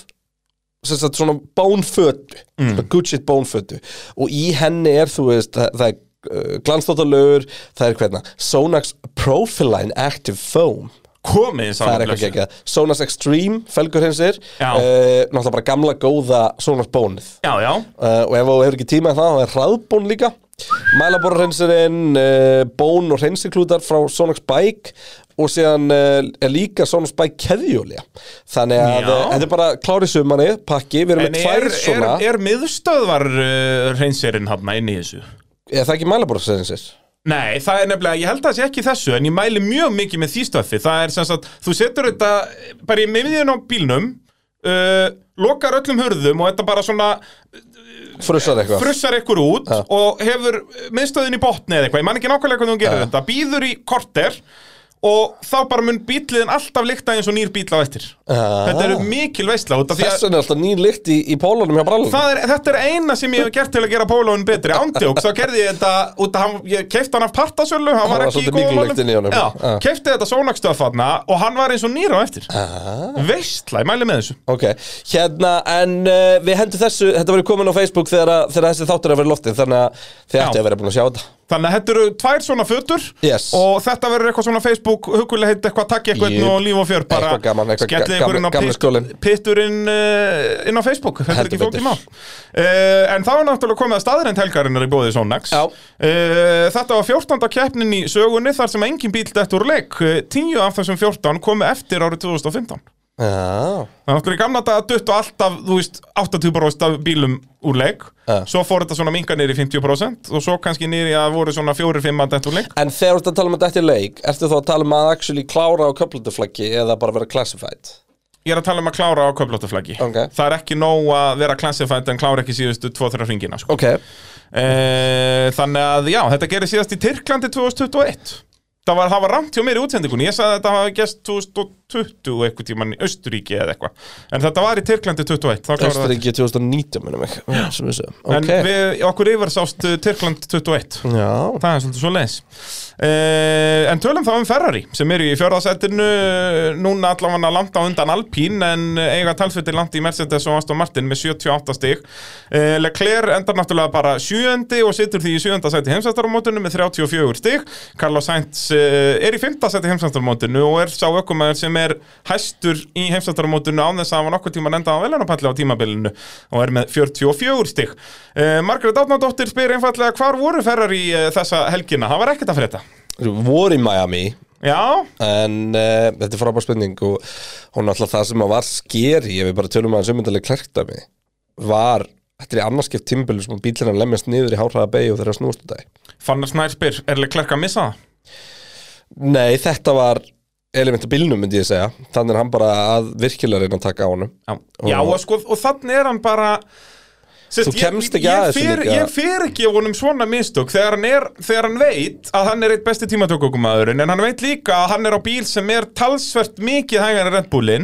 sem sagt, svona bónfötu mm. Gucci bónfötu og í henni er, þú veist, það, það er glansdóttalögur, það er hvernig Sonax Profiline Active Foam
Komið þess
Það er eitthvað geggjað Sonax Extreme, felgur hinsir
Já.
Náttúrulega bara gamla góða Sonax bónið
Já, já.
uh, og ef þú hefur ekki tíma í það þá er hraðbón líka mælaborra hreinsurinn, uh, bón og hreinsiklútar frá Sonax Bike og síðan uh, er líka Sonax Bike keðjúlega þannig að
Já.
uh, þetta er bara klári sumani, pakki, við erum
En
með
er,
tvær
er,
svona
er miðstöðvar uh, hreinserinn hafna inn í þessu?
er það ekki mælaborra hreinsir?
Nei, það er nefnilega, ég held að það sé ekki í þessu en ég mæli mjög mikið með því stöfi það er sem sagt, þú setur þetta bara í miðjun á bílnum uh, lokar öllum hurðum og þetta bara svona
Frussar eitthvað?
frussar ykkur út og hefur miðstöðin í botni eða eitthvað, ég man ekki nákvæmlega hvernig hún gerir þetta býður í korter og þá bara mun bíliðin alltaf líkta eins og nýr bíl á eftir
Ah.
þetta eru mikil veisla út af því að
Þessan er alltaf nýn lykt í, í pólunum hjá brallum
Það er, þetta er eina sem ég hef gert til að gera pólóin betri ándjók, þá gerði ég þetta út að hann, ég keipti hann af partasölu hann var
var
ekki í
svolítið
góðum
miklulegt inni í honum.
málum. Já,
Já.
keipti þetta sónakstöðfarna og hann var eins og nýra á eftir veistla, ég mæli með þessu
Ok, hérna, en uh, við hendum þessu, þetta verið komin á Facebook þegar, að- þegar þessi þáttur er að vera loftin, þannig að þið
Já.
ættu að vera búin að sjá þetta.
þannig að þetta eru tvær svona fötur
Yes.
og þetta verður eitthvað svona Facebook hugulega heitt eitthvað takk eitthvað
Jú.
og líf og fjör bara
Eitthvað gaman, eitthvað
skellið
ga-
ykkur inn á
gamli- gamli skólinn.
pit- pitturinn uh, inn á Facebook þetta er
Heldur
ekki flókið
betur.
mál uh, en þá er náttúrulega komið að staðrind helgarinnar í bóði Sonax
Já.
uh, þetta var 14. keppnin í sögunni þar sem engin bíl dætt úr leik Uh, 10 af þessum 14 komu eftir árið 2015
Já.
Það er náttúrulega í gamla dag að duttu alltaf, þú veist, 80% af bílum úr leik
Ja.
Svo fór þetta svona minga niður í 50% Og svo kannski niður í að voru svona 4-5 að dætt úr leik
En þegar þú ert að tala um þetta eftir leik, ertu þá að tala um að actually klára á köplunduflaggi eða bara vera classified?
Ég er að tala um að klára á köflóttaflaggi
Ok.
Það er ekki nóg að vera classified en klára ekki síðustu 2-3 ringina sko.
Ok.
e, Þannig að já, þetta gerir síðast í Tyrklandi 2021 Það var, það var ramt hjá mér í útsendingunni Ég sagði að þetta hafa gest 2020 eitthvað tíman í Östuríki eða eitthvað En þetta var í Tyrklandi 21 þá kláraði þetta.
Östuríki 2019, minnum ég, sem við segjum.
En
Ok.
við, okkur yfir sást uh, Tyrkland 21
Já.
Það er svolítið svo leis En tölum þá um Ferrari sem eru í fjörðasettinu núna allavega langt á undan Alpín en eh, eiga talfittir langt í Mercedes og Aston Martin með 78 stig Eh, Leclerc endar náttúrulega bara sjöundi og situr því í sjöunda seti heimsættarumótinu með 34 stig Carlos Sainz eh, er í fymta seti heimsættarumótinu og er sá ökumæður sem er hæstur í heimsættarumótinu án þess að hafa nokkuð tíma enda á veljarnapalli á tímabilinu og er með 44 stig Eh, Margrét Átnadóttir spyr einfallega hvar voru ferrar í þessa helgina, það var ekkert að frétta
Voru í Miami,
Já,
en uh, þetta er frábær spurning og hún er alltaf það sem að var skeri, ef við bara tölum aðeins umyndalega klerkdæmi, var, þetta er í annarskipt tímbilur sem bílarinn lemjast niður í hárhraða beig og þeirra snústu dag.
Fannar Snær spyr, er Leclerc að missa það?
Nei, þetta var element af bílnum, myndi ég segja. Þannig er hann bara að virkilega reyna að taka á honum.
Já, Já og, sko, og þannig er hann bara Sest,
Þú kemst ekki að
ég, ég,
þessu
fer,
líka.
ég fer ekki á honum svona mistök þegar hann, er, þegar hann veit að hann er eitt besti tímatökumaðurinn en hann veit líka að hann er á bíl sem er talsvert mikið hægar en Red Bullin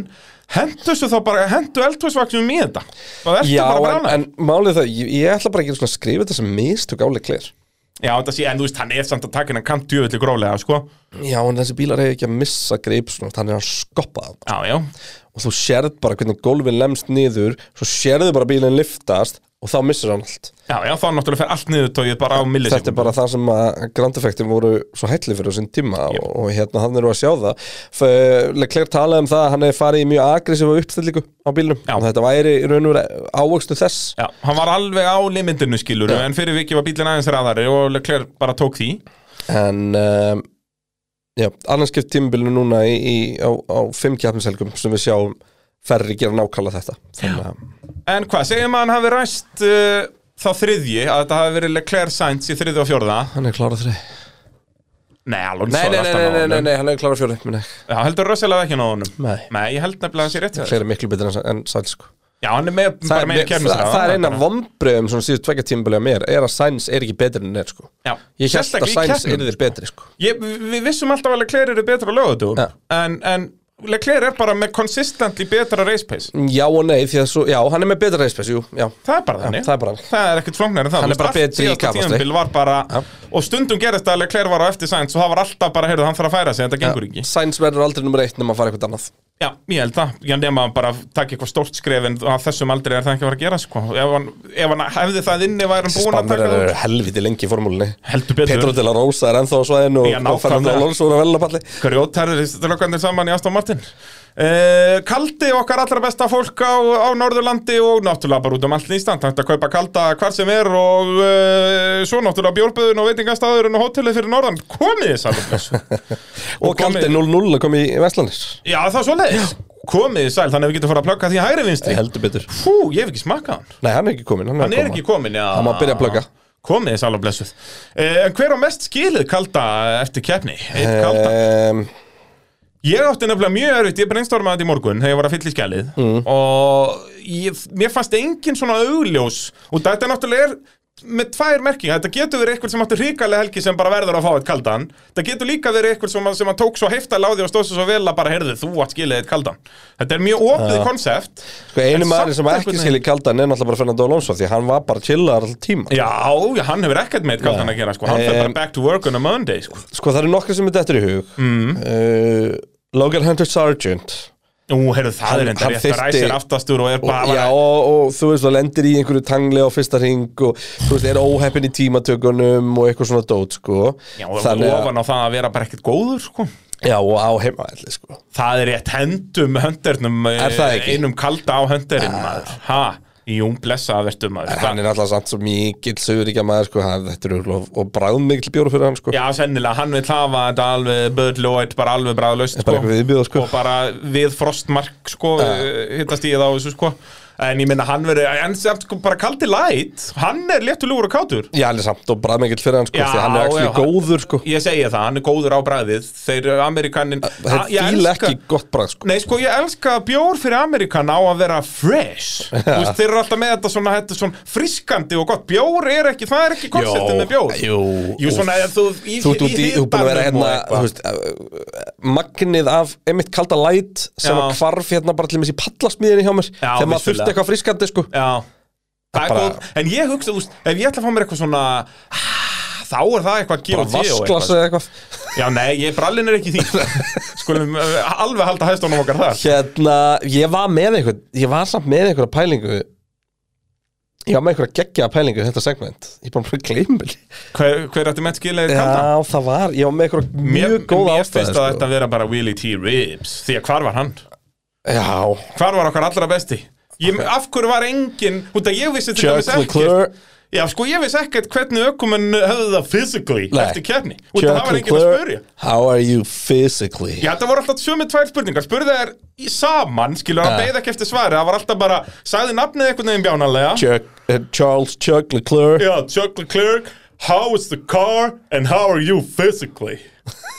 hendu svo þá bara, hendu eldhúsvaksum í þetta það ertu
Já,
bara
en,
bara
en málið það, ég, ég ætla bara ekki svona að skrifa þetta sem mistök áleiklir
Já, þetta sé, en þú veist, hann er samt að taka hennan kant djöfulli grólega, sko
Já, en þessi bílar hefur ekki að missa grip svona, þannig að skoppa það
Já, já
og þú sérð bara hvernig gólfin lemst niður svo sérðu bara bílinn liftast og þá missir hann allt
Já, já, þá náttúrulega fer allt niður tóið bara á millisekund
þetta er bara það sem að Grand Effectin voru svo hætli fyrir á sinn tíma og, og hérna hann eru að sjá það Leclerc talaði um það að hann hefði farið í mjög agressífa uppstillingu á bílnum
Já.
og þetta væri í raun og veru ávöxtu þess
Já, hann var alveg á limitinu skilur En fyrir vikið var bílinn aðeins ræðari og Leclerc bara tók því
en um, já, annars skipt tímabilinu núna í, í, á, á fimm kjarniselgum sem við sjáum ferri gera nákala þetta þannig að
En hvað, segjum að hann hafi ræst uh, þá þriðji Að þetta hafi verið Leclerc Sainz í þriðji og fjórða
hann er klárað þri nei,
Nei, alveg
nei, nei, nei, nei, nei, nei, hann er klárað fjóri minni.
Já, heldur Russell að ekki ná honum
Nei.
Nei, ég held nefnilega að sé rétt hjá þér.
Leclerc er miklu betur en, en Sainz sko.
Já, hann er með,
það,
bara meira
er- það,
kemnisra
það er eina vombriðum sem síðust tvekja tímabilið að mér er að Sainz er ekki betur en neitt sko.
Já.
ég held að
Sérstaklega í
Sainz
keppnum,
er þið betri sko.
Ég, við vissum alltaf að Leclerc eru betra á lögutum
Já.
en, en Leclerc er bara með consistently betra race pace
já og nei, því að svo, já, hann er með betra reyspes jú, já,
Það er bara þannig
það er bara þannig.
Það er ekkert flóknar en það
Hann
Þú veist,
er bara
allt
betri í
síðasta
kapakstri.
tímabil var bara,
Já.
Og stundum gerist að Leclerc var á eftir Sainz og það var alltaf bara, heyrðu, hann þarf að færa sig þetta gengur ekki
Sainz verður aldrei nummer eitt nema að fara eitthvað annað
Já, ég held það, ég nema hann bara takk eitthvað stórt skref en á þessum aldrei er það ekki að fara að gera sko. ef, hann, ef hann hefði það inni væri hann
Þessi
búin að taka
Spánverjar
það
eru
út.
helviti lengi í formúlunni
Heldur betur.
Pedro de la Rosa er ennþá á svæðinu
Já,
og,
nákvæmlega.
og Fernando Alonso er að velapalli
Hverju ótærður strákandir saman í Aston Martin uh, Kaldi okkar allra besta fólk á, á Norðurlandi og náttúrulega bara út um allt Ísland Hægt að kaupa kalda hvar sem er og uh, svo náttúrulega bjórböðun og veitingastæðurinn og hótelið fyrir norðan Komið þið sæl og blessuð.
<laughs> Og
komið-
Galdi 0-0 að koma í Vestlandis
Já það er svo leiðis Komið þið sæl þannig að við getum fór að plugga því hægri vinstri
Heldur betur
Fú, ég hef ekki smakkað hann
Nei, hann er ekki komin Hann,
Hann er ekki komin, já
Hann má byrja að plugga.
Komið þið sæl og blessuð uh, En hver á mest skilið kalda eftir keppni?
Eh.
Eitt kalda
komin
Ég átti nefnilega mjög erfitt, ég brainstormaði þetta í morgun þegar ég var að fylla í skælið
Mm.
og ég, mér fannst engin svona augljós og þetta náttúrulega er með tvær merkingar, þetta getur verið eitthvað sem átti hrikalega helgi sem bara verður að fá eitt kaldan þetta getur líka verið eitthvað sem, að- sem að tók svo heiftal á því og stóð sér svo vel að bara heyrðu þú að skilja eitt kaldan þetta er mjög opið konsept
Sko,
En
einu
samt
maður sem
einhvern
ekki
veginn-
skilji Galdan er náttúrulega bara Fernando Alonso Því hann var bara chillar all tíma
já, já, hann hefur ekkert með eitt kaldan
Nei.
að gera sko. hann fyrir
Em,
bara back to work on a Monday sko.
Sko, það eru nokkri sem er dettur í hug mm. Logan Hunter Sargent
nú, heyrðu, það
hann-
er enda
hann
rétt það
þyrfti-
ræsir aftastur og er
og,
bara
já, og, og þú veist, það lendir í einhverju tangli á fyrsta ring og þú veist, er óheppin í tímatökunum og eitthvað svona dót, sko
Já, og
Þannig að-
ofan á það að vera bara ekkert góður sko.
Já, og á heimavelli, sko
Það er rétt hendum höndernum eh,
Er það ekki?
Einum kalda á hönderinn maður Ha, jú, blessa vertu maður
En hann
Það-
er alltaf samt svo mikill söguríkja maður, sko hann, Þetta eru og, og bráðmikill bjóru fyrir hann, sko
Já, sennilega, hann vil hafa þetta alveg Bud Lloyd, bara alveg bræðlaust
bara eitthvað viðbjóð, sko. Ah.
Og bara við frostmark, sko Hittast í það á þessu, sko En ég minna, hann verið, en samt, sko, bara kaldi læt Hann er léttulúgur og kátur
Já, hann er samt og bráðmikill fyrir hann, sko
Já,
Því hann er
já,
ekki
hann-
góður, sko
Ég segi það, hann er góður á bræðið Þeir eh, Amerikanin
Þeir fíla ekki gott bráð, sko
Nei, sko, ég elska að bjór fyrir Amerikan á að vera
<laughs>
fresh Þú veist, þeir eru alltaf með þetta svona, þetta svona friskandi og gott Bjór er ekki, það er ekki konceptið með bjór
jú,
Jú, svona,
úff.
ef þú í-
Þú ert út í,
í
þú ert búin að vera
hitanum
hérna,
og
þú
eitthvað.
veist, uh, magnið af einmitt kalda læt sem
Já.
að hvarf hérna bara til mér í pallasmiðinni hjá mér
Já,
þegar maður
vissulega.
þurfti eitthvað frískandi, sko
Já, það er
bara-
góð En ég hugsa, þú veist, ef ég ætla að fá mér eitthvað svona ah, Þá er það eitthvað G&T
bara
og
vasklas
eitthvað
eða eitthvað
Já, nei, ég, brallin er ekki í
<laughs>
því Skulum uh, alveg halda hæstónum okkar þar
hérna, ég var með einhvern ég var samt með einhverja pælingu ég var með einhverja geggjaða pælingu í þetta segment, ég er bara bara gleymbili
Hver, hver ætti með skilið kaldan?
já, það var, ég var með einhverja
Mér,
mjög góða
mér
ástæði
finnst að þetta
sko.
vera bara Willie T. Ribs Því að hvar var hann?
já,
Hvar var okkar allra besti? Ég, Af hverju var engin, út að ég vissi til
Chuck
dæmis
Leclerc
ekkert Já, sko, ég vissi ekkert hvernig ökumenn höfðu það physically
Nei.
eftir kefni Út að það
Chuck
var engin að
Leclerc
spurja
how are you physically
Já, það voru alltaf sömu tvær spurningar Spurðu þær í saman, skilur, hann
Ja.
beið ekki eftir svari Það var alltaf bara, sagði nafnið einhvern veginn bjánarlega
Chuck, eh, Charles Chuck Leclerc
Já, Chuck Leclerc How is the car and how are you physically?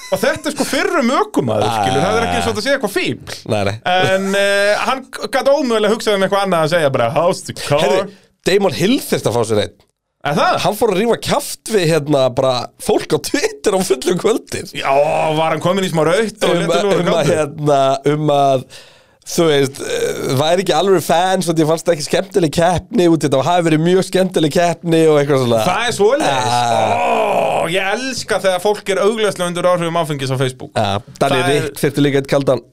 Og þetta er sko fyrrum ökumaður,
Ah.
skilur Það er ekki eins og þetta sé eitthvað fíbl
Nei, nei.
En uh, hann gæti ómögulega hugsað um eitthvað annað að segja bara How's the car?
Heyrðu, Damon Hill þurfti að fá sér einn
Er það?
hann fór að rífa kjaft við hérna bara fólk á Twitter á fullu kvöldir
Já, var hann komin í smá raut og
um,
letur
um,
lúður
að, hérna, um að þú veist, eh, væri ekki alveg fans og því fannst það ekki skemmtileg keppni út í þetta og hafi verið mjög skemmtileg keppni og eitthvað svona
Það er svoleiðis
Ah.
Ó, Ég
Ah.
elska þegar fólk er auglöslega undir áhrifum áfengis á Facebook
ja, Danni
Það er-
Ritt fyrir líka eitt kaldan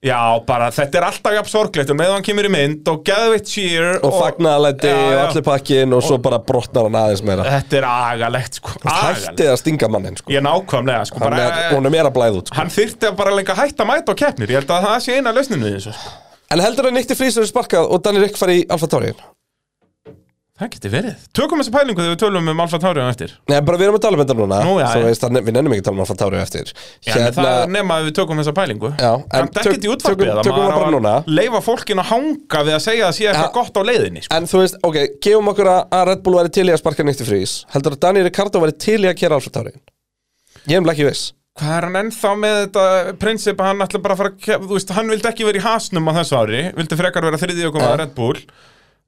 Já, bara þetta er alltaf jafn sorglegt og með hann kemur í mynd og geðveitt cheer
og fagnaðalæti
Já,
og
já.
allir pakkin og svo bara brotnar hann aðeins meira
Þetta er agalegt sko Agalegt
Hættið að stinga mannin sko.
Ég nákvæmlega sko
Hann
bara,
er, honum er að blæða út sko.
Hann þyrfti að bara lengi að hætta að mæta á keppnir Ég held að það sé eina lausnin við þessu sko.
En heldur hann Nikti Frís verið sparkað og Danny Rick fari í Alfa Tauri
Það geti verið Tökum þessa pælingu þegar við tölum um Alfa Tauri á eftir
Nei, bara við erum að tala um þetta núna
Nú, já,
svo
já.
veist, það- Við nennum ekki að tala um Alfa Tauri á eftir Hérna,
Já, en það er nema að við tökum þessa pælingu
Já, en
en
tök-
dekkit í útvarpið
tökum-
að
tökum
maður
það bara
á að
núna.
Leifa fólkin að hanga við að segja að sé eitthvað
Já.
gott á leiðinni sko.
En þú veist, ok, gefum okkur að að Red Bull væri til í að sparka Nikti Frís Heldur að Danny Ricardo væri til í að kera Alfa Tauri Ég er um ekki viss
Hvað er hann ennþá með þetta prinsip að hann ætla bara að fara að kef- þú veist, hann vildi ekki vera í hasnum á þessu ári vildi frekar vera þriðjökum að
Já.
Red Bull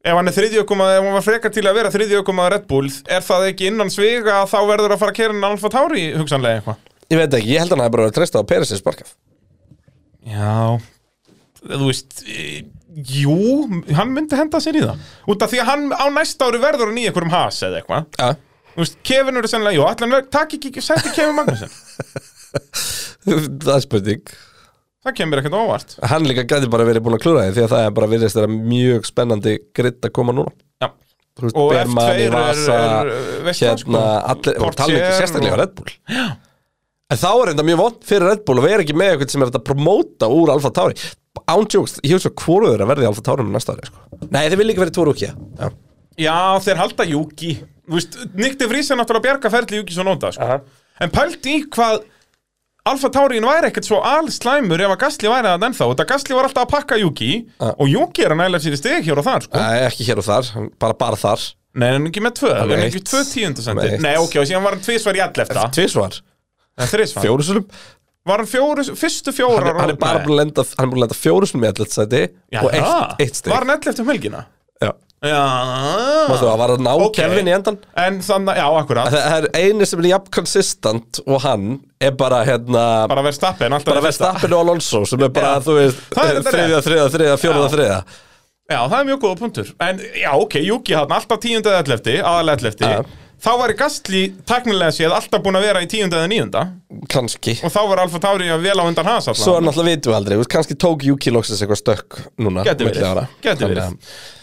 ef hann er þriðjökum að, ef hann var frekar til að vera þriðjökum að Red Bull, er það ekki innan sviga að þá verður að fara að kera hann Alfa Tauri hugsanlega eitthvað?
Ég veit ekki, ég held að hann hafi bara verið treysta á Peresin sparkað
Já, þú veist e, jú, hann myndi henda sér í það út af því að hann á næsta ári verður hann í einhverjum has eða eitthvað <laughs>
Já
Þú veist, Kevin eru sennilega, jú, allan verður, takk ekki, sætti Kevin Magnússon
Það er spurning
það kemur ekkert á óvart
Hann líka gæti bara verið búin að klúra því því að það er bara virðist þeirra mjög spennandi gritt að koma núna
Já.
Þú veist,
og
Berman
F2
í
er,
Vasa,
er, er veist sko.
hérna, allir, og tala ekki sérstaklega og... Red Bull Já. En þá er þetta mjög vond fyrir Red Bull og við erum ekki með eitthvað sem er hægt að promóta úr Alfa Tauri Ándjóks, ég hef svo hvoruður að verði Alfa Tauri með næsta ári sko. Nei, þeir vil líka verið Tóru Ukiða Já,
Já, þeir halda Juki Þú veist, Nick de Vries er náttúrulega að bjarga ferli Juki svo nóta, sko
Aha.
En pælt í hvað Alfa Taurin væri ekkert svo allslæmur ef að Gasly væri það ennþá Þetta Gasly var alltaf að pakka Juki
Ah.
og Juki er að næla sér í steg hér og þar, sko
Æ, ekki hér og þar, bara bara þar
Nei, en ekki með tvö, það er
Nei.
ekki tvö tíundusendir
Nei.
Nei, ok, og síðan var hann tvisvar í all eftir
Tvísvar,
Þrisvar
fjórusunum
Var hann fjóru, fyrstu fjórar
Hann er, hann er bara
Nei.
búin að lenda, hann er búin að lenda fjórusunum í allet sæti
Já,
og
það.
eitt, eitt stig
Var hann all eftir um helgina?
Já. Mástu
Já
að var að ná
Ok.
Kevin í endan
En þannig, já, akkurat
Það er eini sem er jafn konsistant og hann er bara hérna bara,
Bara verð stappin, alltaf
bara
verð stappin
Verstappen og Alonso sem er bara,
Já.
þú veist,
Það er þetta
þriðja,
rétt.
þriðja, þriðja, fjóruða,
Já.
þriðja
Já, það er mjög góða punktur En já, ok, Juki hann alltaf tíunda eða ellefti, aðal ellefti
Ja.
Þá var í Gastli tæknilega séð alltaf búin að vera í tíunda eða níunda
kannski
Og þá var Alfa Tauri vel á undan hans
Svo
alltaf
náttúrulega vitum við aldrei, þú veist, kannski tók Juki loksins eitthvað stökk núna
Gæti
milli
verið,
ára.
gæti
Þannig
verið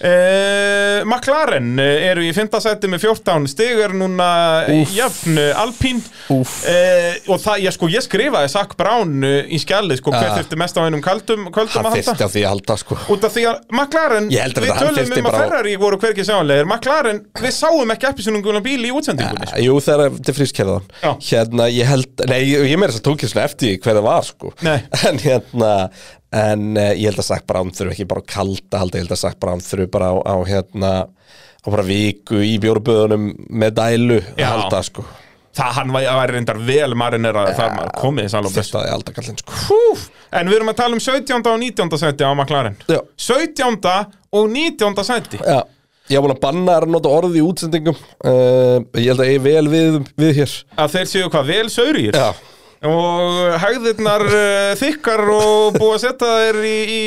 uh, McLaren eh, eru í 5. seti með 14 stig er núna Úf. jafn eh, Alpín uh,
Úff.
og það, ég, sko, ég skrifaði Sack Brown eh, í skjalið, sko, hver
Ja.
þurfti mest á einum kaldum,
að
kvöldum
Hann
að
þyrfti
halda
á því að halda sko
Út af því að McLaren,
Ég held að
við
þetta- hann
tölum
þyrfti
um að
bara á-
Ferrari voru hvergi sjáanlegir Maglærin, við sáum ekki appisunungulega bíli í útsendingunni sko.
Eh, Jú, þegar til frískerðan
Já.
Hérna, ég held, nei, ég, ég meira þess að tók ég svona eftir því hver það var, sko
Nei.
<laughs> En hérna, en eh, ég held að sagt bara án þurfu ekki bara á kalda halda Ég held að sagt bara án þurfu bara á, á hérna á bara viku í bjórböðunum með dælu að
Já.
halda, sko
Það hann var, var reyndar vel marinera þar maður komið Salobes
Þetta er alltaf kallinn, sko
Húf, en við erum að tala um 17. og 19. seti á McLaren
Já.
17. og 19. seti
Já, ég var búin að banna þær að nota orðið í útsendingum uh, Ég held að ég vel við, við hér
að þeir séu hvað vel saurýr
Já,
og hægðirnar uh, þykkar og búið að setja þeir í, í,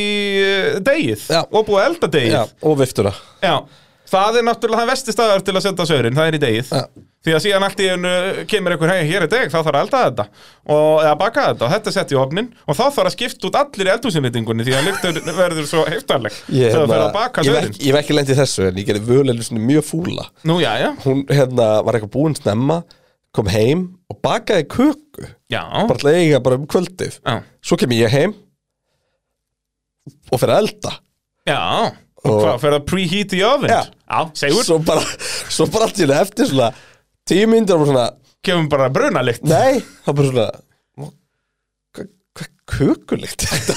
í eh, degið
Já.
og búið að elda degið
já, og viftuna
Já, það er náttúrulega það vesti staðar til að setja saurinn, það er í degið
Já.
Því að síðan allt í einu kemur einhver hei, hér er deg, þá þarf að elda þetta og, eða baka þetta og þetta sett í ofnin og þá þarf að skipta út allir í eldhúsinlýtingunni því að lyktur <laughs> verður svo heiftarleg
Ég,
þegar það fer að
hérna,
baka
ég hef
saurinn
ekki- ég hef ekki lent í þessu En ég gerði völu mjög fúla
Nú, já, já,
hún hérna var eitthvað búin snemma kom heim og bakaði köku
já,
bara til að eiga bara um kvöldið
já,
svo kem ég heim og fyrir að elda
já. Og
Og-
hvað, fer það preheat í ofn?
Já.
segur,
svo bara, svo bara allt í hérna eftir svona tíu myndir og bara svona
kemur bara brunalikt
nei, það bara svona hvað hva, kökulikt er þetta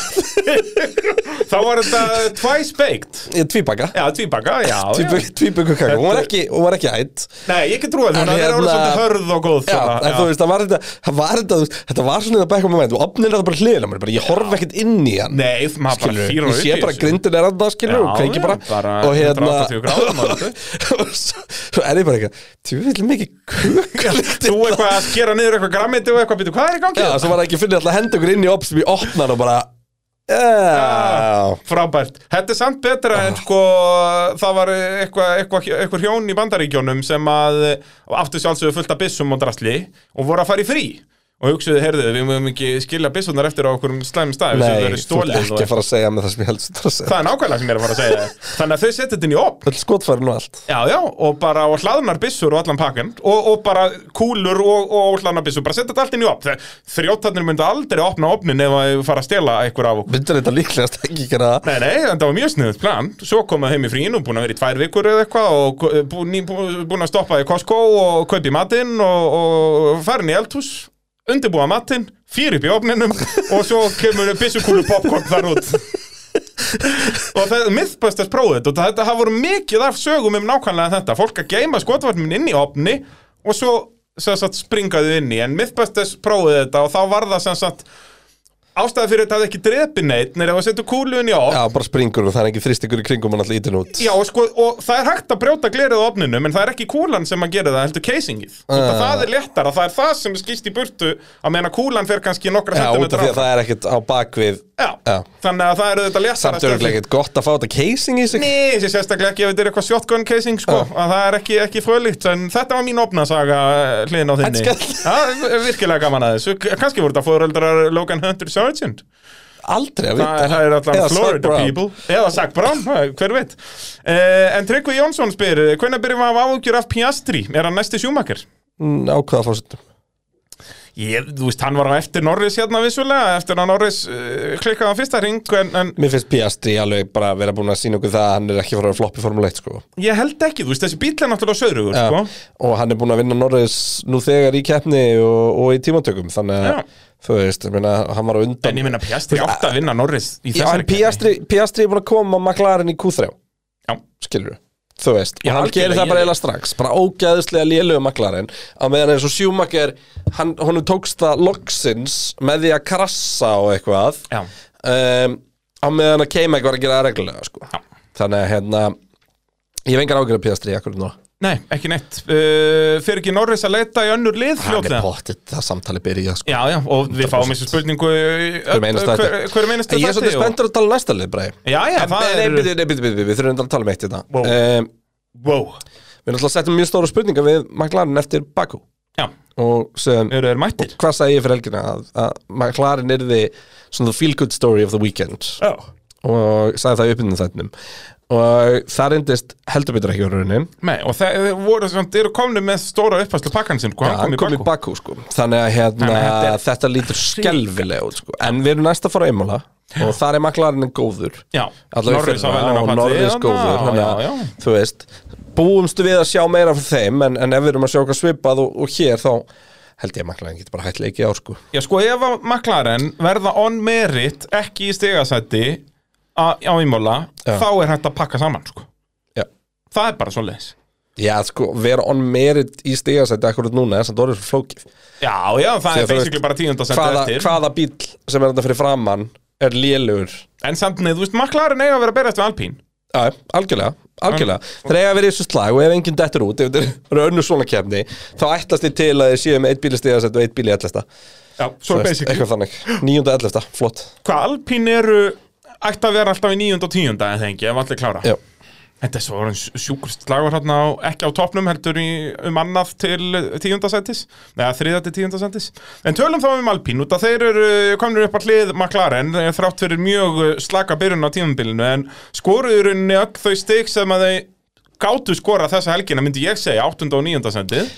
Þá var þetta twice baked
<laughs> ég tvíbaka
Já, tvíbaka, já, já
tvíbakukaka, hún var ekki, hún var ekki hætt
Nei, ég get trúið,
En
hún er orðið
hérna-
svolítið hörð og góð
Já,
svona,
en þú veist, það var þetta, það var þetta, þú veist, þetta var svona þetta bekkum með mænt og opnir þetta bara hliðina á mér, bara ég horf ekkert inn í hann
Nei, maður bara
skilur,
fýrar
ég
upp
sé
í
bara
þessu.
grindin er annað skilur og
Já,
kveiki
já,
bara,
bara
og hérna-
180 gráður, maður.
<laughs> og svo, svo er ég bara eitthvað tjóðvill mikið kukulikt
Þú eitthvað að skera niður eitthvað grammiti og eitthvað býtu, hvað er í gangi?
já, svo var það ekki finnir alltaf að henda okkur inn í opp sem ég opna hann og bara já,
Frábært. Þetta er samt betra en sko það var eitthvað eitthva, eitthva hjón í bandaríkjónum sem að eh, áttu sjálfsögur fullt af byssum og drasli og voru að fara í frí og hugsuðu, heyrðu, við mögum ekki skilja byssunar eftir á okkur slæmum stað
Nei,
þessu verið
þú ert
stólið
ekki að fara að segja með það sem ég held sem þú ert að segja
Það er nákvæmlega sem ég er að fara að segja þér. Þannig að þau setja þetta inn í opn
Öll skotfærin og allt
Já, já, og bara og hlaðnar byssur og allan pakkan og, og bara kúlur og, og hlaðnar byssur bara setja þetta allt inn í opn Þrjóttarnir myndu aldrei opna opnin ef að þau fara að stela einhver af okkur
Myndur þetta líklegast ekki gera það
Nei, nei, en það var mjög sniðut plan Svo komað heim í frín og búin að vera í tvær vikur eða eitthvað og eh, búin, búin að stoppa í Costco og kaupi matinn og, og farin í eldhús undirbúa matinn, fyrir upp í opninum og svo kemur byssukúlu popcorn þar út og það er mythbustast prófið og þetta hafa voru mikið af sögum um nákvæmlega þetta fólk að geima skotvarnin inn í opni og svo sem sagt, springaðu inn í en mythbustast prófið þetta og þá var það sem sagt ástæða fyrir þetta hafði ekki drepi neitt neður ef að setja kúlu inn í opn
Já, bara springur og það er ekki þrýstingur í kringum hann alltaf ítin út
Já, og, sko, og það er hægt að brjóta glerið á opninum en það er ekki kúlan sem að gera það, heldur casingið uh.
Ah.
Það er léttara, það er það sem er skýst í burtu að meina kúlan fer kannski nokkra
Já, út af
sentimetra
því að það er ekkert á bakvið
Já.
Já.
þannig að það eru þetta léttara
Samt
stöfli.
örgulega ekkert gott að fá þetta casing í sig
Nei, þessi sérstaklega ekki ef þetta er eitthvað shotgun casing sko,
Ah.
að það er ekki, ekki fröðlíkt en þetta var mín opnasaga eh, hliðin á þinni
En skell.
Það er virkilega gaman að þessu K- kannski voru þetta fóröldrar Logan Hunter Sargent
Aldrei
það
að vita
það er allan
Eða Zac
Florida
Brown.
people eða Zac Brown, það- hver veit uh, En Tryggvi Jónsson spyr eh, hvenær byrjum við að áhugjur af Piastri er hann næsti sjúmakar?
Mm, Á hvaða fórsettum
Ég, þú veist, hann var á eftir Norris hérna vissulega eftir að Norris uh, klikkaði á fyrsta ring en, en
Mér finnst Piastri alveg bara að vera búin að sína okkur það að hann er ekki farað að floppa í Formule 1 sko.
ég held ekki, þú veist, þessi bíl er náttúrulega söðrugur sko.
og hann er búin að vinna Norris nú þegar í keppni og, og í tímantökum þannig
Já.
að þú veist, ég meina, hann var á undan
En ég meina Piastri átt að vinna Norris í
Já, en
þessari
Piastri, Piastri er búin að koma McLaren í Q3
Já.
skilur þú veist,
Já,
og hann
algjörlega,
gerir það bara
ég-
eiginlega strax bara ógæðislega lélögu McLaren á meðan eins og Schumacher hann, honum tókst það loksins með því að krassa og eitthvað
Já.
um, á meðan að keima eitthvað að gera það reglulega sko.
Já.
þannig að hérna ég hef engar ágjörð Piastri akkur nú
Nei, ekki neitt uh, Fyrir ekki Norris að leita í önnur lið
hann er
fljótlega
pottitt það samtali byrja sko.
Já, já, og við fáum þessu spurningu
Hver
Hverjum
meinast þetta?
Hverjum einasta
En ég er svolítið spenntur að tala um næsta lið, Bræði.
Já, já,
En,
það
nei,
er
byrju, nei, byrju, byrju, við þurfum að tala um eitt þetta
Wow.
um,
Wow,
Við náttúrulega settum mjög stóra spurningar við McLaren eftir Baku
já,
og sem,
eru þeir mættir
hvað sagði ég fyrir helgina að, að McLaren yrði svona the feel good story of the weekend
Já
og sagði það í uppinnu þættinum og það reyndist heldur betur ekki á rauninni
Nei, og það þeir voru samt, eru komni með stóra uppfæslu pakkan sinn, sko, hvað
Já, hann kom í
bakku
Baku sko þannig að hérna,
Þannig að þetta er-
þetta lítur skelfilega út sko. en við erum næst að fara á einmála og þar er McLaren góður
Já,
Allavega
Norris á
fyrra
velun á
og
palli
Norris
þarna,
góður þannig
Já, já,
að, þú veist, búumstu við að sjá meira frá þeim, en, en ef við erum að sjá okkar svipað og, og hér, þá held ég að maklæðin getur bara hætt leikið á, sko
já, sko, ef að McLaren verða on merit ekki í stegasætti á á ímóla,
Já.
þá er hægt að pakka saman, sko
Já,
Það er bara svo leiðis
já sko, vera on merit í stigasætti akkurat núna, þess að það er svo flókið
Já, já, það er
Því að þú
basically
veist,
bara tíundasendi
hvaða,
eftir
hvaða bíl sem er þetta fyrir framann er lélugur
En samt neð, þú veist, McLaren eiga að vera að berjast við Alpín
Já, algjörlega, algjörlega
Mm.
Það eiga að vera í þessu slag og ef enginn dettur út ef þetta eru önnur svona kefni þá ætlast þið til að þið séum eitt bíl í stigasætt og eitt bíl í ætlasta
Já, svo basically
Eitthvað þannig, níunda ætlasta, flott
Hvað Alpín eru, ætti að vera alltaf í níund og tíunda en þengi, ef allir klára
Já.
Þetta er svo orðin sjúkur slagur hérna á, ekki á topnum heldur í, um annað til tíundasættis, neða þriða til tíundasættis. En tölum þá um Alpín, út að þeir eru eh, komnir upp að hlið McLaren eh, þrátt fyrir mjög eh, slaka byrjun á tímumbilinu en skoruðurinni öll þau stig sem að þau gátu skora þessa helgina myndi ég segja 8. og 9. sendið.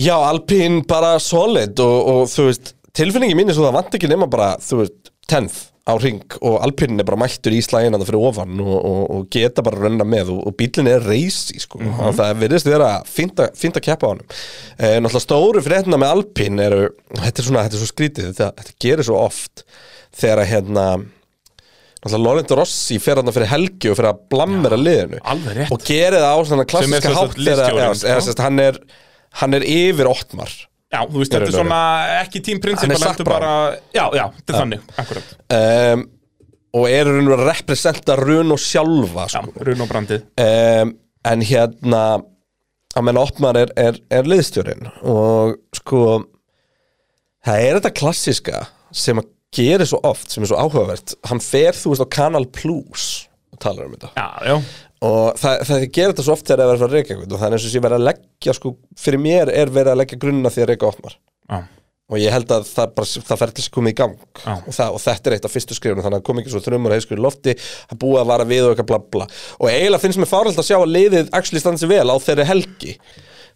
Já, Alpín bara solid og, og þú veist, tilfinningi mín er svo það vant ekki nema bara, þú veist, 10th á ring og Alpín er bara mættur í slægina það fyrir ofan og, og, og geta bara að rönna með og, og bílinn er reysi sko, mm
Mhm.
það virðist vera fínt að- fínt að keppa á honum eh, Náttúrulega stóru fréttina með Alpín eru, þetta er svona, þetta er svo skrítið þetta, þetta gerir svo oft þegar að hérna Náttúrulega Laurent Rossi fer hann fyrir helgi og fyrir að blammera liðinu
alveg rétt.
Og gerir það á svona
Sem er
klassiska
sem sagt
hátt þegar-
liðstjórinn,
já,
sko.
eða sem sagt, hann er hann er yfir Ottmar
Já, þú veist, þetta er
Raunverulega.
svona ekki tímprinsip
Hann er Zac Brown.
bara, Já, já, þetta er þannig, akkurat
um, og er raun og að representa Run og sjálfa
Já,
sko.
run og brandið
um, en hérna að menna Ottmar er, er, er liðstjórin og sko það er þetta klassiska sem að gera svo oft, sem er svo áhugavert hann fer þú veist á Kanal Plus og talar um þetta
Já, já,
og það, það gerir þetta svo oft þegar það er verið að reyka eitthvað og það er eins og sé verið að leggja sko, fyrir mér er verið að leggja grunna því að reyka Ottmar
já
og ég held að það, bara, það fer til að koma í gang
Já.
og, það, og þetta er eitt af fyrstu skrifunum þannig að koma ekki svo þrumur að heiskur í lofti að búa að vara við og eitthvað bla bla og eiginlega finnst mér fárhald að sjá að liðið actually standi sig vel á þeirri helgi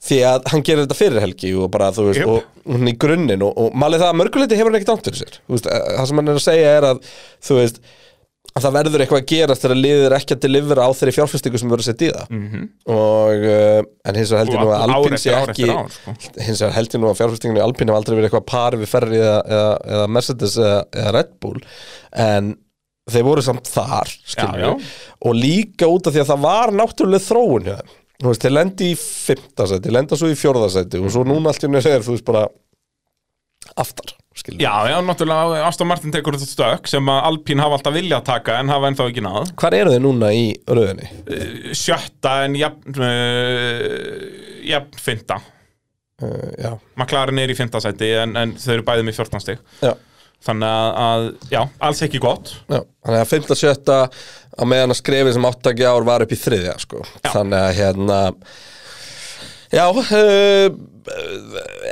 því að hann gerir þetta fyrir helgi og bara þú veist
Jöp.
og hún í grunninn og, og malið það að mörguleiti hefur hann ekkert ánt fyrir sér Þú veist, eh, það sem hann er að segja er að þú veist að það verður eitthvað að gerast þegar liðið er ekki að delivera á þeirri fjárfestingu sem verður sett í það -hmm. og eh, en hins vegar held ég nú
Mhm.
að
Og ár
Alpín sé
eftir ár
ekki
eftir ár, sko.
hins vegar held ég nú að fjárfestingunni í Alpín hef aldrei verið eitthvað par við Ferrari eða, eða, eða Mercedes eða, eða Red Bull en þeir voru samt þar skilur
Já, já.
við. og líka út af því að það var náttúrulega þróun hjá þeim Þú veist, þeir lendi í fimmtasæti, lenda svo í fjórðasæti og svo núna allt í henni segir, þú veist bara aftar, skilur við.
Já, já, náttúrulega Aston Martin tekur þetta stök sem að Alpín hafa alltaf viljað taka en hafa ennþá ekki náð
Hvar eru þeir núna í röðinni?
Sjötta en jafn uh, jafn finta
Uh, já,
McLaren er í finta sæti en, en þau eru bæðið með 14 stig
já
þannig að, að, já, alls ekki gott
Já, þannig að 5. sjötta á meðan að skrefið sem áttaki ár var upp í þriðja sko. þannig að hérna já uh,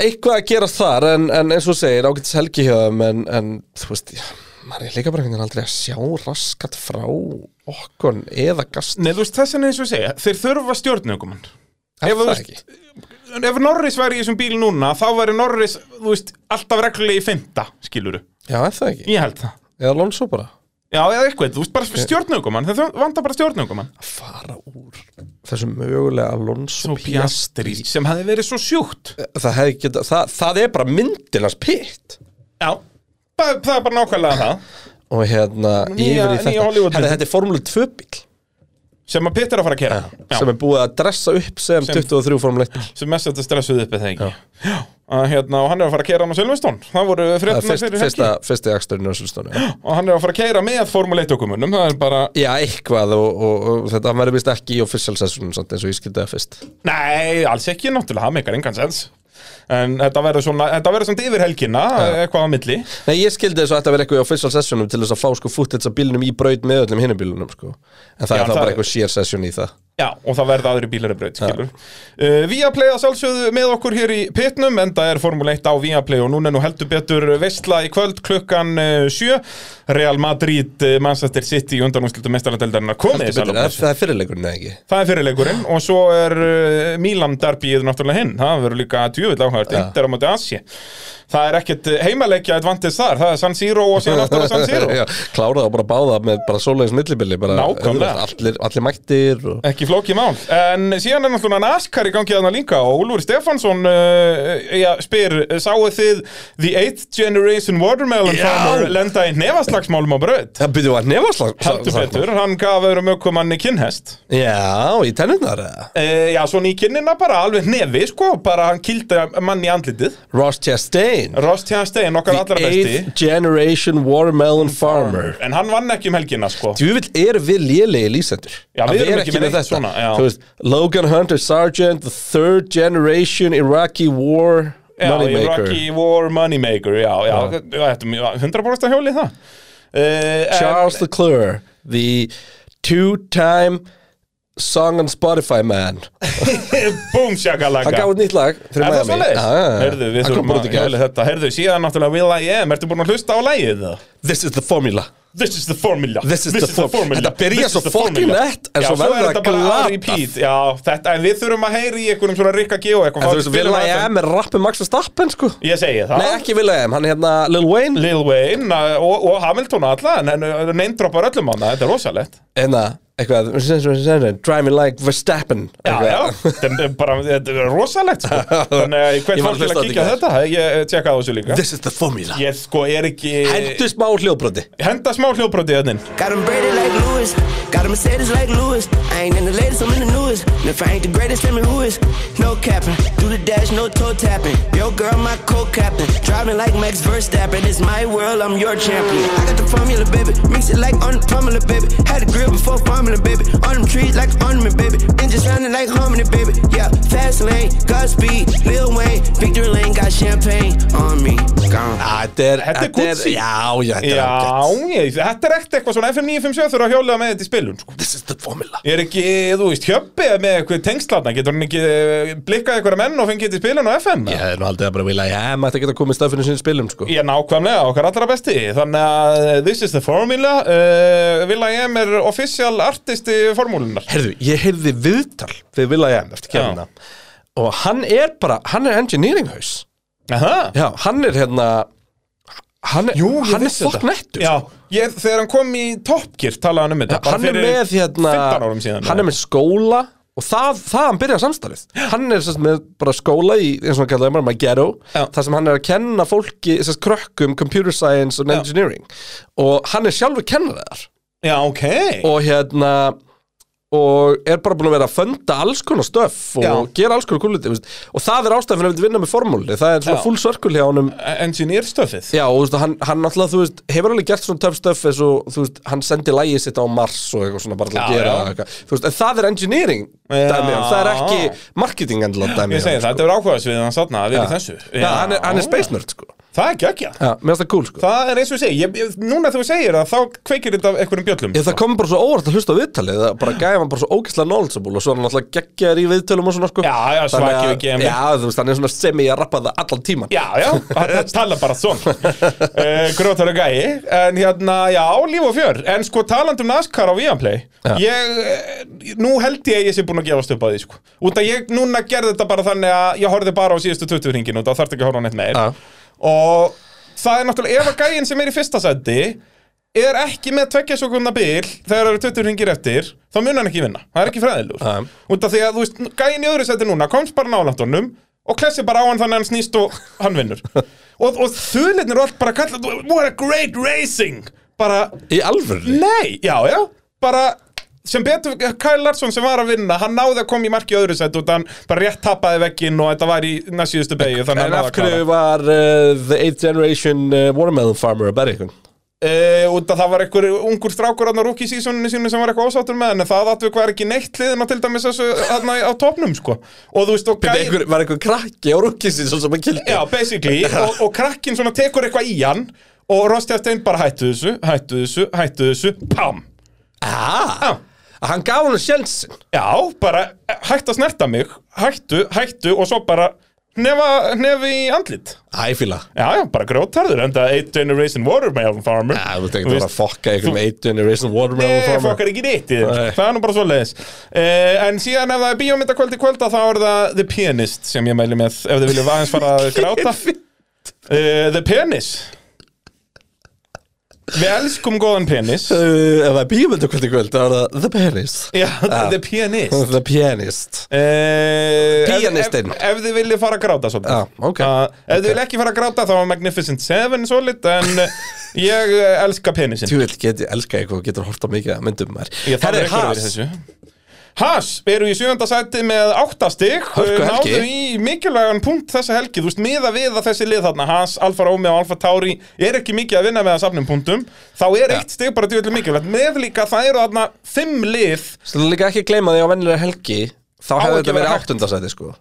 eitthvað að gerast þar en, en eins og þú segir ágætis helgi hjá þeim en, en þú veist, já, maður er líka bara einhvern veginn aldrei að sjá raskat frá okkon eða gast
Nei, þú veist, þessan eins og ég segja, þeir þurfa stjórnökumann
er
þú
það
veist-
ekki?
Ef Norris væri í þessum bíl núna, þá væri Norris, þú veist, alltaf reglulega í finta, skiluru
Já, er það ekki?
Ég held það
Eða Lónsó bara
Já, eða eitthvað, þú veist, bara stjórnökumann, þeir þurfa- vantar bara stjórnökumann
að fara úr þessu mögulega Lónsó
Svo Piastri, sem hefði verið svo sjúkt
það, hefði geta, það, það er bara myndilans pitt
Já, það, það er bara nákvæmlega það
og hérna
Nýja-
yfir í
nýja
þetta
Hollywood-
Herra, þetta er formule 2 bíl
Sem að Peter er að fara að kera Já,
sem er búið að dressa upp sem,
Sem-
23 formule 1
sem mest þetta stressuð uppið þegar ekki Já, að, hérna, og hann er að fara að kera hann á Silveston Það voru
það er
fréttina
fyrst,
fyrir
fyrsta,
helgi
fyrsti aksturinn á Silstónu
Og hann er að fara að kera með Formule 1 dokumunum Það er bara,
já, eitthvað og, og, og þetta hann verður vist ekki í official session samt eins og ég skildi það fyrst
nei, alls ekki náttúrulega, það meikar engan sens En þetta verður svona, þetta verður svona yfir helgina Eitthvað á milli
nei, ég skildi þess að þetta verður eitthvað í official sessionum til þess að fá sko footage af bílunum í braut með öllum hinnum bílunum sko en
Já,
það er þá
það
bara
er-
eitthvað sheer session í það
Já, og það verða aðri bílar að braut, skilur uh, Viaplay að sjálfsögðu með okkur hér í pitnum en það er Formule 1 á Viaplay og núna er nú heldur betur veistla í kvöld klukkan 7 Real Madrid, eh, Manchester City undanúslutum mestarlandeldarinnar komið þið,
Heldur betur,
Salómon.
það það er fyrirleikurinn eða ekki
Það er fyrirleikurinn og svo er uh, Milan derbíið náttúrulega hinn það verður líka djúvill áhært, Inter á móti Asi Það er ekkit heimaleikja advantis þar, það er San Siro og síðan aftur á San Siro
<laughs> Já, kláraðu bara báða með bara svoleiðis millibili bara
Nákvæmlega.
auðvelt, allir, allir mættir og...
Ekki flókið mál, en síðan er náttúrulega NASCAR í gangi þarna líka og Úlfur Stefánsson uh, já, spyr, sáu þið The 8th Generation Watermelon
Já.
Farmer lenda í nefaslagsmálum á braut?
það byrjuðu að nefaslag
Heldur betur, hann gaf öðrum ökumanni kinnhest
Já, í tennunar eða?
e, Já, svona í kinnina bara, alveg nefi, sko, bara hann kýldi mann í andlitið
Ross Chastain
Ross Tjastegin, okkar allra
The
besti
eighth generation watermelon farmer
En hann vann ekki um helgina, sko
Þú vil eru við lélegi lýsendur
Já, við
Að
erum
vera
ekki með neitt svona, já.
Þú veist, Logan Hunter Sargent The third generation Iraqi war
Já,
moneymaker
Rocky War Moneymaker, já, já, já. Þetta, er mjög- 100% hjólið það uh, <laughs>
Charles Leclerc The two time song on Spotify man
Búm,
Hann
shakalaka
gaf út nýtt lag
Er
fyrir
það
Miami.
svoleiðis?
Já, já, já.
Herðu, við
Hann kom
þurfum
bara
að
út í gær.
hjóli þetta Herðu, síðan náttúrulega Will I Am, ertu búin að hlusta á lægið það?
This is the formula
This is the formula
This is the form- Þetta byrjar
This is
svo
the
fucking
formula.
nett, en
Já,
svo verður
er
það
þetta bara að
glatað.
repeat. Já, þetta, en við þurfum að heyri í einhverjum svona Rikka G og
En
eitthvað
þú veist, Will I Am er rappið Max Verstappen sko
Ég segi það
Nei, ekki Will I Am, hann er hérna Lil Wayne
Lil Wayne uh, og, og Hamilton alla en- en neindroppar öllum hana, þetta er rosalegt
hérna, eitthvað driving like Verstappen
Já,
eitthvað.
já, þetta er bara þetta er rosalegt sko. þannig að ég
<laughs> Ég
hvern
var
fólk
að
til
hlusta á
að kíkja á
þetta í
þetta ég eh, tjekka á þessu líka
This is the formula
ég sko er ekki
Hendu smá hljóðbroti
henda smá hljóðbrotið hérna inn.
Got them braided like Lewis. Got a Mercedes like Lewis. I ain't in the latest, I'm in the newest. And if I ain't the greatest, let me who is. No capping. Do the dash, no toe tapping. Yo, girl, my co-captain. Driving like Max Verstappen. It's my world, I'm your champion. I got the formula, baby. Mix it like on the formula, baby. Had a grill before formula. harmony, baby. On them trees like an ornament, baby. Engine sounding like harmony, baby. Yeah, fast lane, Godspeed, Lil Wayne, Victory Lane got champagne on me. Gone.
Þetta er,
Þetta er Gucci.
já, já, þetta er
Já,
ágætt.
ég, þetta er ekkert eitthvað svona FM 957 þurfa að hjóla með þetta í spilun sko.
This is the formula.
Ég er ekki, þú veist, hjöppið með eitthvað tengslarna Getur hann ekki eh, blikkað einhverja menn og fengið þetta í spilun á FM
Ég hefði nú aldrei bara vilja, já, maður þetta geta komið stafinu sinni spilum, sko.
Ég er nákvæmlega okkar allra besti Þannig að eh, this is the formula uh, Villa EM er official artisti formúlunar
Herðu, ég heyrði viðtal við Villa E Jæm eftir kemna. Og hann er bara, hann er engineering haus.
Aha.
Já, hann er hérna, hann er,
Jú, ég
hann er
vissi þetta.
fokk nettur.
Já, ég, þegar hann kom í Topgear talaði hann um þetta bara
Hann er
fyrir
með hérna,
15 árum síðan
hann er með skóla og það, það hann byrjaði samstarfið. Hann er sérst með bara skóla í, eins og hann kallaði maður, Magero,
Já.
þar sem hann er að kenna fólki, sérst krökkum, computer science og engineering. Og hann er sjálfur kennaraðar.
Já, ok
og hérna og er bara búin að vera að funda alls konar stöf og
Já.
gera alls konar kúluti og það er ástæðan fyrir að vilja vinna með formúli það er svona
Já.
full circle hjá honum
E-, Engineerstöfið
Já, og þú veist, hann, hann náttúrulega, þú veist, hefur alveg gert svona töff stöf eins og, þú veist, hann sendi lægið sitt á Mars og eitthvað svona bara til að
Já,
gera
já.
eitthvað, þú veist, en það er engineering
Já.
dæmi, hann, það er ekki marketing endilega dæmi
Ég segi
hann,
það, þetta er áhugaðsvið hann satna að vera í þessu
Já, hann er, hann er space nerd, sko
Það er ekki ekki
Já, mér finnst það cool, sko
Það er eins og ég segi, ég, ég, núna þegar þú segir það þá kveikir þetta af einhverjum bjöllum
Ég, það kom bara svo óvart að hlusta á viðtalið það bara
Mm.
gæði hann bara svo ógæslega knowledgeable og svo er hann alltaf geggjaður í viðtölum og svona sko
Já, já,
Þannig að-
svakir við GM.
Já, þú veist, hann er svona semi að rappa það allan tíman
Já, já, það
<laughs>
tala bara svona uh, Grótar og gæi En hérna, já, líf og fjör En sko, talandi um NASCAR á Viaplay
Já.
Ég, eh, nú held ég að ég sé búin að gefast upp að því sko. Út að ég núna gerði þetta bara þannig að Ég horfði bara á síðustu 20 hringin Og það þarf ekki að horfa á neitt meir
Já.
Og það er náttúrulega, ef að gæin sem er í fyrsta seti Er ekki með tveggja sekundna bil Þegar það eru 20 hringir eftir Þá mun hann ekki vinna, það er ekki fræðilur
Já.
Út af því að, þú veist, gæin í öðru seti núna komst bara nálægt honum og klessi bara á hann þannig að hann snýst og hann vinnur.
<laughs>
og, og þulinnir og allt bara kalla, what a great racing! Bara,
Í alvörni
nei, já, já, bara, sem betur, Kyle Larsson sem var að vinna, hann náði að koma í marki í öðru seti og hann bara rétt tapaði vegginn og þetta var í næstsíðustu beigju, þannig
En
að hann
af
náði að
hverju
klára.
var uh, The 8th Generation uh, Watermelon Farmer að berja ykkur?
Uh, út að það var einhver ungur strákur hann á rúki sísoninu sínu sem var eitthvað ósáttur með en það atvik var ekki neitt hliðina til dæmis þessu hann á topnum sko og þú veist og
Var
gæi-
einhver, var einhver krakki á rúkisins sem að kildi?
Já,
<laughs>
basically, og, og krakkin svona tekur eitthvað í hann og Rostjaftein bara hættu þessu, hættu þessu, hættu þessu, pam
Ah, hann gaf hann sjensin
Já, bara hættu að snerta mig, hættu, hættu og svo bara hnefa, hnefi í andlit
Æ, fíla
Já, já, bara grótarður, enda 8 Generation Watermelon Farmer
Já, þú tekur bara að fokka ykkur með 8th Generation Watermelon
Nei,
Farmer
fokkar Eh, ekki neitt í þér,
Nei.
það er nú bara svo leiðis En síðan ef það er bíómyndakvöld í kvölda þá er það The Pianist sem ég mæli með ef þið viljum aðeins fara
<laughs>
að gráta uh, The Penis Við elskum góðan penis
Uh, Ef það er bíumundu kvöld í kvöld, þá er það The Pianist
Já, <laughs> The Pianist
<laughs> The Pianist
Eh, ef-
Pianistinn.
ef, ef þið viljið fara að gráta svolítið
Já, ok.
Ah, Ef þið viljið ekki fara að gráta þá var Magnificent 7 svolít En
<laughs>
eh, ég eh, elska penisinn
Þú veit, get, ég elska eitthvað og getur horta mikið að myndum mér
Ég þarf
Herri,
ekki að vera í
Haas,
þessu Haas, við erum í sjöfunda sæti með áttastig
Hörku helgi.
Náðu í mikilvægan punkt þessa helgi Þú veist, miða við að þessi lið þarna Haas, Alfa Romeo og Alfa Tauri Er ekki mikið að vinna með að safnum punktum Þá er eitt stig bara djúvillig mikilvægt Með líka það eru þarna fimm lið
Skulum líka ekki gleyma því á vennilega helgi Þá hefði
ekki
þetta
að vera
verið
hægt.
áttundasæti sko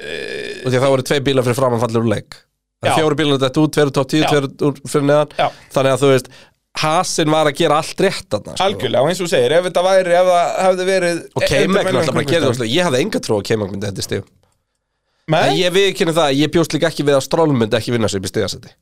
e... Og því að það voru tvei bílar fyrir framan fallur úr leik Það
Já.
er Fjóru bílar þetta út, tveir úr top 10,
Já.
tveir úr fyrir neðan
Já.
Þannig að þú veist, Haasin var að gera allt rétt þarna sko.
Algjörlega, E- og eins og þú segir, ef þetta væri Ef það hefði verið
Og Keimek náttúrulega bara gerði óslega Ég hafði enga trú að Keimek myndi þetta stig En
Nei,
ég viðkynni það, að ég bjóst líka ekki við að Stroll myndi ekki vinna sér upp í stigasæti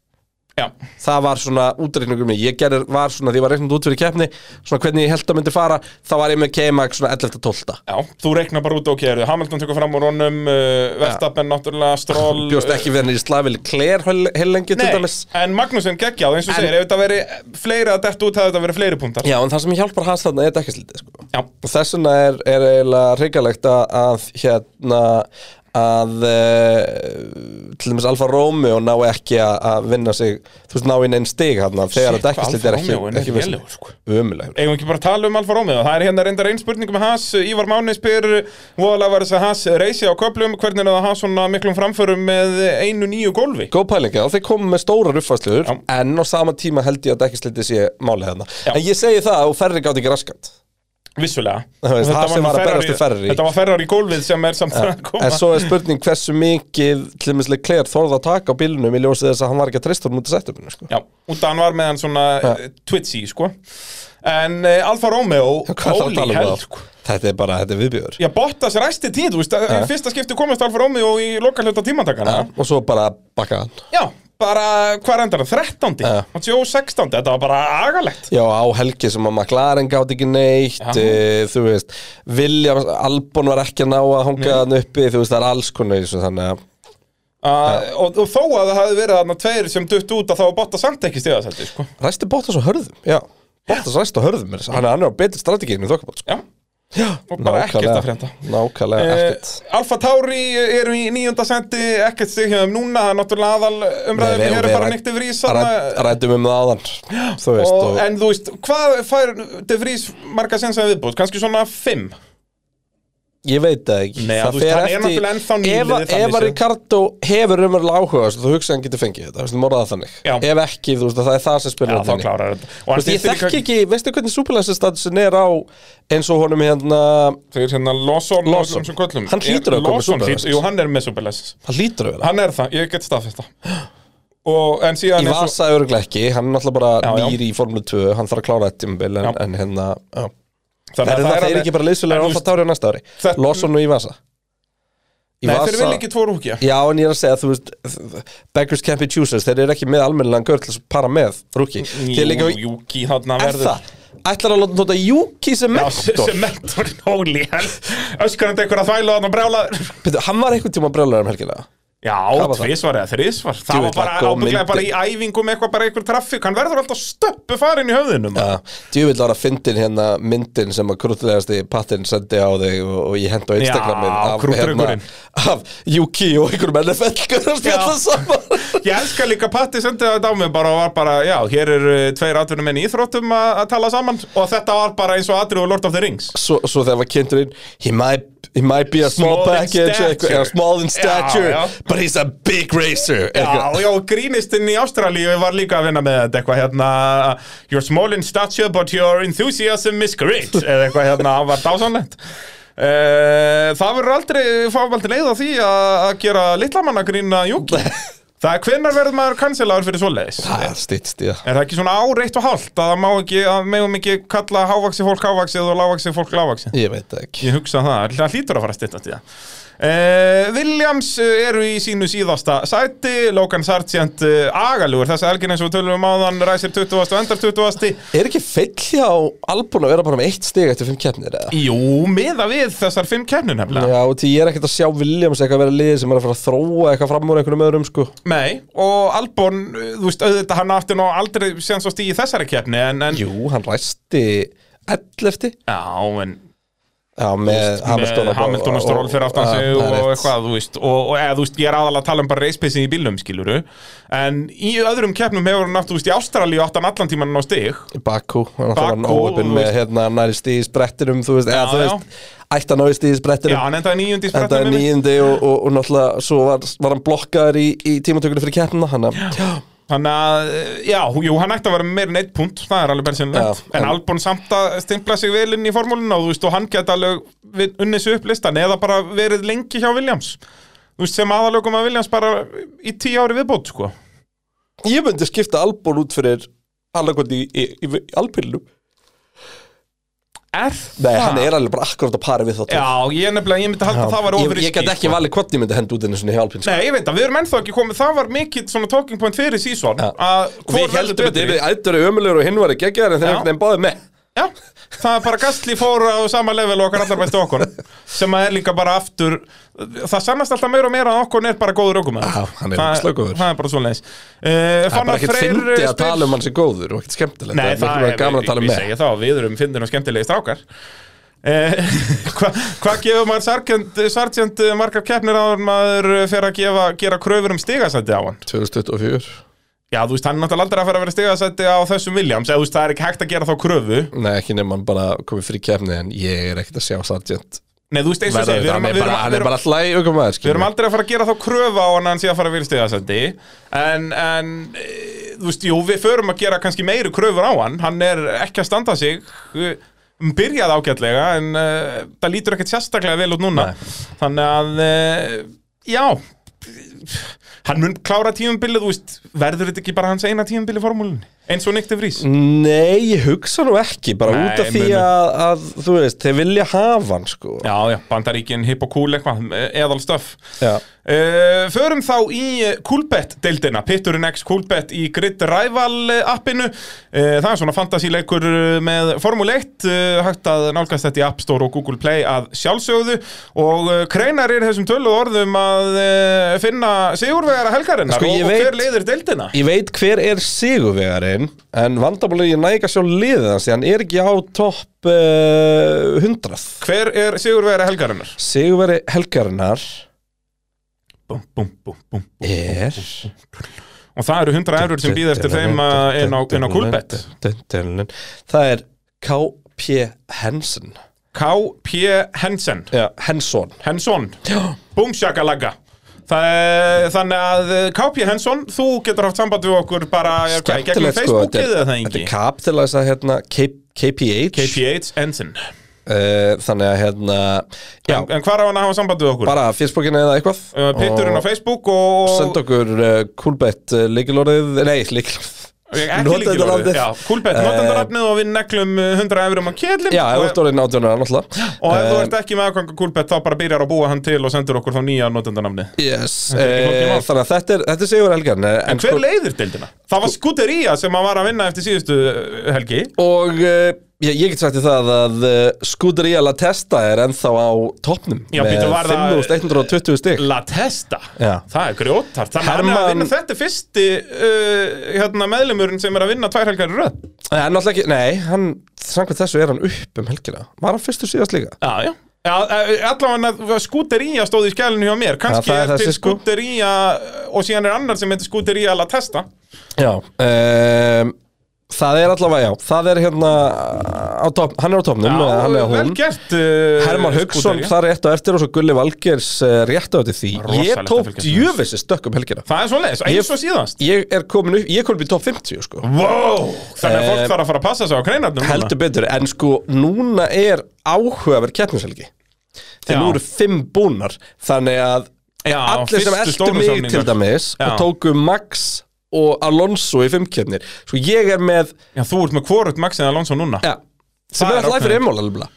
já,
það var svona útreikningum mér ég gerði var svona, því ég var reiknandi út fyrir keppni svona hvernig ég held að myndi fara þá var ég með K-Mag svona 11.12
já, þú reikna bara út ok, eru Hamilton tökur fram úr honum uh, Verstappen náttúrulega, Stroll
bjóst ekki við henni í slavil Claire heilengi til
Nei,
dæmis
en Magnússon geggjáð eins og
En-
segir, ef þetta veri fleiri að detta út hafði þetta verið fleiri punktar
já en það sem hjálpar hans þarna er dekkaslítið sko.
Já.
og þess vegna er, er eiginlega hrigalegt að, að hérna að e, til dæmis Alfa Romeo ná ekki að, að vinna sig þú veist ná inn einn stig hérna þegar
Shit,
að dekkaslítið er
Alfa
ekki,
Romeo er
ekki
lélegur, sko.
umulegur
Eigum ekki bara að tala um Alfa Romeo Það er hérna reyndar einn spurning með Haas Ívar Máni spyr Voðalega var þess að Haas reysi á köplum Hvernig er það að Haas svona miklum framförum Með einu nýju gólfi
Góð pælinga, þeir komum með stórar uppfæsluður
Já.
en á sama tíma held ég að dekkislitið sé málið hérna.
Já.
En ég segi það og ferri gátt ekki raskat.
vissulega
Þú veist,
Þetta
það sem
nú
var að
Ferrari-
berjast við Ferrari.
Þetta var Ferrari í gólfið sem er samt að koma
En svo er spurning hversu mikið til dæmis Leclerc þorði að taka á bílunum í ljósið þess að hann var ekki að treysta hún út að setja bílunum sko.
Já, út að hann var með hann svona
Ja.
ja. twitchy, sko En uh, Alfa Romeo,
Hvað er það
holy
að tala
hell,
um
sko
það? Þetta er bara, þetta er viðbjör
Já, Bottas ræsti tíð, þú veist, ja. fyrsta skipti komast Alfa Romeo í lokalhjóta tímantakana
Og svo bara bakka hann
Já, bara, hvað endar það? 13.
Ja.
Ja. 16. Þetta var bara agalegt
Já, á helgi sem að McLaren gátt ekki neitt e, Þú veist, Williams, Albon var ekki að ná að hanga hann uppi Þú veist, það er alls konar í þessu þannig að
Uh, og, og þó að það hafi verið þarna tveir sem dutt út að þá var Bottas samt ekki stiða þetta, sko
Ræsti Bottas á hörðum, já Bottas ræsti á hörðum, er, hann, er- hann er á betri strategíinu í þokkabótt sko.
Já, og bara ekkert að frétta
Nákvæmlega
Uh,
ekkert
Alfa Tauri eru í nýjönda sendi ekkert stig hjá þeim núna, það er náttúrulega aðal umræðum
Nei,
hér
við
er bara
rædd-
neitt yfir ísa
rædd- Ræddum um það áðan Þú veist,
og,
og,
en þú veist, hvað fær De Vries marga sensa viðbútt? Kannski svona 5
ég veit það ekki
Nei,
Það
þú veist,
fer
hann er náttúrulega ennþá nýliði
Ef,
þannig
ef að
séð.
Ricardo hefur umverulega áhuga á þessu, Þú hugsa að hann getur fengið þetta, þú veist, morða það þannig
Já.
Ef ekki, þú veist, að það er það sem
Já,
spyrir
þá klárar þetta Og
Þú
hann
veist, ég
þyrfti
þekki ekki, veistu hvernig superlæsistatusin er á eins og honum hérna
Þeir hérna Lawson og
Lawson.
þessum sem köllum
Hann hlýtur að koma
Lawson
með superlicense.
hlýtur- Jú, hann er með superlicense
hann lítur að vera
Hann er það, ég get staðfesta Og en síðan
í
eins og-
vasa öruglega ekki, hann er náttúrulega bara
Já, já.
nýr í Formule 2, hann þarf að klára þetta tímabil en,
Já.
en hérna, já
þannig að
er það, það er
alveg-
ekki bara
En
liðsfélagur
þú
Alfa
veist,
Tauri á næsta ári
Þetta-
Lawson og í vasa í
Nei, þeir vil ekki tvo rúkja
já, en ég er að segja, þú veist beggars can't be choosers, þeir eru ekki með almennilegan gaur til að para með rúki þeir eru líka,
Júki, þarna
er
verður
það ætlar að láta nota Juki sem
Já,
mentor
sem mentor Holy hell Öskarandi einhver að þvæla þarna brjálaður
Bíddu, hann var einhvern tíma brjólar um helgina
Já,
var það?
tvísvar eða þrísvar Það var
Djúvill var
bara
góð
ábygglega
mynd.
bara í æfingum eitthvað bara einhver traffík Hann verður alltaf stöppu farin í höfðinu maður.
Djúvill var að fyndin hérna myndin sem að krútlegasti pattinn sendi á þig og, og ég henda á Instagramið
Já,
af, hérna
krúttleggurinn.
af Yuki og einhverjum NFL-gur að spjalla saman
Ég elska líka Patti sendið þetta á mig bara og var bara, já, hér eru eh, tveir atvinnum í íþróttum að að tala saman og þetta var bara eins og atrið og Lord of the Rings
Svo, svo þegar var kynntur inn He might, he might be a small,
Small in
package eitthvað,
stature.
eða small in
Já,
stature
já.
but he's a big racer
Já, já, og grínistinn í Ástralíu var líka að vinna með þetta eitthvað hérna You're small in stature but your enthusiasm is great eða eitthvað hérna, hann var dásanlegt uh, Það verður aldrei fávaldi leið á því að að gera litlamanna grína júki Það er hvenær verður maður kanselaður fyrir svoleiðis?
Það er stýttst í það
Er það ekki svona áreitt og hálft að það má ekki, að megum ekki kalla hávaxi fólk hávaxið og lávaxi fólk lávaxið?
Ég veit það ekki
Ég hugsa um það, það hlýtur að fara að stytta til það. Uh, Williams eh, eru í sínu síðasta sæti, Logan Sargent uh, agalugur, þess að helgin eins og við tölum um áðan ræsir 20. og endar 20.
Er ekki feill hjá Albon að vera bara með eitt stig eftir fimm keppnir eða?
Jú, miða við þessar fimm kefnir nefnilega.
Já, og því ég er ekkert að sjá Williams eitthvað vera liðið sem er að fara að þróa eitthvað fram úr einhvernum öðrum sko
Nei, og Albon, eh, þú veist, auðvitað hann aftur nú aldrei séðan svo stíð í þessari kefni, en, en
Jú, hann ræsti 11.
já, en
Já, með Hamilton Ah,
með Hamilton og Stroll fyrir aftan sig og,
og eitthvað
eitthvað, þú veist og, og eða, þú veist, ég er aðalega að tala um bara reispacing í bílnum, skiluru en í öðrum keppnum hefur hann aftur, þú veist, í Ástralíu átt hann allan tíman á stig
Í Bakú, hann var hann
Bakú,
óöpinn
þú
með
veist.
hérna næri stíði sprettinum, þú veist, eða
Já,
þú
já.
veist ætti hann á stíði
Já,
sprettinum
hann endaði nýjundi í
en það er
sprettinum minni.
nýjandi og, og, og náttúrulega svo var, var hann blokkaður í, í tímatökunni fyrir keppnina hann að,
Þannig að, eh, já, jú, hann ætti að vera meir en eitt punkt, það er alveg bensinlegt
Já,
En
en-
Albon samt að stimpla sig vel inn í formúluna og þú veist, og hann geta alveg vin- unnið sig upp listan eða bara verið lengi hjá Williams Þú veist, sem aðalögum að Williams bara í tíu ári viðbót, sko
ég myndi skipta Albon út fyrir allakvöld í, í, í, í alpilnum
Er
Nei, hann er alveg bara akkurat að pari við þá tvo.
Já, ég nefnilega, ég myndi halda að það var
ég,
ofur sko.
ég get ekki valið hvort ég myndi henda út einu sinni hjá sko. alpin
Nei, ég veit að við erum ennþá ekki komið, það var mikill svona talking point fyrir sísón
Ja.
að hvort
Við
verður
heldum
betri
þetta, ættur er ömulegur og hinn var ekki en þeir
Já.
einhvern veginn báði með
Já, það er bara Gastli fór á sama level og okkar allar bæstu okkur sem að er líka bara aftur það sannast alltaf meira og meira að okkur er bara góður okkur með
Já, hann er ógeðslega góður.
Það er bara svona leis uh,
Það er bara ekkert fyndi að tala um hann sem góður og ekkert skemmtilegt
Nei,
það er miklu meira gaman að tala um
við
með
segja þá, við erum fyndin og skemmtilegi strákar Eh, <laughs> Hvað hva gefur maður sargent, sargent eh, margar keppnir áður en maður fer að gefa, gera kröfur um stigasætti á hann?
2024
Já, þú veist, hann er náttúrulega aldrei að fara að vera stigasætti á þessum Williams, eða þú veist, það er ekki hægt að gera þá kröfu
Nei, ekki nefnum hann bara komið frí kefni en ég er ekkert að sjá Sargent
Nei, þú veist, eins og
verða
segir, við
þetta,
erum,
hann er
við erum,
bara, hann
við
er
erum,
bara hlæg og komað
við erum aldrei að fara að gera þá kröfu á hann að hann sé að fara að vera stigasætti en, en, e, þú veist, jú, við förum að gera kannski meiri kröfur á hann, hann er ekki að standa sig Eh, byrjaði ágætlega en uh, það lítur ekkert sérstaklega vel út núna þannig að uh, já hann mun klára tímabilið þú veist, verður þetta ekki bara hans eina tímabilið formúlun eins og Nick de Vries
Nei, ég hugsa nú ekki, bara
Nei,
út af því
munu.
að, að, þú veist, þeir vilja hafa hann, sko.
já, já, bandaríkin, hipp og cool eitthvað eðal stöf
Já.
Uh, förum þá í Coolbet-deildina, Pitturinn X Coolbet í Grid Rival eh, appinu uh, Það er svona fantasíleikur eh, með Formule 1 uh, Hægt að nálgast þetta í App Store og Google Play að sjálfsögðu Og uh, kreinar er þessum töluð orðum að uh, finna sigurvegara helgarinnar
Sko,
og,
ég
og hver
veit-
leiðir deildina
Ég veit hver er sigurvegarinn, en vandabólið ég næg að sjá liðið hans, því hann er ekki á topp uh, 100.
Hver er sigurvegara helgarinnar?
Sigurveri helgarinnar
Bum, bum, bum, bum.
er...
Og það eru 100 eurur sem býða eftir þeim að- inn á, inn á Coolbet
Það er K.P. Henson.
K.P. Hensen
Já, Henson.
Henson Búmsjakalagga Þannig að eh, KP Henson Þú getur haft samband við okkur bara er hvað, í gegnum
Skemmtilegt, sko,
Facebookið eða það
þetta er- þetta
engi
er kapitælæsa hérna K- KPH
KPH Henson en,
Eh, Þannig að hérna Já,
en hvað á hann að hafa samband við okkur?
bara Facebookin eða eitthvað
Uh, Pitturinn á
Og
Facebook og
Senda okkur uh, Coolbet uh, líkilorðið Nei, líkilorðið
Ekki
Notendalafnið.
líkilegurðið Kúlbett,
Eh,
notendarafnið og við neglum eh, 100 eurum á kjellin
Já, ef þú ert
og,
orðin átjónara náttúrulega
<gasps> og ef þú
Eh,
ert ekki með aðganga kúlbett þá bara byrjar að búa hann til og sendur okkur þá nýja notendanafni
<gasps> Yes,
er ekki flókið
eh,
mál.
þannig að þetta er, þetta er Sigur Helgan En, sko-
En hver leiðir deildina? Það var Skutería sem hann var að vinna eftir síðustu eh, helgi
Og uh, ég, ég get sagt í það að uh, Scuderia La Testa er ennþá á toppnum
Já,
með
býttu, var það-
5.120 stig
La Testa,
Já.
það er grjótart Þannig Herman... að
Hermann-
vinna þetta er fyrsti uh, hérna, meðlumurinn sem er að vinna tvær helgar í röð
Nei, hann Eh, náttúrulega ekki, nei, hann, samkvæmt þessu er hann upp um helgina Var hann fyrstu síðast líka?
Já, já Já, eh, allavega skútería stóð í skælinu hjá mér kannski
Já, það er
er til
þessi, sko.
skútería og síðan er annar sem heitir skútería La Testa
Já um, Það er allavega, já, það er hérna á topp, hann er á toppnum eða hann er á
vel
hún
gert uh,
Herman Hauksson
Scuderia.
þar rétt á eftir og svo Gulli Valgers uh, rétt á eftir því
Rosalegt
Ég
að
tók
fylgjast með þessu.
djöfissi stökk um helgina
Það er svoleiðis,
Ég-
eins og síðast
Ég er komin upp, ég er komin upp í topp 50 sko
Wow, þannig að
Eh,
fólk þarf að fara að passa sig á kreinarnum núna.
Heldur betur, en sko núna er áhugaverð keppnishelgi Þegar
Já.
nú eru fimm búnar Þannig að
Já,
allir sem
fyrstu
eldu
stóru
mig
samningar.
til dæmis
Já.
og tóku Max og Alonso í fimmkeppnir Sko ég er með
Já, þú ert með hvorugt Maxin Alonso núna
ja, sem
Það
er
er
alltaf fyrir
ákveðin.
einmál alveg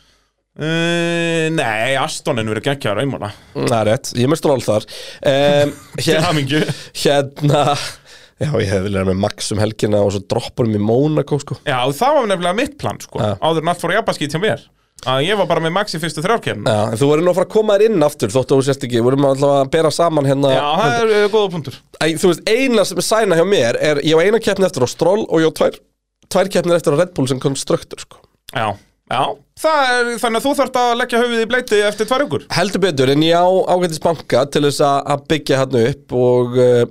Uh, Nei, Astonin verið geggjara einmála
Mm, Það er rétt, ég er með stról þar um,
Til hamingju
Hérna Já, ég hefði viljað vera með Max um helgina og svo droppurum í Monaco sko
Já, það var nefnilega mitt plan sko
Já.
Áður en allt fór í abbaskýt hjá mér að Ég var bara með Maxi fyrstu þrjárkefn Já,
Já, en þú verður nú að fara að koma þér inn aftur þótt að þú sérst ekki, við verðum alltaf að bera saman hérna
það er uh, góða punktur
Æ, þú veist, eina sem er sæna hjá mér er ég á eina keppni eftir á Stroll og ég á tvær, tvær keppnir eftir á Red Bull sem konstruktur sko.
Já, já það er, Þannig að þú þarft að leggja höfuð í bleiti eftir tvær ykkur
heldur betur en ég á ágættis banka til þess að að byggja hann upp og uh,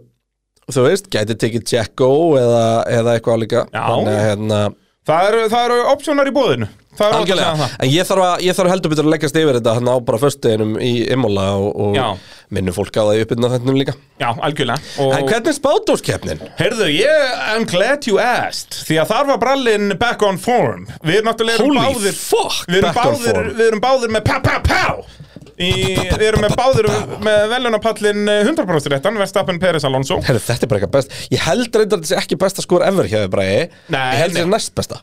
þú veist, gæti tekið Jacko eða, eða eitthvað líka
Já.
Þannig að, hérna,
Það eru, það eru opsjónar í bóðinu Það er alltaf að segja
algjörlega,
það
en ég þarf, að, ég þarf heldur betur að leggjast yfir þetta hann á bara föstuðinum í Imola og,
Já.
og minnum fólk á það í uppbyrna þennum líka
Já, algjörlega og...
En hvernig er spátdórskeppnin?
Heyrðu, ég, I'm glad you asked Því að þar var brallinn back on form Við erum náttúrulega erum
Holy
báðir
fuck,
við erum
back on
báðir,
form.
Við erum báðir með pow, pow, pow í, Við erum með báðir með velunapallin 100% réttan Verstappen Peres Alonso
Herru, þetta er bara eitthvað best Ég held reyndar að þetta sé ekki besta skor ever hjá þér Bragi
Nei,
Ég held
nei.
þetta er næst besta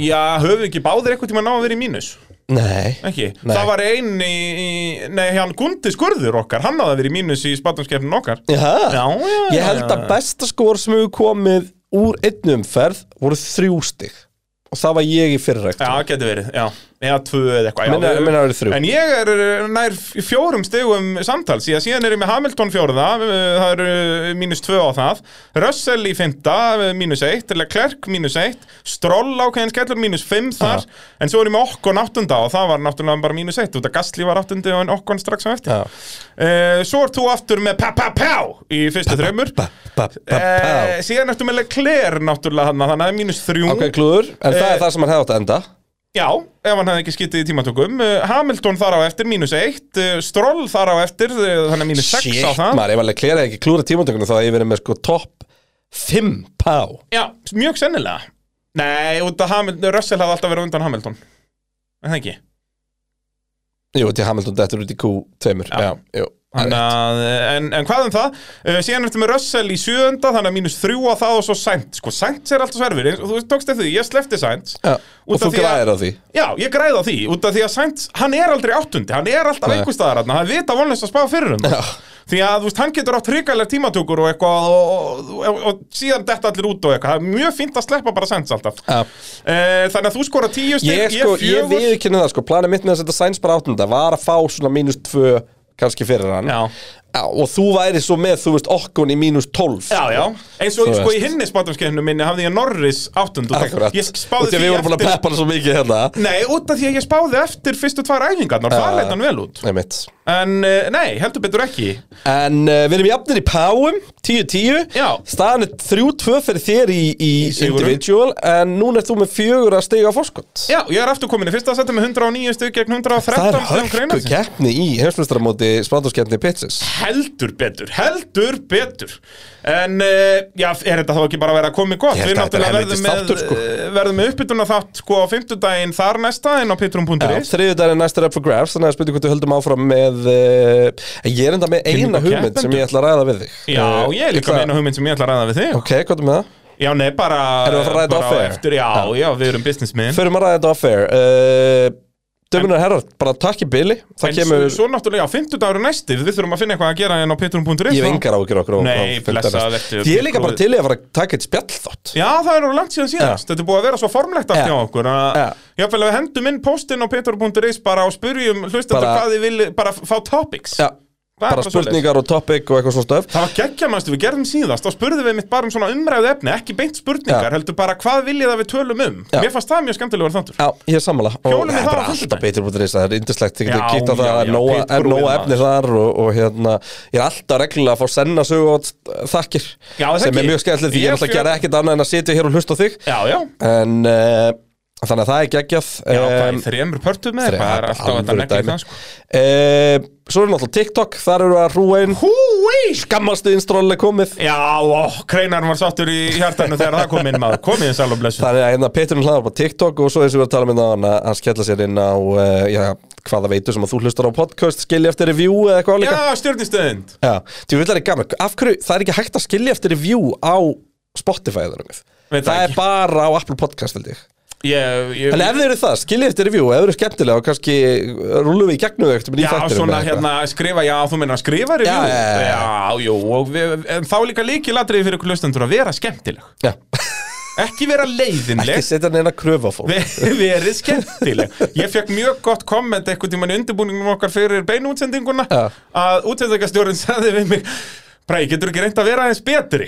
Já, höfum við ekki báðir eitthvað tíma að ná að vera í mínus
Nei
Ekki,
Nei.
það var einn í, í Nei, hann Gundi skurður okkar Hann náði að vera í mínus í spátumskeppnin okkar
Já,
Já, já,
Ég held
já,
að
já.
besta skor sem hefur komið úr einn umferð voru þrjú stig og það var ég í fyrra
Já,
ja.
getur verið, já Eða tvö eða eitthvað já,
Minna-
við-
minna verið þrjú.
En ég er eh, nær f- fjórum stegum samtals Ég síðan er ég með Hamilton fjórða eh, Það eru eh, mínus tvö á það Russell í fymta, eh, mínus eitt Leclerc, mínus eitt Stroll ákveðin skellur, mínus fimm þar En svo er ég með Okkon áttunda og það var náttúrulega bara mínus eitt Út að Gastli var áttundi og en Okkon strax á eftir
Já.
uh, Svo ert þú aftur með Pa-pa-pá í fyrstu þreymur
ba, ba, ba,
Eh, síðan ertu með Leclerc náttúrulega hann þannig að það er mínus þrjú
Ok, klúður, en það
Eh,
er það sem hann hefði átt að enda
Já, ef hann hefði ekki skitið í tímatökum Uh, Hamilton þar á eftir, mínus 1 Stroll þar á eftir, uh, þannig að mínus 6 á það
maður, ef alveg kleraði ekki klúra tímatökunum þá hefði ég verið með sko topp 5 pá
Já, mjög sennilega Nei, út að Hamilton, Russell hafði alltaf verið undan Hamilton en það ekki
Jú, til Hamilton dettur út í Q2 Já, jú
Þannig að, en, en hvað um það? Uh, síðan eftir með Russell í sjöunda, þannig að mínus þrjú á það og svo Sainz. Sko, Sainz er alltaf sverfir, eins og þú tókst eftir því, ég slefti Sainz.
Já, og
Út af
þú
því að-
græðir á því
Já, ég græði á því, út af því að Sainz, hann er aldrei áttundi, hann er alltaf
Nei.
einhver staðar hann, hann vita vonlust að spá fyrir um það. Því að, þú veist, hann getur átt hrikalega tímatökur og eitthvað og, og, og, og síðan detta allir út og eitthvað. Það er mjög fínt að sleppa bara Sainz alltaf.
Já.
Eh, þannig að þú skora tíu stig,
Ég, sko, ég
fjögur.
viðkynna það, sko, planið mitt með að setja Sainz bara áttunda var að fá svona mínus tvö kannski fyrir hann
Já.
Já, og þú væri svo með, þú veist, okkun í mínus 12
Já, já, eins og
Þú
sko í
veist.
hinni spátumskeinu minni hafði ég Norris áttund og
Akkurat,
ég
Út
spáði
af
því
við vorum búin að
eftir
peppa hann svo mikið hérna
Nei, út af því að ég spáði eftir fyrstu tvær æfingarnar, það leit hann vel út
Nei mitt
En eh, nei, heldur betur ekki
En uh, við erum jafnir í Páum, 10-10
Já.
Staðan er 3-2 fyrir þér í, í
sigurum.
individual En núna er þú með fjögur að stiga fórskott
Já, ég er aftur komin í fyrsta seti með 109 stug gegn 113
Það er
sem
hörku
Ukraina-
keppni í heimsmyndstarmóti spátumskeppni Pitsis
Heldur betur, heldur betur En, uh, já, er þetta þá ekki bara að vera að koma í gott?
Ég held
Við
að þetta
náttúrulega
er
verðum
helvitis
með,
þáttur, sko.
eh, verðum með uppbytuna þátt sko á fimmtudaginn þar næsta en á pitrum.is
Þriðjudaginn er næstur up for grabs Þannig að spytum hvað þú höldum áfram með uh, Ég er enda með
Kynningu
eina
á
hugmynd sem ég ætla að ræða við þig Eh,
Já, ég er líka
ætla-
með einu hugmynd sem ég ætla að ræða við þig
Ok, hvað er með það?
Já, nei, bara
Erum við að fara að ræða
bara
off
á
air?
eftir, já,
Já.
já, við erum businessmen
Förum að ræða þetta off air uh, Döminar herrar, bara takk í byli Það
En
kemur,
svo, svo náttúrulega, já, 50 dagur næsti Við þurfum að finna eitthvað að gera en á pitrum.is
ég hef
þá.
engar ágjur okkur á-
Nei,
á fimmtudaginn.
blessaður, vertu-
Ég er líka bara til í að fara að taka eitt spjall þátt
Já, það er langt síðan síðast Þetta er búið að vera svo formlegt
Já.
allt hjá okkur að-
Já.
Jafnvel að við hendum inn postin á pitrum.is bara og spurjum hlustendur
Bara-
hvað þið vilji bara f- fá topics
Já,
Það er
bara
svoleiðis.
spurningar og topic og eitthvað svona stöf
Það var geggja mannstu við gerðum síðast Þá spurðum við mitt bara um svona umræðu efni Ekki beint spurningar,
Já.
heldur bara hvað viljið að við tölum um
Já.
Mér fannst það mjög skemmtilegur þáttur
Já, ég er sammála og
Hjólum við
það er
það á
bara alltaf
fimmtudaginn?
beitir búin það er indislegt, þið getur
Já,
kýtt á
já,
það það er
já,
nóa- er
pitbrúin
nóa
maður.
efni þar og, og hérna, ég er alltaf reglulega að fá senna sögu og þakkir
Já, það
sem
ekki.
er mjög skemmtilegt því
Ég
ég er alltaf að
fjör-
gera ekkert annað en að sitja hér og hlusta á þig
Já, já,
en uh, þannig að það er geggjað
já um,
Em,
þrjumur pörtum með eitthvað Það er alltaf þetta
alvöru
nekkir
dæmi.
það sko
Eh, Svo er náttúrulega TikTok, þar eru að hrúa inn
Húi,
Skammastu innstróli komið
Já, ó, kreinar var sáttur í hjartanu þegar það kom inn maður, komið þið sæl og blessu
Þannig að hérna Peturinn hlaðar bara TikTok og svo eins og við erum að tala með hann að hann skella sér inn á uh, já, hvaða veitu sem að þú hlustar á podcast skilja eftir review eða eitthvað
Já,
líka
stjórnistöðind
Já, því við erum gaman Af hverju, það er ekki hægt að skilja eftir review á Spotify eða nokkuð
Veit það
Það er
ekki.
bara á Apple Podcast held ég
Ég, ég
En ef þið eru það, skilja eftir review, ef þið eru skemmtilega og kannski rúlum við í gegnum þau eftir
Já, svona hérna skrifa, já, þú meinar skrifa review
Já, já, já, já.
já, jú, og við, en þá er líka líkilatriði fyrir ykkur lustendur að vera skemmtileg
Já,
Ekki vera
<laughs>
leiðinleg
ekki setja neina kröfa á fólk
Ve- <laughs> verið skemmtileg ég fekk mjög gott komment eitthvað tíma í undirbúningum okkar fyrir beinútsendinguna
Já.
að útsendingastjórin sagði við mig Bræ, getur ekki reynd að vera aðeins
<laughs>
betri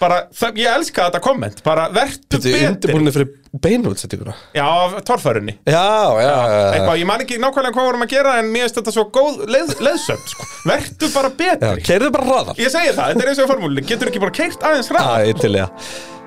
bara, það, ég elska þetta komment bara, vertu
Þetta er
betri
undirbúinni fyrir beinútsendinguna
já, af torfærunni
Já, já, já,
eitthvað, ég man ekki nákvæmlega hvað vorum að gera en mér finnst þetta svo góð leð, leðsöfn sko. vertu bara
já
betri
Keirðu bara raðar
ég segi það, þetta er eins og formúli getur ekki bara keirt aðeins ræða
Æ, til ég